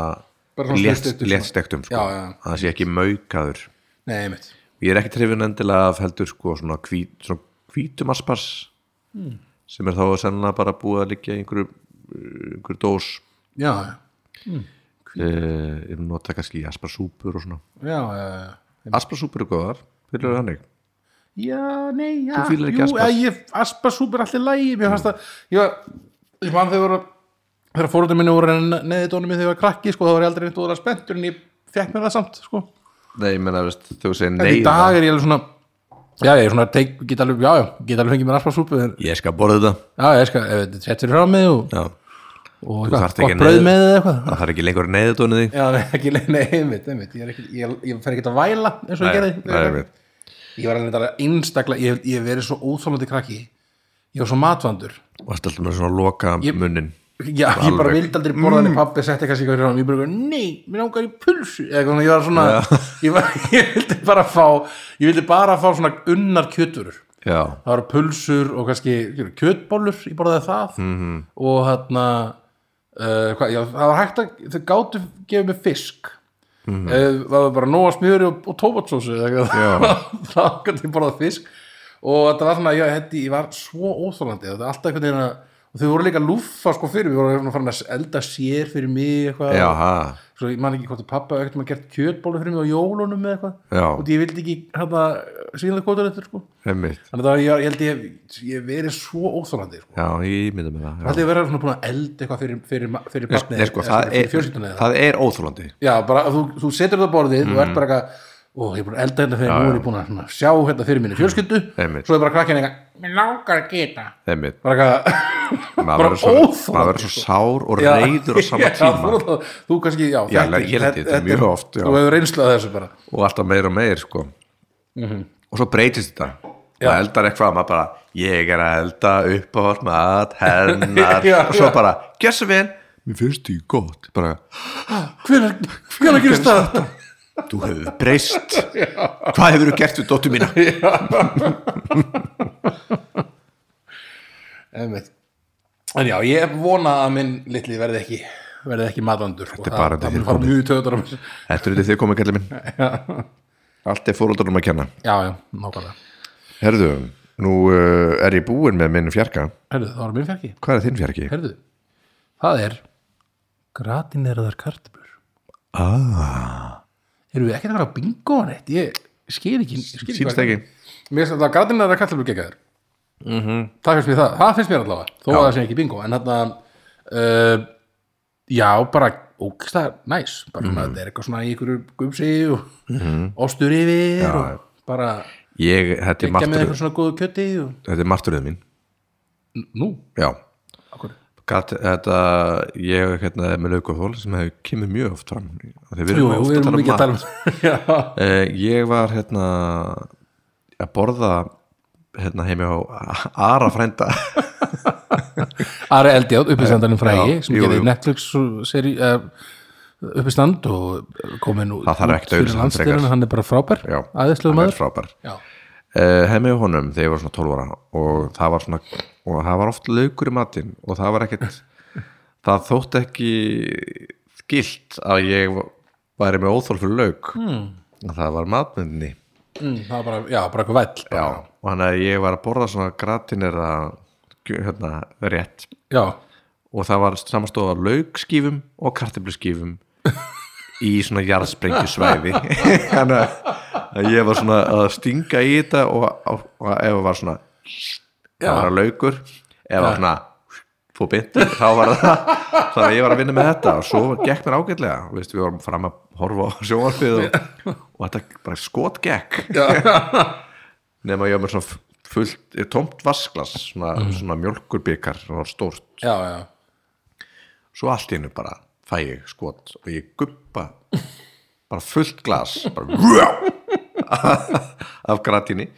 [SPEAKER 1] Bara svona
[SPEAKER 2] létt-
[SPEAKER 1] snöggtektur svona.
[SPEAKER 2] léttstektum sko.
[SPEAKER 1] Já, já.
[SPEAKER 2] að það sé ekki maukaður
[SPEAKER 1] Nei, mitt
[SPEAKER 2] ég er ekki trefin endilega af heldur sko svona, hvít, svona hvítum aspars
[SPEAKER 1] Hmm.
[SPEAKER 2] sem er þá sennilega bara búið að liggja í einhverju, eh, einhverju dós
[SPEAKER 1] já,
[SPEAKER 2] eh, ef nota kannski í asparsúpur og svona
[SPEAKER 1] já, já, já.
[SPEAKER 2] asparsúpur er góðar, fyrir er þannig
[SPEAKER 1] Já, nei, já
[SPEAKER 2] Þú fílar ekki
[SPEAKER 1] jú,
[SPEAKER 2] aspas?
[SPEAKER 1] að ég, Aspasúb er allir lægi Mér fannst að, ég var Ég man þegar voru Þegar fórhundar minni voru neðið dónum minn þegar ég var krakki sko, þá var ég aldrei neitt úr að spenntur en ég fekk mér það samt sko.
[SPEAKER 2] nei, ég menna, veist, þú segir
[SPEAKER 1] En
[SPEAKER 2] nei
[SPEAKER 1] í dag er ég alveg svona Já, ég er svona, teik, get alveg, já, já, get alveg fengið mér aspasúpu en,
[SPEAKER 2] þá- ég skal borða þetta
[SPEAKER 1] Já, ég skal, ef þetta settur frá mig og,
[SPEAKER 2] já, þarft
[SPEAKER 1] og eitthvað,
[SPEAKER 2] ekki
[SPEAKER 1] gott brauð
[SPEAKER 2] neðið-
[SPEAKER 1] með eða eitthvað
[SPEAKER 2] það þarf ekki lengur neyðutónu þig
[SPEAKER 1] Já, nei, ekki, [laughs] nei, einmitt, einmitt Ég, er ekki, ég, ég fer ekki að væla eins og ég gerði
[SPEAKER 2] það er veit
[SPEAKER 1] Ég var alveg þetta einstaklega, ég, ég hef verið svo óþólandi krakki Ég var svo matvandur
[SPEAKER 2] varst alltaf með svona loka munnin
[SPEAKER 1] Já, ég bara vildi aldrei borða henni pappi setti kannski eitthvað fyrir hann, ég bara, nei, mér langar í pulsu eða eitthvað, svona, ég var svona [laughs] ég, var, ég vildi bara fá ég vildi bara fá svona unnar kjöturur
[SPEAKER 2] já,
[SPEAKER 1] það var pulsur og kannski skilur, kjötbólur, ég borðaði það
[SPEAKER 2] Mhm.
[SPEAKER 1] -hmm. og hann uh, hvað, já, það var hægt að, þau gátu gefið mig fisk mm
[SPEAKER 2] Mhm.
[SPEAKER 1] það var bara nóa smjöri og, og tómatsósu eða eitthvað, [laughs] þá gæti ég borðað fisk og þetta var svona, já, þetta, ég var svo óþólandi, þetta er alltaf einhvern veginn að og þau voru líka að lúffa sko fyrir, við voru farin að elda sér fyrir mig eitthvað
[SPEAKER 2] já, ha,
[SPEAKER 1] svo ég man ekki hvort að pappa ekkert maður gert kjötbólu fyrir mig á jólunum eða eitthvað
[SPEAKER 2] Já.
[SPEAKER 1] og ég vildi ekki hérna sínlega kvotur eftir sko
[SPEAKER 2] einmitt
[SPEAKER 1] þannig að ég, ég held ég ég hef verið svo óþólandi sko.
[SPEAKER 2] já, ég mynda með það já.
[SPEAKER 1] það er verið svona búin að elda eitthvað fyrir, fyrir, ma- fyrir barnið
[SPEAKER 2] Nei, sko,
[SPEAKER 1] eða
[SPEAKER 2] það,
[SPEAKER 1] fyrir
[SPEAKER 2] er,
[SPEAKER 1] fjölskylduna eða-
[SPEAKER 2] það Mhm. er óþólandi
[SPEAKER 1] já, bara þú, þú setur það á borðið þú ert bara eitthvað og ég er búin að elda hérna fyrir nú er ég búin að svona, sjá hérna fyrir minni fjölskyldu
[SPEAKER 2] Einmitt.
[SPEAKER 1] svo er bara krakkin eitthvað mér langar að geta
[SPEAKER 2] einmitt
[SPEAKER 1] bara [laughs] eitthvað
[SPEAKER 2] maður verður svo,
[SPEAKER 1] óþolandi, sko.
[SPEAKER 2] maður verður svo sár og
[SPEAKER 1] [laughs]
[SPEAKER 2] reyður á sama
[SPEAKER 1] Já,
[SPEAKER 2] tíma
[SPEAKER 1] þú, þú kannski, já,
[SPEAKER 2] Já, ég held ég þetta mjög
[SPEAKER 1] er-
[SPEAKER 2] oft, já.
[SPEAKER 1] þú hefur reynslað þessu bara
[SPEAKER 2] og alltaf meir og meir sko.
[SPEAKER 1] Mhm.
[SPEAKER 2] og svo breytist þetta maður eldar eitthvað, maður bara ég er að elda uppáhald mat hennar,
[SPEAKER 1] [laughs] Já,
[SPEAKER 2] og svo
[SPEAKER 1] já.
[SPEAKER 2] bara gjössu vel, mér finnst því gott bara,
[SPEAKER 1] hvenær hvenær gerist það?
[SPEAKER 2] þú hefur breyst
[SPEAKER 1] [laughs]
[SPEAKER 2] hvað hefur þú gert við dóttu mína
[SPEAKER 1] Einmitt. en já, ég vona að minn litli verði ekki verði ekki matvandur sko.
[SPEAKER 2] er bara
[SPEAKER 1] það,
[SPEAKER 2] þetta
[SPEAKER 1] það
[SPEAKER 2] hér
[SPEAKER 1] mun fara
[SPEAKER 2] komið.
[SPEAKER 1] mjög töðar á mér
[SPEAKER 2] Þetta er þetta þið komið kallið minn Allt er fóröldunum að kenna
[SPEAKER 1] já, já, nákvæmlega
[SPEAKER 2] Herðu, nú uh, er ég búinn með minn fjarka
[SPEAKER 1] herðu, það var minn fjarki
[SPEAKER 2] Hvað er þinn fjarki?
[SPEAKER 1] herðu, það er gratineraðar kartöflur
[SPEAKER 2] Ah,
[SPEAKER 1] erum við ekkert að vera bingo hann eitt ég skil ekki, skil ekki
[SPEAKER 2] Sýnst ekki
[SPEAKER 1] Mér finnst þetta gardinæra kartöflur geggjæður
[SPEAKER 2] Mhm.
[SPEAKER 1] mm -hmm. Það finnst mér það, það finnst mér allavega þó að það sé ekki bingo en þarna uh, já, bara ógsta næs, bara
[SPEAKER 2] Mhm.
[SPEAKER 1] mm þetta er eitthvað svona í einhverju gumsi og ostur yfir og bara
[SPEAKER 2] Ég, þetta er
[SPEAKER 1] ekki með eitthvað
[SPEAKER 2] martröð
[SPEAKER 1] svona góðu kjöti og...
[SPEAKER 2] Þetta er martröð mín
[SPEAKER 1] Nú,
[SPEAKER 2] Já
[SPEAKER 1] akkur
[SPEAKER 2] Gat, þetta, ég hérna, er með laukaþól sem hefur kemur mjög oft fram Þegar við
[SPEAKER 1] Jú,
[SPEAKER 2] erum
[SPEAKER 1] jú,
[SPEAKER 2] oft
[SPEAKER 1] við erum mikið
[SPEAKER 2] [laughs]
[SPEAKER 1] að tala um Já,
[SPEAKER 2] Eh, Ég var hérna að borða hérna heimi á Ara frænda
[SPEAKER 1] Ari Eldjátt, uppistandarinn frægi
[SPEAKER 2] Já,
[SPEAKER 1] sem
[SPEAKER 2] jú,
[SPEAKER 1] gerði
[SPEAKER 2] jú.
[SPEAKER 1] Netflix seri, uh, uppistand og komin út
[SPEAKER 2] Það þarf ekkert að
[SPEAKER 1] fyrir
[SPEAKER 2] auglýsa hann frekar.
[SPEAKER 1] landsdyrun, hann er bara frábær
[SPEAKER 2] Já,
[SPEAKER 1] aðeinslega
[SPEAKER 2] hann er
[SPEAKER 1] maður
[SPEAKER 2] frábær
[SPEAKER 1] Já.
[SPEAKER 2] uh, heimi á honum þegar ég var svona 12 ára og það var svona og það var oft laukur í matinn og það var ekkert það þótt ekki gilt að ég væri með óþól fyrir lauk mm. það var matmyndinni
[SPEAKER 1] Mm, það var bara, já, bara eitthvað væll bara.
[SPEAKER 2] já, og hann að ég var að borða svona gratinir hérna, rétt
[SPEAKER 1] já,
[SPEAKER 2] og það var samastóð af laukskífum og kartibluskífum í svona jarðsprengjusvæði [laughs] þannig að- að ég var svona að stinga í þetta og, og, og ef það var svona það var að laukur ef það var svona fór byndi þá var það þannig að ég var að vinna með þetta og svo gekk mér ágætlega Vist, við vorum fram að horfa á sjónvarpið og, og þetta bara skot gekk nema ég var með svona fullt eh, tómt vasklas svona, svona mjölkurbikar svona stórt
[SPEAKER 1] já, já
[SPEAKER 2] svo allt í hennu bara fæ ég skot og ég guppa bara fullt glas bara vrjá, af gratinni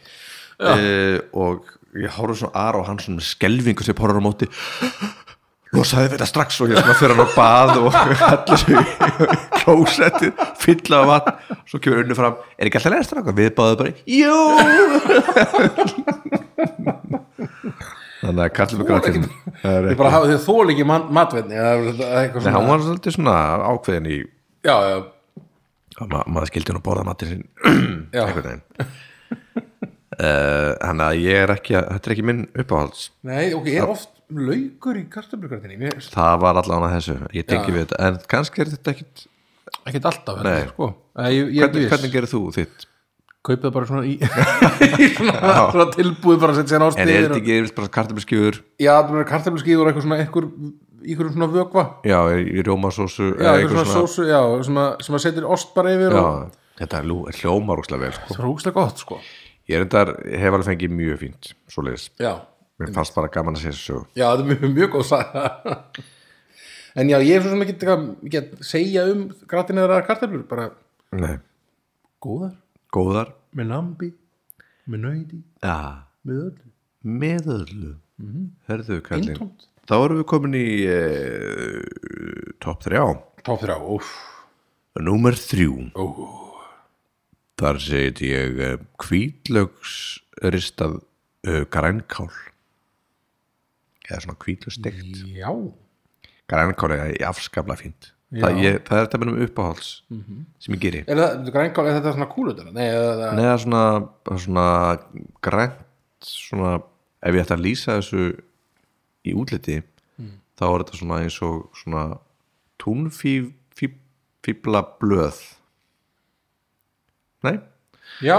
[SPEAKER 2] uh, og ég horfði svona aðra og hann svona með skelvingu sem horfður á móti losaði þetta strax og ég svona fyrir hann á bað og allir svo klósetti fylla af vatn svo kemur unni fram, er ekki alltaf leðast strax við báðum bara, jú þannig að kallum við gratin
[SPEAKER 1] Ég bara hafa því að þól ekki man, matvenni eða eitthvað
[SPEAKER 2] Nei,
[SPEAKER 1] svona
[SPEAKER 2] hann var svolítið svona ákveðin í
[SPEAKER 1] Já, já,
[SPEAKER 2] það ma maður skildi hún að borða matur sinn
[SPEAKER 1] Já.
[SPEAKER 2] einhvern veginn Eh, þannig að ég er ekki að, þetta er ekki minn uppáhalds
[SPEAKER 1] Nei, ok, er oft laukur í kartöflugrætinni
[SPEAKER 2] það var allan að þessu, ég tengi við þetta en kannski er þetta ekkit,
[SPEAKER 1] Ekkert alltaf
[SPEAKER 2] Nei.
[SPEAKER 1] en, sko. Nei, ég, ég
[SPEAKER 2] hvernig,
[SPEAKER 1] hvernig,
[SPEAKER 2] hvernig gerir þú þitt
[SPEAKER 1] Kaupið bara svona [laughs] í svona, svona tilbúið bara að setja sér
[SPEAKER 2] en er
[SPEAKER 1] ástæðir
[SPEAKER 2] þetta ekki yfirleitt bara kartablaskjúður
[SPEAKER 1] Já, það er kartöfluskíður og eitthvað svona eitthvað, eitthvað svona vökva
[SPEAKER 2] já, í rjómasósu
[SPEAKER 1] Já, eitthvað svona, sósu, já, sem að, sem að setja ost bara yfir
[SPEAKER 2] já,
[SPEAKER 1] og
[SPEAKER 2] þetta lú- er hljómar úslega vel sko.
[SPEAKER 1] það er ógstlega gott, sko
[SPEAKER 2] ég er þetta, hef alveg fengið mjög fínt svoleiðis,
[SPEAKER 1] Já,
[SPEAKER 2] mér fannst bara gaman að segja þessu sögu
[SPEAKER 1] Já, þetta er mjög, mjög góð saga En já, ég er svo sem ekki að get segja um gratineðra karteflur, bara
[SPEAKER 2] Nei.
[SPEAKER 1] góðar,
[SPEAKER 2] góðar
[SPEAKER 1] með lambi með nöydi,
[SPEAKER 2] já,
[SPEAKER 1] með öllu
[SPEAKER 2] meðöðlu herðu kallinn
[SPEAKER 1] Eintómt.
[SPEAKER 2] þá erum við komin í uh, top 3
[SPEAKER 1] Top 3, óf
[SPEAKER 2] Númer þrjú
[SPEAKER 1] Ó.
[SPEAKER 2] Þar segit ég eh, hvítlaugs ristað uh, grænkál eða svona hvítlaugssteikt mm.
[SPEAKER 1] Já,
[SPEAKER 2] grænkál er afskaplega fínt það, ég, það er þetta minnum uppáhalds sem ég geri
[SPEAKER 1] er það, grænkál, er þetta svona kúlutana? Nei, er það,
[SPEAKER 2] Nei, það er svona, svona grænt svona, ef ég ætti að lýsa þessu í útliti þá er þetta svona eins og svona túnfíbla blöð Nei,
[SPEAKER 1] já,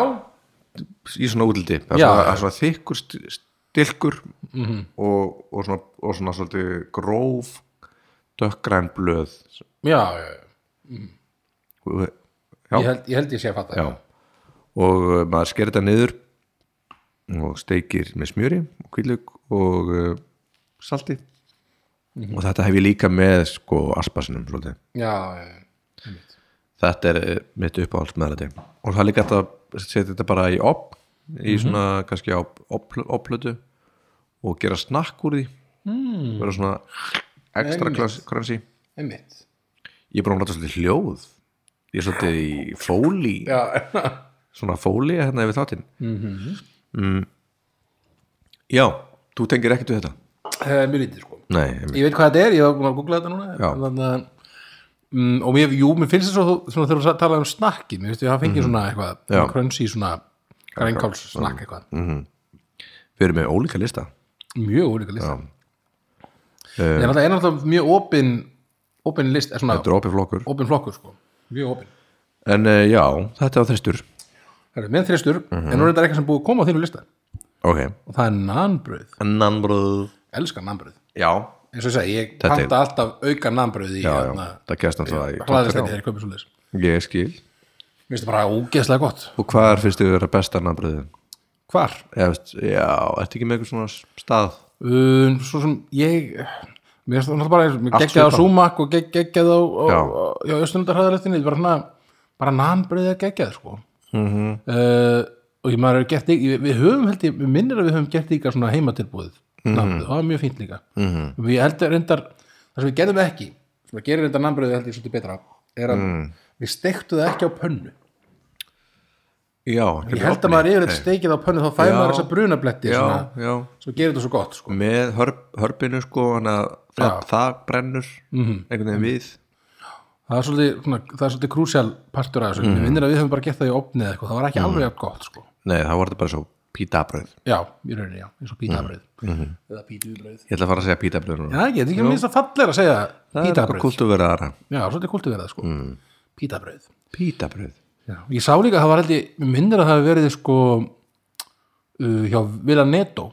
[SPEAKER 2] í svona útliti það er
[SPEAKER 1] Já.
[SPEAKER 2] svona, það er svona þykkur st- stilkur og, og, svona, og svona svolítið gróf dökkgræn blöð
[SPEAKER 1] já, já, já.
[SPEAKER 2] Já.
[SPEAKER 1] Ég, held, ég held ég sé að fatta
[SPEAKER 2] Já. og uh, maður sker þetta niður og steikir með smjöri og kvíðlaug og uh, salti og þetta hef ég líka með sko aspasinum svolítið.
[SPEAKER 1] já, já, já.
[SPEAKER 2] þetta er uh, mitt uppáhalds með þetta og það er líka hægt að setja þetta bara í op í svona kannski á op- opplötu og gera snakk úr því mm. vera svona ekstra
[SPEAKER 1] Einmitt.
[SPEAKER 2] klas- kransi
[SPEAKER 1] einmitt
[SPEAKER 2] ég er bara að nota svolítið hljóð ég er svolítið í fóli
[SPEAKER 1] Já,
[SPEAKER 2] svona fóli hérna yfir þáttinn mm
[SPEAKER 1] Mhm.
[SPEAKER 2] já, þú tengir ekkert við þetta
[SPEAKER 1] [laughs] það er mjög lítið, sko
[SPEAKER 2] nei, einmitt.
[SPEAKER 1] Ég veit hvað þetta er, ég var búin að googla þetta núna
[SPEAKER 2] Já.
[SPEAKER 1] Þannig að mm, og mér, jú, mér finnst það svo svona þegar þú talaði um snakki, mér finnst ég að fengi svona
[SPEAKER 2] Mhm. Já. Mm.
[SPEAKER 1] eitthvað, krönsi svona grænkáls snakk eitthvað,
[SPEAKER 2] við erum með ólíka lista
[SPEAKER 1] mjög ólíka list En það er náttúrulega mjög opin opin list, er svona
[SPEAKER 2] Eh. þetta er opið flokkur
[SPEAKER 1] opin flokkur sko, mjög opin
[SPEAKER 2] en uh, já, þetta var þristur
[SPEAKER 1] Það er með þristur,
[SPEAKER 2] Mhm.
[SPEAKER 1] en nú er þetta eitthvað sem búið að koma á þínu lista
[SPEAKER 2] ok,
[SPEAKER 1] og það er nanbröð,
[SPEAKER 2] nannbröð
[SPEAKER 1] elskar nanbröð
[SPEAKER 2] já,
[SPEAKER 1] eins og ég segi, ég
[SPEAKER 2] Þetta er-
[SPEAKER 1] panta alltaf auka nanbröð í
[SPEAKER 2] já, já,
[SPEAKER 1] hérna
[SPEAKER 2] það gerst náttúrulega í
[SPEAKER 1] hlaðist
[SPEAKER 2] topp
[SPEAKER 1] þegar ég köpum svo leis
[SPEAKER 2] þrjá. ég skil,
[SPEAKER 1] Mér finnst það bara ógeðslega gott
[SPEAKER 2] og hvað er fyrst þið vera besta nannbröðin?
[SPEAKER 1] Hvar?
[SPEAKER 2] já, veist, já, ertu ekki með eitthvað svona stað
[SPEAKER 1] um, svo sem ég mér er það bara, mér
[SPEAKER 2] Allt
[SPEAKER 1] geggjað á
[SPEAKER 2] svipað.
[SPEAKER 1] Súmak og gegg, geggjað á, á,
[SPEAKER 2] Já.
[SPEAKER 1] á, á Östundarhæðalettinni, bara svona bara nambrið að geggjað sko
[SPEAKER 2] Mhm.
[SPEAKER 1] mm -hmm. og ég maður er gert í, við, við höfum held ég, við minnir að við höfum gert líka svona heimatilbúið
[SPEAKER 2] Mhm.
[SPEAKER 1] mm það var mjög fínt líka mm -hmm. við heldur reyndar, það sem við gerðum ekki sem við gerum reyndar nambriðið held ég svolítið betra er að
[SPEAKER 2] Mhm.
[SPEAKER 1] við steiktu það ekki á pönnu
[SPEAKER 2] já,
[SPEAKER 1] ég held að maður yfirleitt steikið á pönnu þá fær
[SPEAKER 2] Já.
[SPEAKER 1] maður þessa brunabletti
[SPEAKER 2] já,
[SPEAKER 1] svona,
[SPEAKER 2] já,
[SPEAKER 1] sem gerir þetta svo gott sko
[SPEAKER 2] með hörp, hörpinu sko, hann að það, það brennur
[SPEAKER 1] Mhm.
[SPEAKER 2] einhvern veginn við
[SPEAKER 1] það er svolítið, svona, það er svolítið krúsjál partur af þessu,
[SPEAKER 2] Mhm.
[SPEAKER 1] mm. minnir að við höfum bara gett það í opnið eða eitthvað, það var ekki alveg jafn gott sko.
[SPEAKER 2] nei, þá var þetta bara svo pítabröð
[SPEAKER 1] já, í rauninni, já,
[SPEAKER 2] Mhm.
[SPEAKER 1] eins og pítabröð eða pítubröð
[SPEAKER 2] Ég ætla að fara að segja pítabröð núna.
[SPEAKER 1] já, ég get ekki að minnst að fallega að segja
[SPEAKER 2] það er Mhm. eitthvað
[SPEAKER 1] pítabröð,
[SPEAKER 2] kult að vera aðra.
[SPEAKER 1] já, svolítið kultu verða sko. pítabröð
[SPEAKER 2] Pítabröð.
[SPEAKER 1] já. ég sá líka að það var held ég, mig minnir að það hafi verið sko uh, hjá Viljan Netto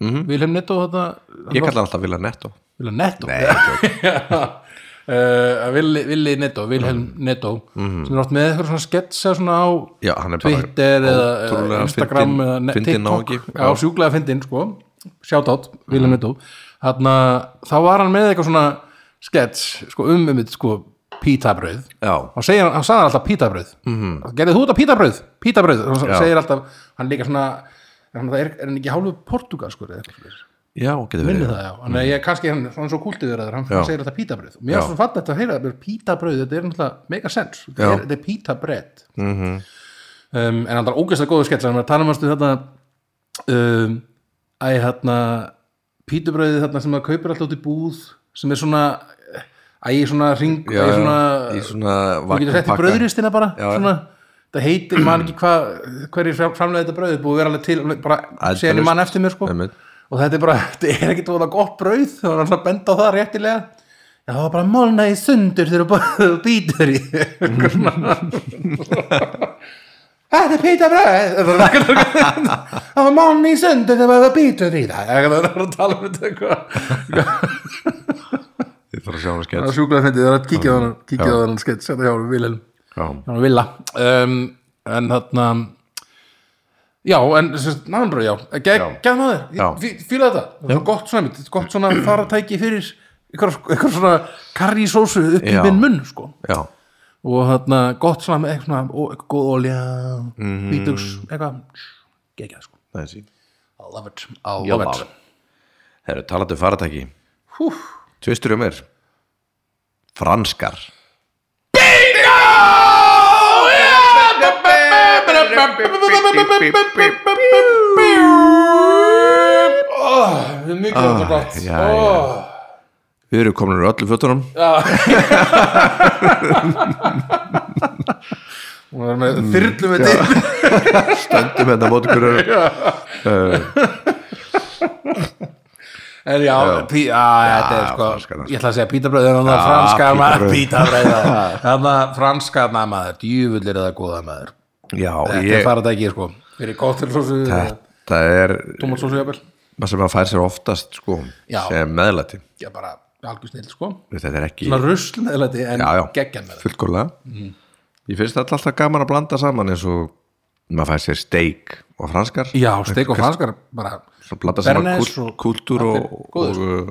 [SPEAKER 1] mm
[SPEAKER 2] Mhm.
[SPEAKER 1] -hmm. Viljan Netto þetta
[SPEAKER 2] Ég kalla alltaf Vila Netto.
[SPEAKER 1] Vilja Netto [laughs] uh, Villi, Villi Netto Vilhelm
[SPEAKER 2] Mhm.
[SPEAKER 1] Netto sem er oft með eitthvað svona sketsa svona á
[SPEAKER 2] Já, hann er bara
[SPEAKER 1] Twitter eða eða
[SPEAKER 2] ótrúlega
[SPEAKER 1] Instagram
[SPEAKER 2] fyndinn-
[SPEAKER 1] eða ne-
[SPEAKER 2] fyndinn
[SPEAKER 1] TikTok
[SPEAKER 2] náungi.
[SPEAKER 1] já, sjúklega fyndin sko shoutout, Vilhelm Netto þarna, þá var hann með eitthvað svona skets sko, um um þetta sko pítabröð
[SPEAKER 2] Já.
[SPEAKER 1] og segir, hann- hann sagði alltaf pítabröð mm -hmm. gerði þú þetta pítabröð? pítabröð, og hann
[SPEAKER 2] Mhm. Já.
[SPEAKER 1] segir alltaf hann líka svona, hann, það er, er hann ekki hálfu portugalskur eða eitthvað svoleiðis?
[SPEAKER 2] Já, getur
[SPEAKER 1] minni
[SPEAKER 2] verið.
[SPEAKER 1] það já, þannig að ég kannski hann svona svo kúltið verður, hann
[SPEAKER 2] Já.
[SPEAKER 1] segir þetta pítabröð og mér er
[SPEAKER 2] Já.
[SPEAKER 1] svo fatt þetta að heyra, þetta er pítabröð þetta er náttúrulega mega sens, þetta
[SPEAKER 2] Já. Mhm.
[SPEAKER 1] er, þetta er pítabröð mm um, en hann er ógeðslega góðu skets hann er að tala um að stu þetta um, æ, hérna pítabröðið þarna sem maður kaupir alltaf út í búð sem er svona Æ, í svona ring,
[SPEAKER 2] Já,
[SPEAKER 1] í svona,
[SPEAKER 2] í svona
[SPEAKER 1] þú getur sett í
[SPEAKER 2] vakuumpakka.
[SPEAKER 1] bröðristina bara,
[SPEAKER 2] Já, já.
[SPEAKER 1] svona, það heitir, man ekki hvað, hverjir fram- framleiða þetta brauð, búið að vera alveg til, alveg bara,
[SPEAKER 2] Eldalaust.
[SPEAKER 1] séðan í mann eftir mér, sko,
[SPEAKER 2] Einmitt.
[SPEAKER 1] og þetta er bara, [laughs] þetta er ekkit voða gott brauð, það var alltaf að benda á það réttilega, já, það var bara málna í sundur þegar þú bara- [laughs] þú býtur í, eitthvað svona. Þetta er pýta bröð Það var [laughs] málni í sundur þegar það býtur í það Það er að tala um þetta eitthvað
[SPEAKER 2] Ég þarf að sjá hann
[SPEAKER 1] Það
[SPEAKER 2] skets
[SPEAKER 1] er sjúklega fyndið, það er að kíkja á hann
[SPEAKER 2] Já.
[SPEAKER 1] kíkja á hann skets, þetta hjá Vilhelm
[SPEAKER 2] Já,
[SPEAKER 1] hjá hann Villa um, en þarna já, en náðanbröð, já
[SPEAKER 2] Já.
[SPEAKER 1] gegn maður,
[SPEAKER 2] Já.
[SPEAKER 1] Ég fí- fíla þetta það er gott svona, þetta er gott svona faratæki fyrir ykkur, ykkur svona karrísósu upp í
[SPEAKER 2] Já.
[SPEAKER 1] minn munn, sko
[SPEAKER 2] já,
[SPEAKER 1] og þarna gott svona með eitthvað svona, ó, eitthvað góð olja
[SPEAKER 2] Mhm.
[SPEAKER 1] vítugs, eitthvað geggjað, sko,
[SPEAKER 2] það er sín
[SPEAKER 1] I love it I love it
[SPEAKER 2] Herru, talandi um faratæki
[SPEAKER 1] Hú.
[SPEAKER 2] Tvistur um mér Franskar
[SPEAKER 1] Oh, það er mikið þetta gott
[SPEAKER 2] Ah, já, já.
[SPEAKER 1] Oh.
[SPEAKER 2] Við erum komin úr öllu fötunum
[SPEAKER 1] Hún er með þyrlu með þetta
[SPEAKER 2] Stöndum hérna móti hverju
[SPEAKER 1] [laughs] En já, pí, á, þetta er
[SPEAKER 2] Já,
[SPEAKER 1] sko
[SPEAKER 2] franskana.
[SPEAKER 1] Ég ætla að segja pítabröð En þannig að franska maður
[SPEAKER 2] pítabrauð.
[SPEAKER 1] Pítabröð
[SPEAKER 2] [laughs]
[SPEAKER 1] Þannig að franska maður Djúvullir eða góða maður
[SPEAKER 2] Já,
[SPEAKER 1] Þetta er
[SPEAKER 2] ég
[SPEAKER 1] farað ekki sko Fyrir kóttilsósu
[SPEAKER 2] Þetta er
[SPEAKER 1] Tómatsósu jafnvel
[SPEAKER 2] Það sem maður fær sér oftast sko
[SPEAKER 1] Já.
[SPEAKER 2] sem meðlæti
[SPEAKER 1] Já, bara algjör snill sko
[SPEAKER 2] Þetta er ekki
[SPEAKER 1] Svona rusl með þetta En
[SPEAKER 2] já, já,
[SPEAKER 1] geggjan með Mhm. þetta
[SPEAKER 2] fullkólega ég finnst þetta alltaf gaman að blanda saman eins og maður fær sér steik og franskar
[SPEAKER 1] Já, steik og franskar bara
[SPEAKER 2] Svo blanda saman
[SPEAKER 1] Bernays
[SPEAKER 2] kúl,
[SPEAKER 1] og- sko.
[SPEAKER 2] kúltúr og,
[SPEAKER 1] góður,
[SPEAKER 2] og, og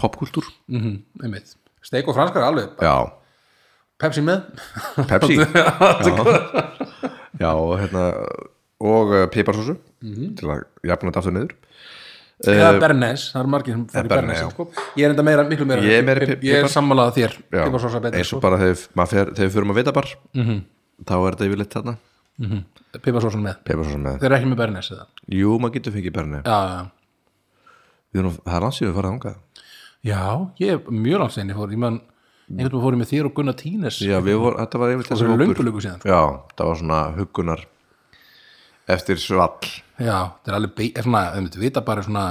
[SPEAKER 2] popkúltúr
[SPEAKER 1] mhm, einmitt. Steik og franskar alveg
[SPEAKER 2] já,
[SPEAKER 1] Pepsi með [laughs]
[SPEAKER 2] Pepsi já. já, og hérna og uh, piparsósu
[SPEAKER 1] Mhm.
[SPEAKER 2] til að jafna þetta aftur niður
[SPEAKER 1] eða Bernays, það eru margir sem fara í
[SPEAKER 2] Eh, Bernays,
[SPEAKER 1] Bernays
[SPEAKER 2] já.
[SPEAKER 1] sko. ég er enda meira, miklu meira
[SPEAKER 2] Ég er meira pi-
[SPEAKER 1] ég er
[SPEAKER 2] pipar.
[SPEAKER 1] sammálað að þér
[SPEAKER 2] já,
[SPEAKER 1] piparsósa betri
[SPEAKER 2] eins og
[SPEAKER 1] sko. Mhm.
[SPEAKER 2] bara þegar maður fer, þegar við fyrir að vita bar þá er þetta yfirleitt þarna
[SPEAKER 1] piparsósa sko. með,
[SPEAKER 2] piparsósu með,
[SPEAKER 1] þeir eru ekki með Bernays eða
[SPEAKER 2] jú maður getur fengið berni
[SPEAKER 1] já, já,
[SPEAKER 2] Við erum- það er ansíðu að fara þangað
[SPEAKER 1] já, ég er mjög langt sinni fór, ég man, einhvern veginn fór ég með þér og Gunnar Tínes
[SPEAKER 2] Já, við vorum, þetta var yfirleitt þessi
[SPEAKER 1] fyrir
[SPEAKER 2] hópur.
[SPEAKER 1] löngu löngu síðan sko.
[SPEAKER 2] Já, það var svona hugunar eftir svall
[SPEAKER 1] já, það er alveg, be- er svona, þau myndu vita bara svona,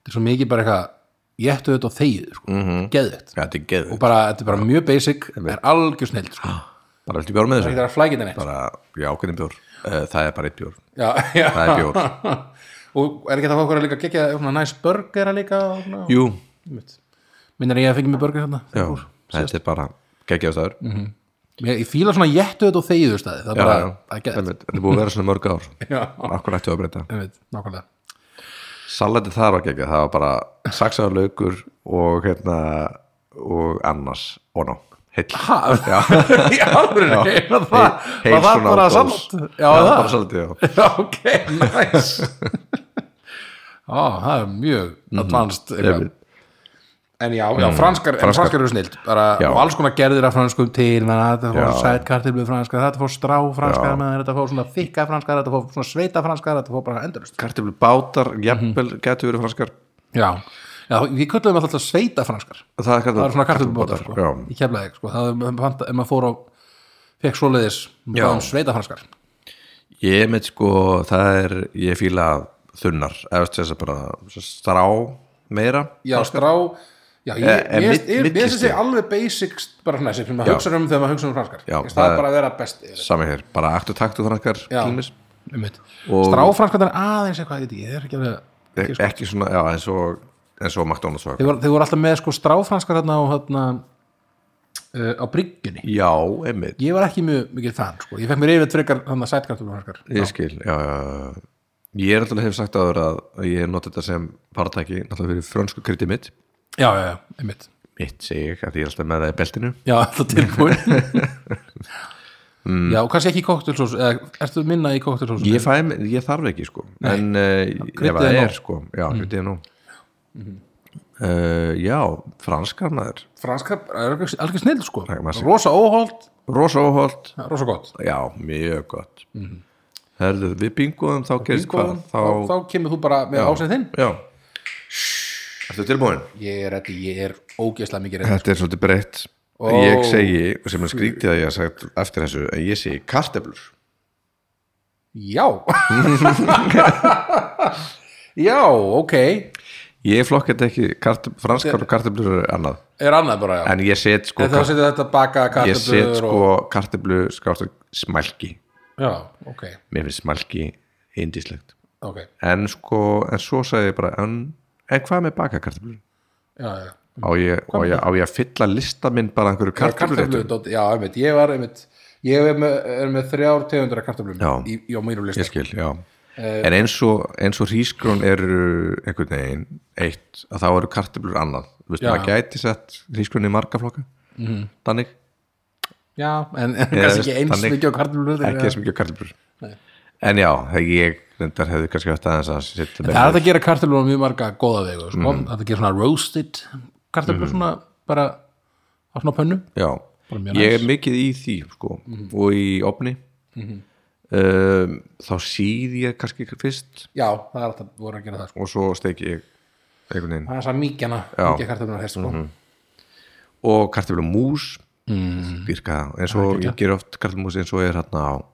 [SPEAKER 1] þetta er svo mikið bara eitthvað ég ættu auðvitað á þegið, sko, mm
[SPEAKER 2] Mhm.
[SPEAKER 1] geðvegt
[SPEAKER 2] Þetta er geðu,
[SPEAKER 1] og bara, þetta er bara mjög basic, er algjör snill sko.
[SPEAKER 2] bara viltu bjór með
[SPEAKER 1] það
[SPEAKER 2] þessu
[SPEAKER 1] er að flækja þetta neitt
[SPEAKER 2] Ah. bara, Já, hvernig bjór, Eh, það er bara eitt bjór
[SPEAKER 1] já, [laughs] já.
[SPEAKER 2] Það er bjór,
[SPEAKER 1] og er ekki þetta okkur að líka gegja svona næs burgera líka og svona-
[SPEAKER 2] jú,
[SPEAKER 1] Einmitt. minnir að ég fengi mig burger hérna
[SPEAKER 2] já,
[SPEAKER 1] fyrir kúr.
[SPEAKER 2] þetta er bara geggjaðu staður Já,
[SPEAKER 1] ég, ég fíla svona jættu þetta og þegiðu staði það er Mhm. bara, það er
[SPEAKER 2] já,
[SPEAKER 1] gett
[SPEAKER 2] einmitt. þetta er búið að vera svona mörg ár
[SPEAKER 1] [laughs] Já.
[SPEAKER 2] Akkur ættu að breyta
[SPEAKER 1] Einmitt, nákvæmlega
[SPEAKER 2] Salati þar var geggjað, það var bara saxaður laukur og hérna og annars, og ná, heill
[SPEAKER 1] ha, [laughs] í alvöru
[SPEAKER 2] Já.
[SPEAKER 1] var það,
[SPEAKER 2] Heil-
[SPEAKER 1] var það
[SPEAKER 2] svona
[SPEAKER 1] bara
[SPEAKER 2] dós.
[SPEAKER 1] salat já,
[SPEAKER 2] Já,
[SPEAKER 1] það
[SPEAKER 2] bara salati, já
[SPEAKER 1] já, ok, nice á, það er mjög advanced eitthvað.
[SPEAKER 2] Einmitt.
[SPEAKER 1] en já, já franskar,
[SPEAKER 2] franskar.
[SPEAKER 1] franskar. franskar eru snild bara,
[SPEAKER 2] Já.
[SPEAKER 1] og alls konar gerðir af franskum til þannig að þetta fór
[SPEAKER 2] Já.
[SPEAKER 1] sætkartir með franskar þetta fór strá franskar
[SPEAKER 2] Já.
[SPEAKER 1] með þetta fór svona þykka franskar þetta fór svona sveita franskar þetta fór bara endurust
[SPEAKER 2] Kartiflu bátar, jafnvel, getur verið franskar
[SPEAKER 1] Já, já við köllum alltaf sveita franskar
[SPEAKER 2] það er
[SPEAKER 1] það er svona kartöflubótar sko.
[SPEAKER 2] kartöflubótar, já.
[SPEAKER 1] í keflaði sko. það er fanta, ef maður fór á fekk svoleiðis
[SPEAKER 2] Já.
[SPEAKER 1] um sveita franskar
[SPEAKER 2] ég með sko, það er ég fíla þunnar eða veist þess að bara strá meira
[SPEAKER 1] já, strá já, ég,
[SPEAKER 2] Eh, eh,
[SPEAKER 1] ég,
[SPEAKER 2] mitt-
[SPEAKER 1] ég, ég, ég
[SPEAKER 2] millistig.
[SPEAKER 1] þessi alveg basic bara svona þessi sem maður hugsa um þegar maður hugsa um franskar
[SPEAKER 2] Já,
[SPEAKER 1] Ég veist,
[SPEAKER 2] það
[SPEAKER 1] það
[SPEAKER 2] er-
[SPEAKER 1] er bara að vera best yfir.
[SPEAKER 2] sami hér, bara aktu taktu frankar
[SPEAKER 1] Já.
[SPEAKER 2] tímis,
[SPEAKER 1] Einmitt.
[SPEAKER 2] Og-
[SPEAKER 1] strá franskar er aðeins eitthvað ég veit ekki, ég er ekki sko. alveg
[SPEAKER 2] e ekki svona já, eins og, eins og McDonalds og
[SPEAKER 1] þeir voru, þeir voru alltaf með sko stráfranskar hérna á, hérna, uh, á bryggjunni
[SPEAKER 2] já, einmitt,
[SPEAKER 1] ég var ekki mjög mikið þann sko. ég fekk mér yfir frekar hann að sætkartúrfranskar
[SPEAKER 2] ég skil já, já, já. ég er náttúrulega hef sagt áður að að ég nota þetta sem partæki náttúrulega fyrir frönsku krytti mitt
[SPEAKER 1] já, já, já, einmitt
[SPEAKER 2] mitt segi ég, að ég er alltaf með það í beltinu
[SPEAKER 1] Já, [laughs] alltaf tilbúin
[SPEAKER 2] [laughs]
[SPEAKER 1] Já, og kannski ekki í kóktelsós eða ertu minna í kóktelsós
[SPEAKER 2] Mm. ég, fæ, ég þarf ekki sko en uh, ef
[SPEAKER 1] kryddið
[SPEAKER 2] það er
[SPEAKER 1] er nóg. Mm. Mhm.
[SPEAKER 2] sko já, kryttið er nú uh, já, franskar maður
[SPEAKER 1] Franska er algjör algjör snill sko
[SPEAKER 2] Nei, maður sé-
[SPEAKER 1] Rosa óholt,
[SPEAKER 2] rosa óholt,
[SPEAKER 1] rosa gott
[SPEAKER 2] já, mjög gott
[SPEAKER 1] Mhm.
[SPEAKER 2] herðu,
[SPEAKER 1] Sko,
[SPEAKER 2] við bingoðum þá gerist hvað
[SPEAKER 1] Ígóðum, þá, þá kemur þú bara með ásinn þinn
[SPEAKER 2] já, Ertu tilbúin?
[SPEAKER 1] Ég er ready, ég er ógeðslega mikið ready
[SPEAKER 2] Þetta er svolítið breytt
[SPEAKER 1] Ó.
[SPEAKER 2] Ég segi, sem er skrítið að ég hef sagt eftir þessu að ég segi karteblur
[SPEAKER 1] Já [laughs] Já, ok
[SPEAKER 2] Ég flokka þetta ekki, karte, franskar og karteblur er annað
[SPEAKER 1] Er annað bara, já
[SPEAKER 2] En ég set sko,
[SPEAKER 1] En þá setur þetta baka
[SPEAKER 2] ég set
[SPEAKER 1] kartöflur og...
[SPEAKER 2] sko karteblu skást smælki
[SPEAKER 1] Já, ok,
[SPEAKER 2] Mér finnst smælki indislegt
[SPEAKER 1] ok
[SPEAKER 2] En sko, en svo sagði ég bara En, en hvað með baka karteblur?
[SPEAKER 1] Já, já
[SPEAKER 2] Á ég, á, ég, á ég að fylla lista minn bara einhverju kartebluréttum?
[SPEAKER 1] kartöflur, já, einmitt, ég var einmitt ég er með, er með þrjár tegundra kartöflum
[SPEAKER 2] Já.
[SPEAKER 1] í, í á mínum
[SPEAKER 2] Ég
[SPEAKER 1] lista
[SPEAKER 2] skil, já
[SPEAKER 1] Eh.
[SPEAKER 2] En eins og, eins og hrísgrón eru einhvern veginn eitt að þá eru karteblur annað Vistu,
[SPEAKER 1] Já. Mhm.
[SPEAKER 2] maður gæti sett hrísgrón í marga flokka mm. Þannig,
[SPEAKER 1] já, en, en
[SPEAKER 2] Ég
[SPEAKER 1] kannski
[SPEAKER 2] veist,
[SPEAKER 1] ekki eins
[SPEAKER 2] þannig-
[SPEAKER 1] mikið á kartöflur
[SPEAKER 2] ekki þessum ekki karteblur En já, þegar ég reyndar hefði kannski hægt aðeins að setja
[SPEAKER 1] það er hægt að gera kartöflur á mjög marga góða vegu sko. mm. það er að gera svona roasted kartöflur svona bara á svona pönnu
[SPEAKER 2] Já,
[SPEAKER 1] Bara mjög Mhm.
[SPEAKER 2] ég er mikið í því sko, og í opni um, þá síð ég kannski fyrst
[SPEAKER 1] já, það er alltaf voru að gera það sko.
[SPEAKER 2] og svo steiki ég einhvern veginn
[SPEAKER 1] það er það mikjana, mikið kartöflunar hér sko.
[SPEAKER 2] og kartöflu mús
[SPEAKER 1] Mhm.
[SPEAKER 2] mm. dyrka, eins og ég ger oft kartöflu mús eins og er hérna á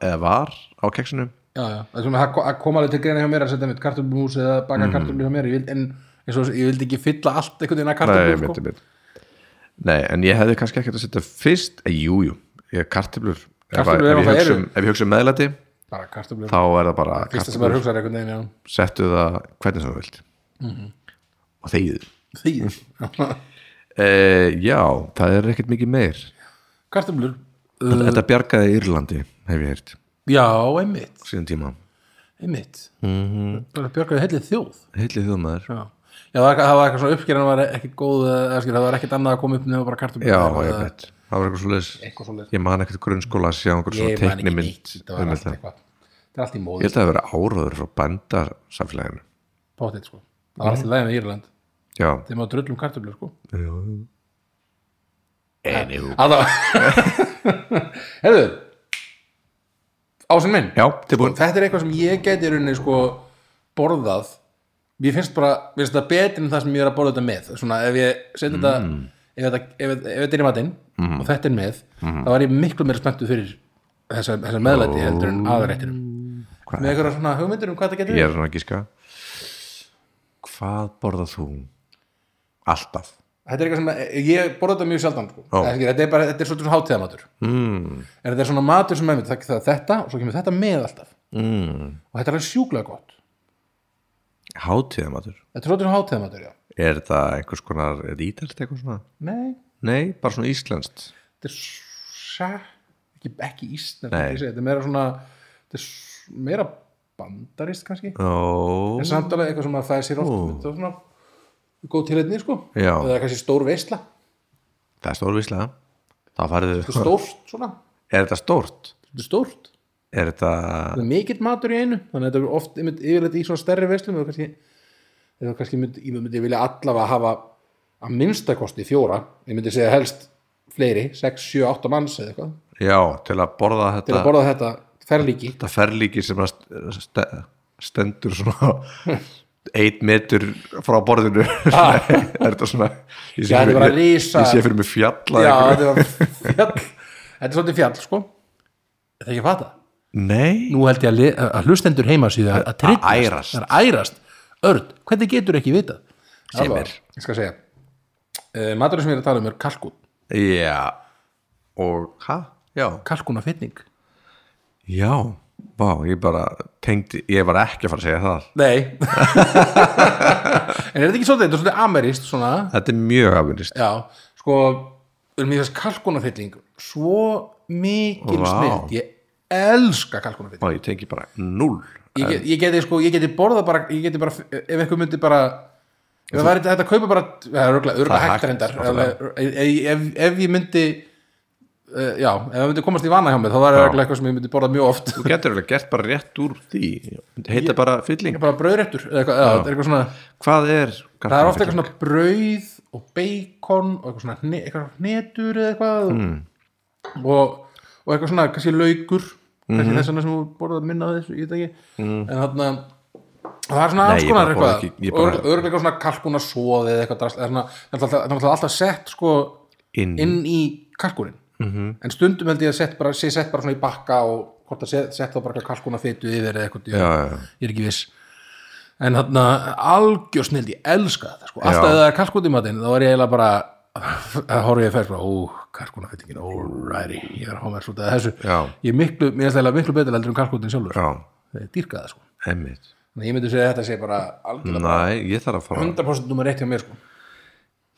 [SPEAKER 2] eða var á keksinu
[SPEAKER 1] já, já, það er svona það það kom alveg til greina hjá mér að setja mitt kartöflumús eða baka mm. kartöflur hjá mér ég vild, en eins og ég vildi ekki fylla allt einhvern veginn að
[SPEAKER 2] Nei,
[SPEAKER 1] kartöflur
[SPEAKER 2] mitt,
[SPEAKER 1] sko.
[SPEAKER 2] mitt. Nei, en ég hefði kannski ekkert að setja fyrst eh, jú, jú, ég kartöflur ef, ef,
[SPEAKER 1] Kartöflur eru
[SPEAKER 2] ég
[SPEAKER 1] það
[SPEAKER 2] hugsa
[SPEAKER 1] eru.
[SPEAKER 2] um, ef ég hugsa um meðlæti
[SPEAKER 1] bara kartöflur,
[SPEAKER 2] þá er það bara
[SPEAKER 1] fyrsta sem
[SPEAKER 2] kartöflur.
[SPEAKER 1] maður hugsaði einhvern veginn já.
[SPEAKER 2] settu það hvernig sem þú vilt
[SPEAKER 1] Mhm.
[SPEAKER 2] og þegið
[SPEAKER 1] því
[SPEAKER 2] Uh, já, það er ekkert mikið meir
[SPEAKER 1] [laughs] kartöflur
[SPEAKER 2] Þetta bjargaði Írlandi, hef ég heyrt
[SPEAKER 1] já, einmitt,
[SPEAKER 2] síðan tíma,
[SPEAKER 1] einmitt mm -hmm. bara björgaði heilið þjóð
[SPEAKER 2] heillið þjóðmaður
[SPEAKER 1] já, já það, var, það var eitthvað svona uppskerðan var ekki góð, eða, skil, það var ekkert annað að koma upp nefnum bara kartöflur
[SPEAKER 2] Já,
[SPEAKER 1] eða-
[SPEAKER 2] ég veit, það var eitthvað svo
[SPEAKER 1] eitthvað svo
[SPEAKER 2] Ég man ekkert grunnskóla að sjá einhver svona
[SPEAKER 1] ég man ekki
[SPEAKER 2] teiknimynd
[SPEAKER 1] neitt, það var
[SPEAKER 2] um
[SPEAKER 1] allt
[SPEAKER 2] þetta.
[SPEAKER 1] eitthvað það er allt í
[SPEAKER 2] Ég
[SPEAKER 1] móði,
[SPEAKER 2] held að það vera áróður frá bændarsamfélaginu
[SPEAKER 1] pátitt sko það var allt í
[SPEAKER 2] Mhm.
[SPEAKER 1] lægin í Írland,
[SPEAKER 2] Já,
[SPEAKER 1] þegar maður drullum kartöflur sko
[SPEAKER 2] enjú
[SPEAKER 1] Alltaf [laughs] Herðu Ásinn minn
[SPEAKER 2] Já, tilbúin
[SPEAKER 1] Sko, Þetta er eitthvað sem ég geti í rauninni sko borðað Mér finnst bara, mér finnst þetta betri en það sem ég er að borða þetta með Svona ef ég setja þetta
[SPEAKER 2] Mm.
[SPEAKER 1] ef, þetta, ef, ef þetta er í matinn og þetta er með
[SPEAKER 2] Mm.
[SPEAKER 1] þá var ég miklu meira spenntu fyrir þessar þessa meðlæti heldur en aðrættinum Með einhverja svona hugmyndir um hvað það getur
[SPEAKER 2] Ég er hann að gíska Hvað borðað þú? Alltaf
[SPEAKER 1] Þetta er eitthvað sem að- ég borða þetta mjög sjaldan sko.
[SPEAKER 2] Ó.
[SPEAKER 1] Það er ekki- þetta er bara, þetta er svolítið svona hátíðamatur
[SPEAKER 2] mm,
[SPEAKER 1] en þetta er svona matur sem einmitt, það, það, er þetta og svo kemur þetta með alltaf
[SPEAKER 2] mm,
[SPEAKER 1] og þetta er alveg sjúklega gott
[SPEAKER 2] Hátíðamatur
[SPEAKER 1] Þetta er svolítið hátíðamatur, já.
[SPEAKER 2] Er það einhvers konar, er það ítalst eitthvað svona?
[SPEAKER 1] Nei,
[SPEAKER 2] Nei, bara svona íslenskt
[SPEAKER 1] þetta er sa, ekki, ekki ísnæmt,
[SPEAKER 2] Nei.
[SPEAKER 1] þetta er meira svona, þetta er s- meira bandarist kannski.
[SPEAKER 2] Ó,
[SPEAKER 1] En samt alveg eitthvað sem að það er sér oft, þetta er svona góð tilhætni, sko.
[SPEAKER 2] Já.
[SPEAKER 1] Eða kannski stór veisla,
[SPEAKER 2] það er stórvíslega Það farið
[SPEAKER 1] þetta er stórt svona,
[SPEAKER 2] Er þetta stórt?
[SPEAKER 1] þetta er stórt.
[SPEAKER 2] Er þetta
[SPEAKER 1] Það er mikill matur í einu, þannig að þetta er oft einmitt, yfirleitt í svona stærri veislum eða kannski, eða kannski mynd, ég myndi vilja allavega hafa að minnstakosti fjóra, ég myndi segja helst fleiri, 6, 7, 8 manns eða eitthvað,
[SPEAKER 2] Já, til að borða
[SPEAKER 1] til
[SPEAKER 2] þetta
[SPEAKER 1] að borða þetta ferlíki
[SPEAKER 2] Þetta ferlíki sem að st- st- stendur svona [laughs] eitt metur frá
[SPEAKER 1] [laughs]
[SPEAKER 2] borðinu
[SPEAKER 1] Ah.
[SPEAKER 2] Er þetta svona Ég
[SPEAKER 1] Já, þetta
[SPEAKER 2] fyrir-
[SPEAKER 1] var
[SPEAKER 2] ég-
[SPEAKER 1] risa-
[SPEAKER 2] Ég sé fyrir mig fjalla
[SPEAKER 1] Já,
[SPEAKER 2] einhverju.
[SPEAKER 1] þetta var fjall Þetta er svolítið fjall, sko Þetta er ekki að fatta
[SPEAKER 2] Nei,
[SPEAKER 1] Nú held ég að, li- að hlustendur heima síðu að, að tryllast
[SPEAKER 2] Að ærast.
[SPEAKER 1] Það er að ærast Örn, hvernig getur ekki vitað?
[SPEAKER 2] Sem
[SPEAKER 1] Alveg,
[SPEAKER 2] er.
[SPEAKER 1] Ég skal segja uh, Maturinn sem ég er að tala um er kalkun
[SPEAKER 2] já Og, hæ? Já
[SPEAKER 1] Kalkuna fyrning
[SPEAKER 2] Já, vá, ég bara tengdi, ég var ekki að fara að segja það
[SPEAKER 1] Nei [laughs] En er þetta ekki svolítið, þetta er svolítið amerist svona
[SPEAKER 2] Þetta er mjög afvinnist
[SPEAKER 1] Já, sko um Mér þess kalkuna fyrning Svo mikil
[SPEAKER 2] Vá.
[SPEAKER 1] snild Ég elska kalkuna fyrning
[SPEAKER 2] Má ég tengi bara null
[SPEAKER 1] ég, get- ég geti sko, ég geti borðað bara ég geti bara, ef einhver myndi bara ef það væri þetta að kaupa bara það er örgulega,
[SPEAKER 2] Það
[SPEAKER 1] örgulega
[SPEAKER 2] er
[SPEAKER 1] hægt
[SPEAKER 2] hægt,
[SPEAKER 1] reyndar
[SPEAKER 2] náttúrulega.
[SPEAKER 1] alveg- ef, ef, ef ég myndi uh, já, ef það myndi komast í vana hjá mig þá var það örgulega eitthvað sem ég myndi borðað mjög
[SPEAKER 2] [laughs]
[SPEAKER 1] oft
[SPEAKER 2] Þú getur alveg gert bara rétt úr því Heita bara fylling
[SPEAKER 1] bara brauðréttur, eða eitthvað, eða, eitthvað svona
[SPEAKER 2] Hvað er
[SPEAKER 1] það er ofta eitthvað svona brauð og beikon og eitthvað svona hne- eitthvað hnetur eða eitthvað
[SPEAKER 2] Hmm.
[SPEAKER 1] og, og eitthvað svona
[SPEAKER 2] Mhm.
[SPEAKER 1] kannski laukur kannski þess vegna sem þú borðað minna af þessu, ég veit ekki en þarna það er
[SPEAKER 2] Hmm.
[SPEAKER 1] svona
[SPEAKER 2] Nei,
[SPEAKER 1] alls
[SPEAKER 2] ég
[SPEAKER 1] konar
[SPEAKER 2] bara borða
[SPEAKER 1] eitthvað
[SPEAKER 2] ekki- ég bara-
[SPEAKER 1] Ör- öruglega svona kalkuna soði eða eitthvað drast, það er svona, það er alltaf- það er alltaf- alltaf sett sko
[SPEAKER 2] Inn Mhm. í.
[SPEAKER 1] inn í kalkunin -hmm. en stundum held ég að sett bara, sé sett bara svona í bakka og hvort að sett, sett þá bara eitthvað kalkuna fytu yfir eða eitthvað, ég,
[SPEAKER 2] já, já.
[SPEAKER 1] ég er ekki viss en þarna algjör snild ég elska þetta sko, alltaf
[SPEAKER 2] Já.
[SPEAKER 1] ef það er kalkun í matinn þá er ég eiginlega bara að horfa ég fæst bara, ó, kalkuna fytingin alrighty, ég er að hafa mér svolítið að þessu
[SPEAKER 2] Já.
[SPEAKER 1] ég er miklu, mér er það miklu betur heldur en kalkunin sjálfur,
[SPEAKER 2] já,
[SPEAKER 1] það er dýrkaða sko
[SPEAKER 2] einmitt
[SPEAKER 1] Þannig að ég myndi segja að þetta sé bara algjörlega
[SPEAKER 2] Nei, ég þarf að fara
[SPEAKER 1] 100% nummer eitt hjá mér sko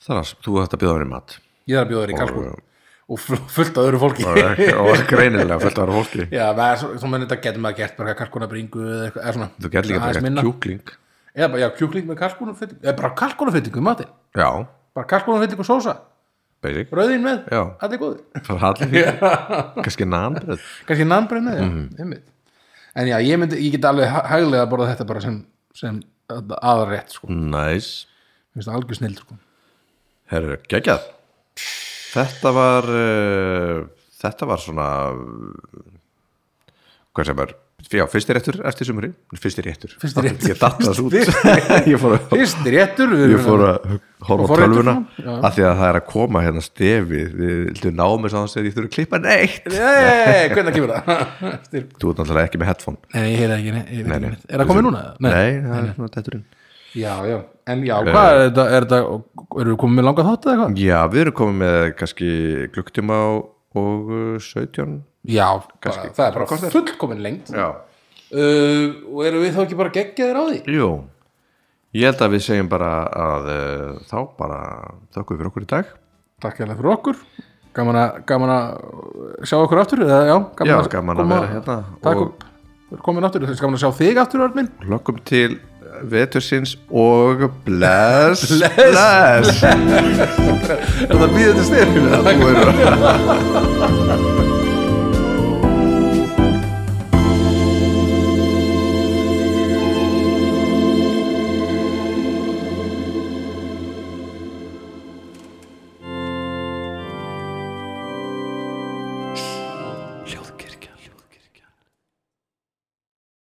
[SPEAKER 2] þarf að, Þú ætti að bjóða mér í mat
[SPEAKER 1] ég þarf að bjóða þér í kalkun og fu- fullt af öðru fólki
[SPEAKER 2] Og ekki- og greinilega fullt ára fólki
[SPEAKER 1] [laughs] já, maður- svo svo menn þetta getur maður gert bara kalkunabringu eða eitthvað eða svona
[SPEAKER 2] Þú gerð líka
[SPEAKER 1] Aðeins
[SPEAKER 2] bara
[SPEAKER 1] minna.
[SPEAKER 2] gert kjúkling
[SPEAKER 1] eða bara, já, kjúkling með kalkunafittingu eða bara kalkunafittingu í matinn
[SPEAKER 2] Já,
[SPEAKER 1] bara kalkunafittingu sósa,
[SPEAKER 2] basic
[SPEAKER 1] rauðin með
[SPEAKER 2] Já.
[SPEAKER 1] allir góður,
[SPEAKER 2] Það er allir fyrir Kannski nanbröð
[SPEAKER 1] kannski nambrið með já,
[SPEAKER 2] Mhm.
[SPEAKER 1] einmitt. en já, ég, myndi, ég get alveg ha- hæglega að borða þetta bara sem, sem aðrætt sko,
[SPEAKER 2] Mm. Næs
[SPEAKER 1] Mér finnst það algjör snill sko.
[SPEAKER 2] Herru, geggjað Þetta var uh, Þetta var svona Hvað sem er Já, fyrsti réttur eftir sumri Fyrsti réttur
[SPEAKER 1] Fyrsti réttur.
[SPEAKER 2] Ég datt það
[SPEAKER 1] Fyrsti-
[SPEAKER 2] út [laughs] Ég fór að
[SPEAKER 1] fyrst réttur við
[SPEAKER 2] ég
[SPEAKER 1] erum-
[SPEAKER 2] fór að
[SPEAKER 1] Og
[SPEAKER 2] horfa á
[SPEAKER 1] fór
[SPEAKER 2] tölvuna
[SPEAKER 1] réttur fram, já.
[SPEAKER 2] af því að það er að koma hérna stefið við viltum ná mér sáðan segir ég þurfi að klippa neitt
[SPEAKER 1] Nei, hvernig kemur það?
[SPEAKER 2] [laughs]
[SPEAKER 1] Eftir
[SPEAKER 2] þú ert náttúrulega ekki með headphone
[SPEAKER 1] Nei, ég heyrði ekki, nei, ég veit
[SPEAKER 2] Nei,
[SPEAKER 1] ekki
[SPEAKER 2] nei.
[SPEAKER 1] neitt. Er það komið núna?
[SPEAKER 2] nei, Eh. það er svona tetturinn
[SPEAKER 1] Já, já, en já, hvað er þetta, er þetta, eru við komið með langa þátt eða eitthvað?
[SPEAKER 2] já, við erum komið með kannski klukktíma og, og uh, 17
[SPEAKER 1] Já, bara, það er bara fullkomin lengt uh,
[SPEAKER 2] já,
[SPEAKER 1] og eru við þá ekki bara geggjaðir á því?
[SPEAKER 2] jú ég held að við segjum bara að uh, þá bara þökkum við fyrir okkur í dag
[SPEAKER 1] Takk hérlega fyrir okkur, gaman að, gaman að sjá okkur aftur, eða já, gaman,
[SPEAKER 2] Já, gaman að
[SPEAKER 1] koma-
[SPEAKER 2] vera hérna
[SPEAKER 1] Takk
[SPEAKER 2] og-
[SPEAKER 1] upp, við erum komin aftur, gaman að sjá þig aftur, Örn minn
[SPEAKER 2] hlokkum til uh, vetursins og bless
[SPEAKER 1] Bless,
[SPEAKER 2] bless. bless.
[SPEAKER 1] Er það býðið til styrfinu?
[SPEAKER 2] Þú eru-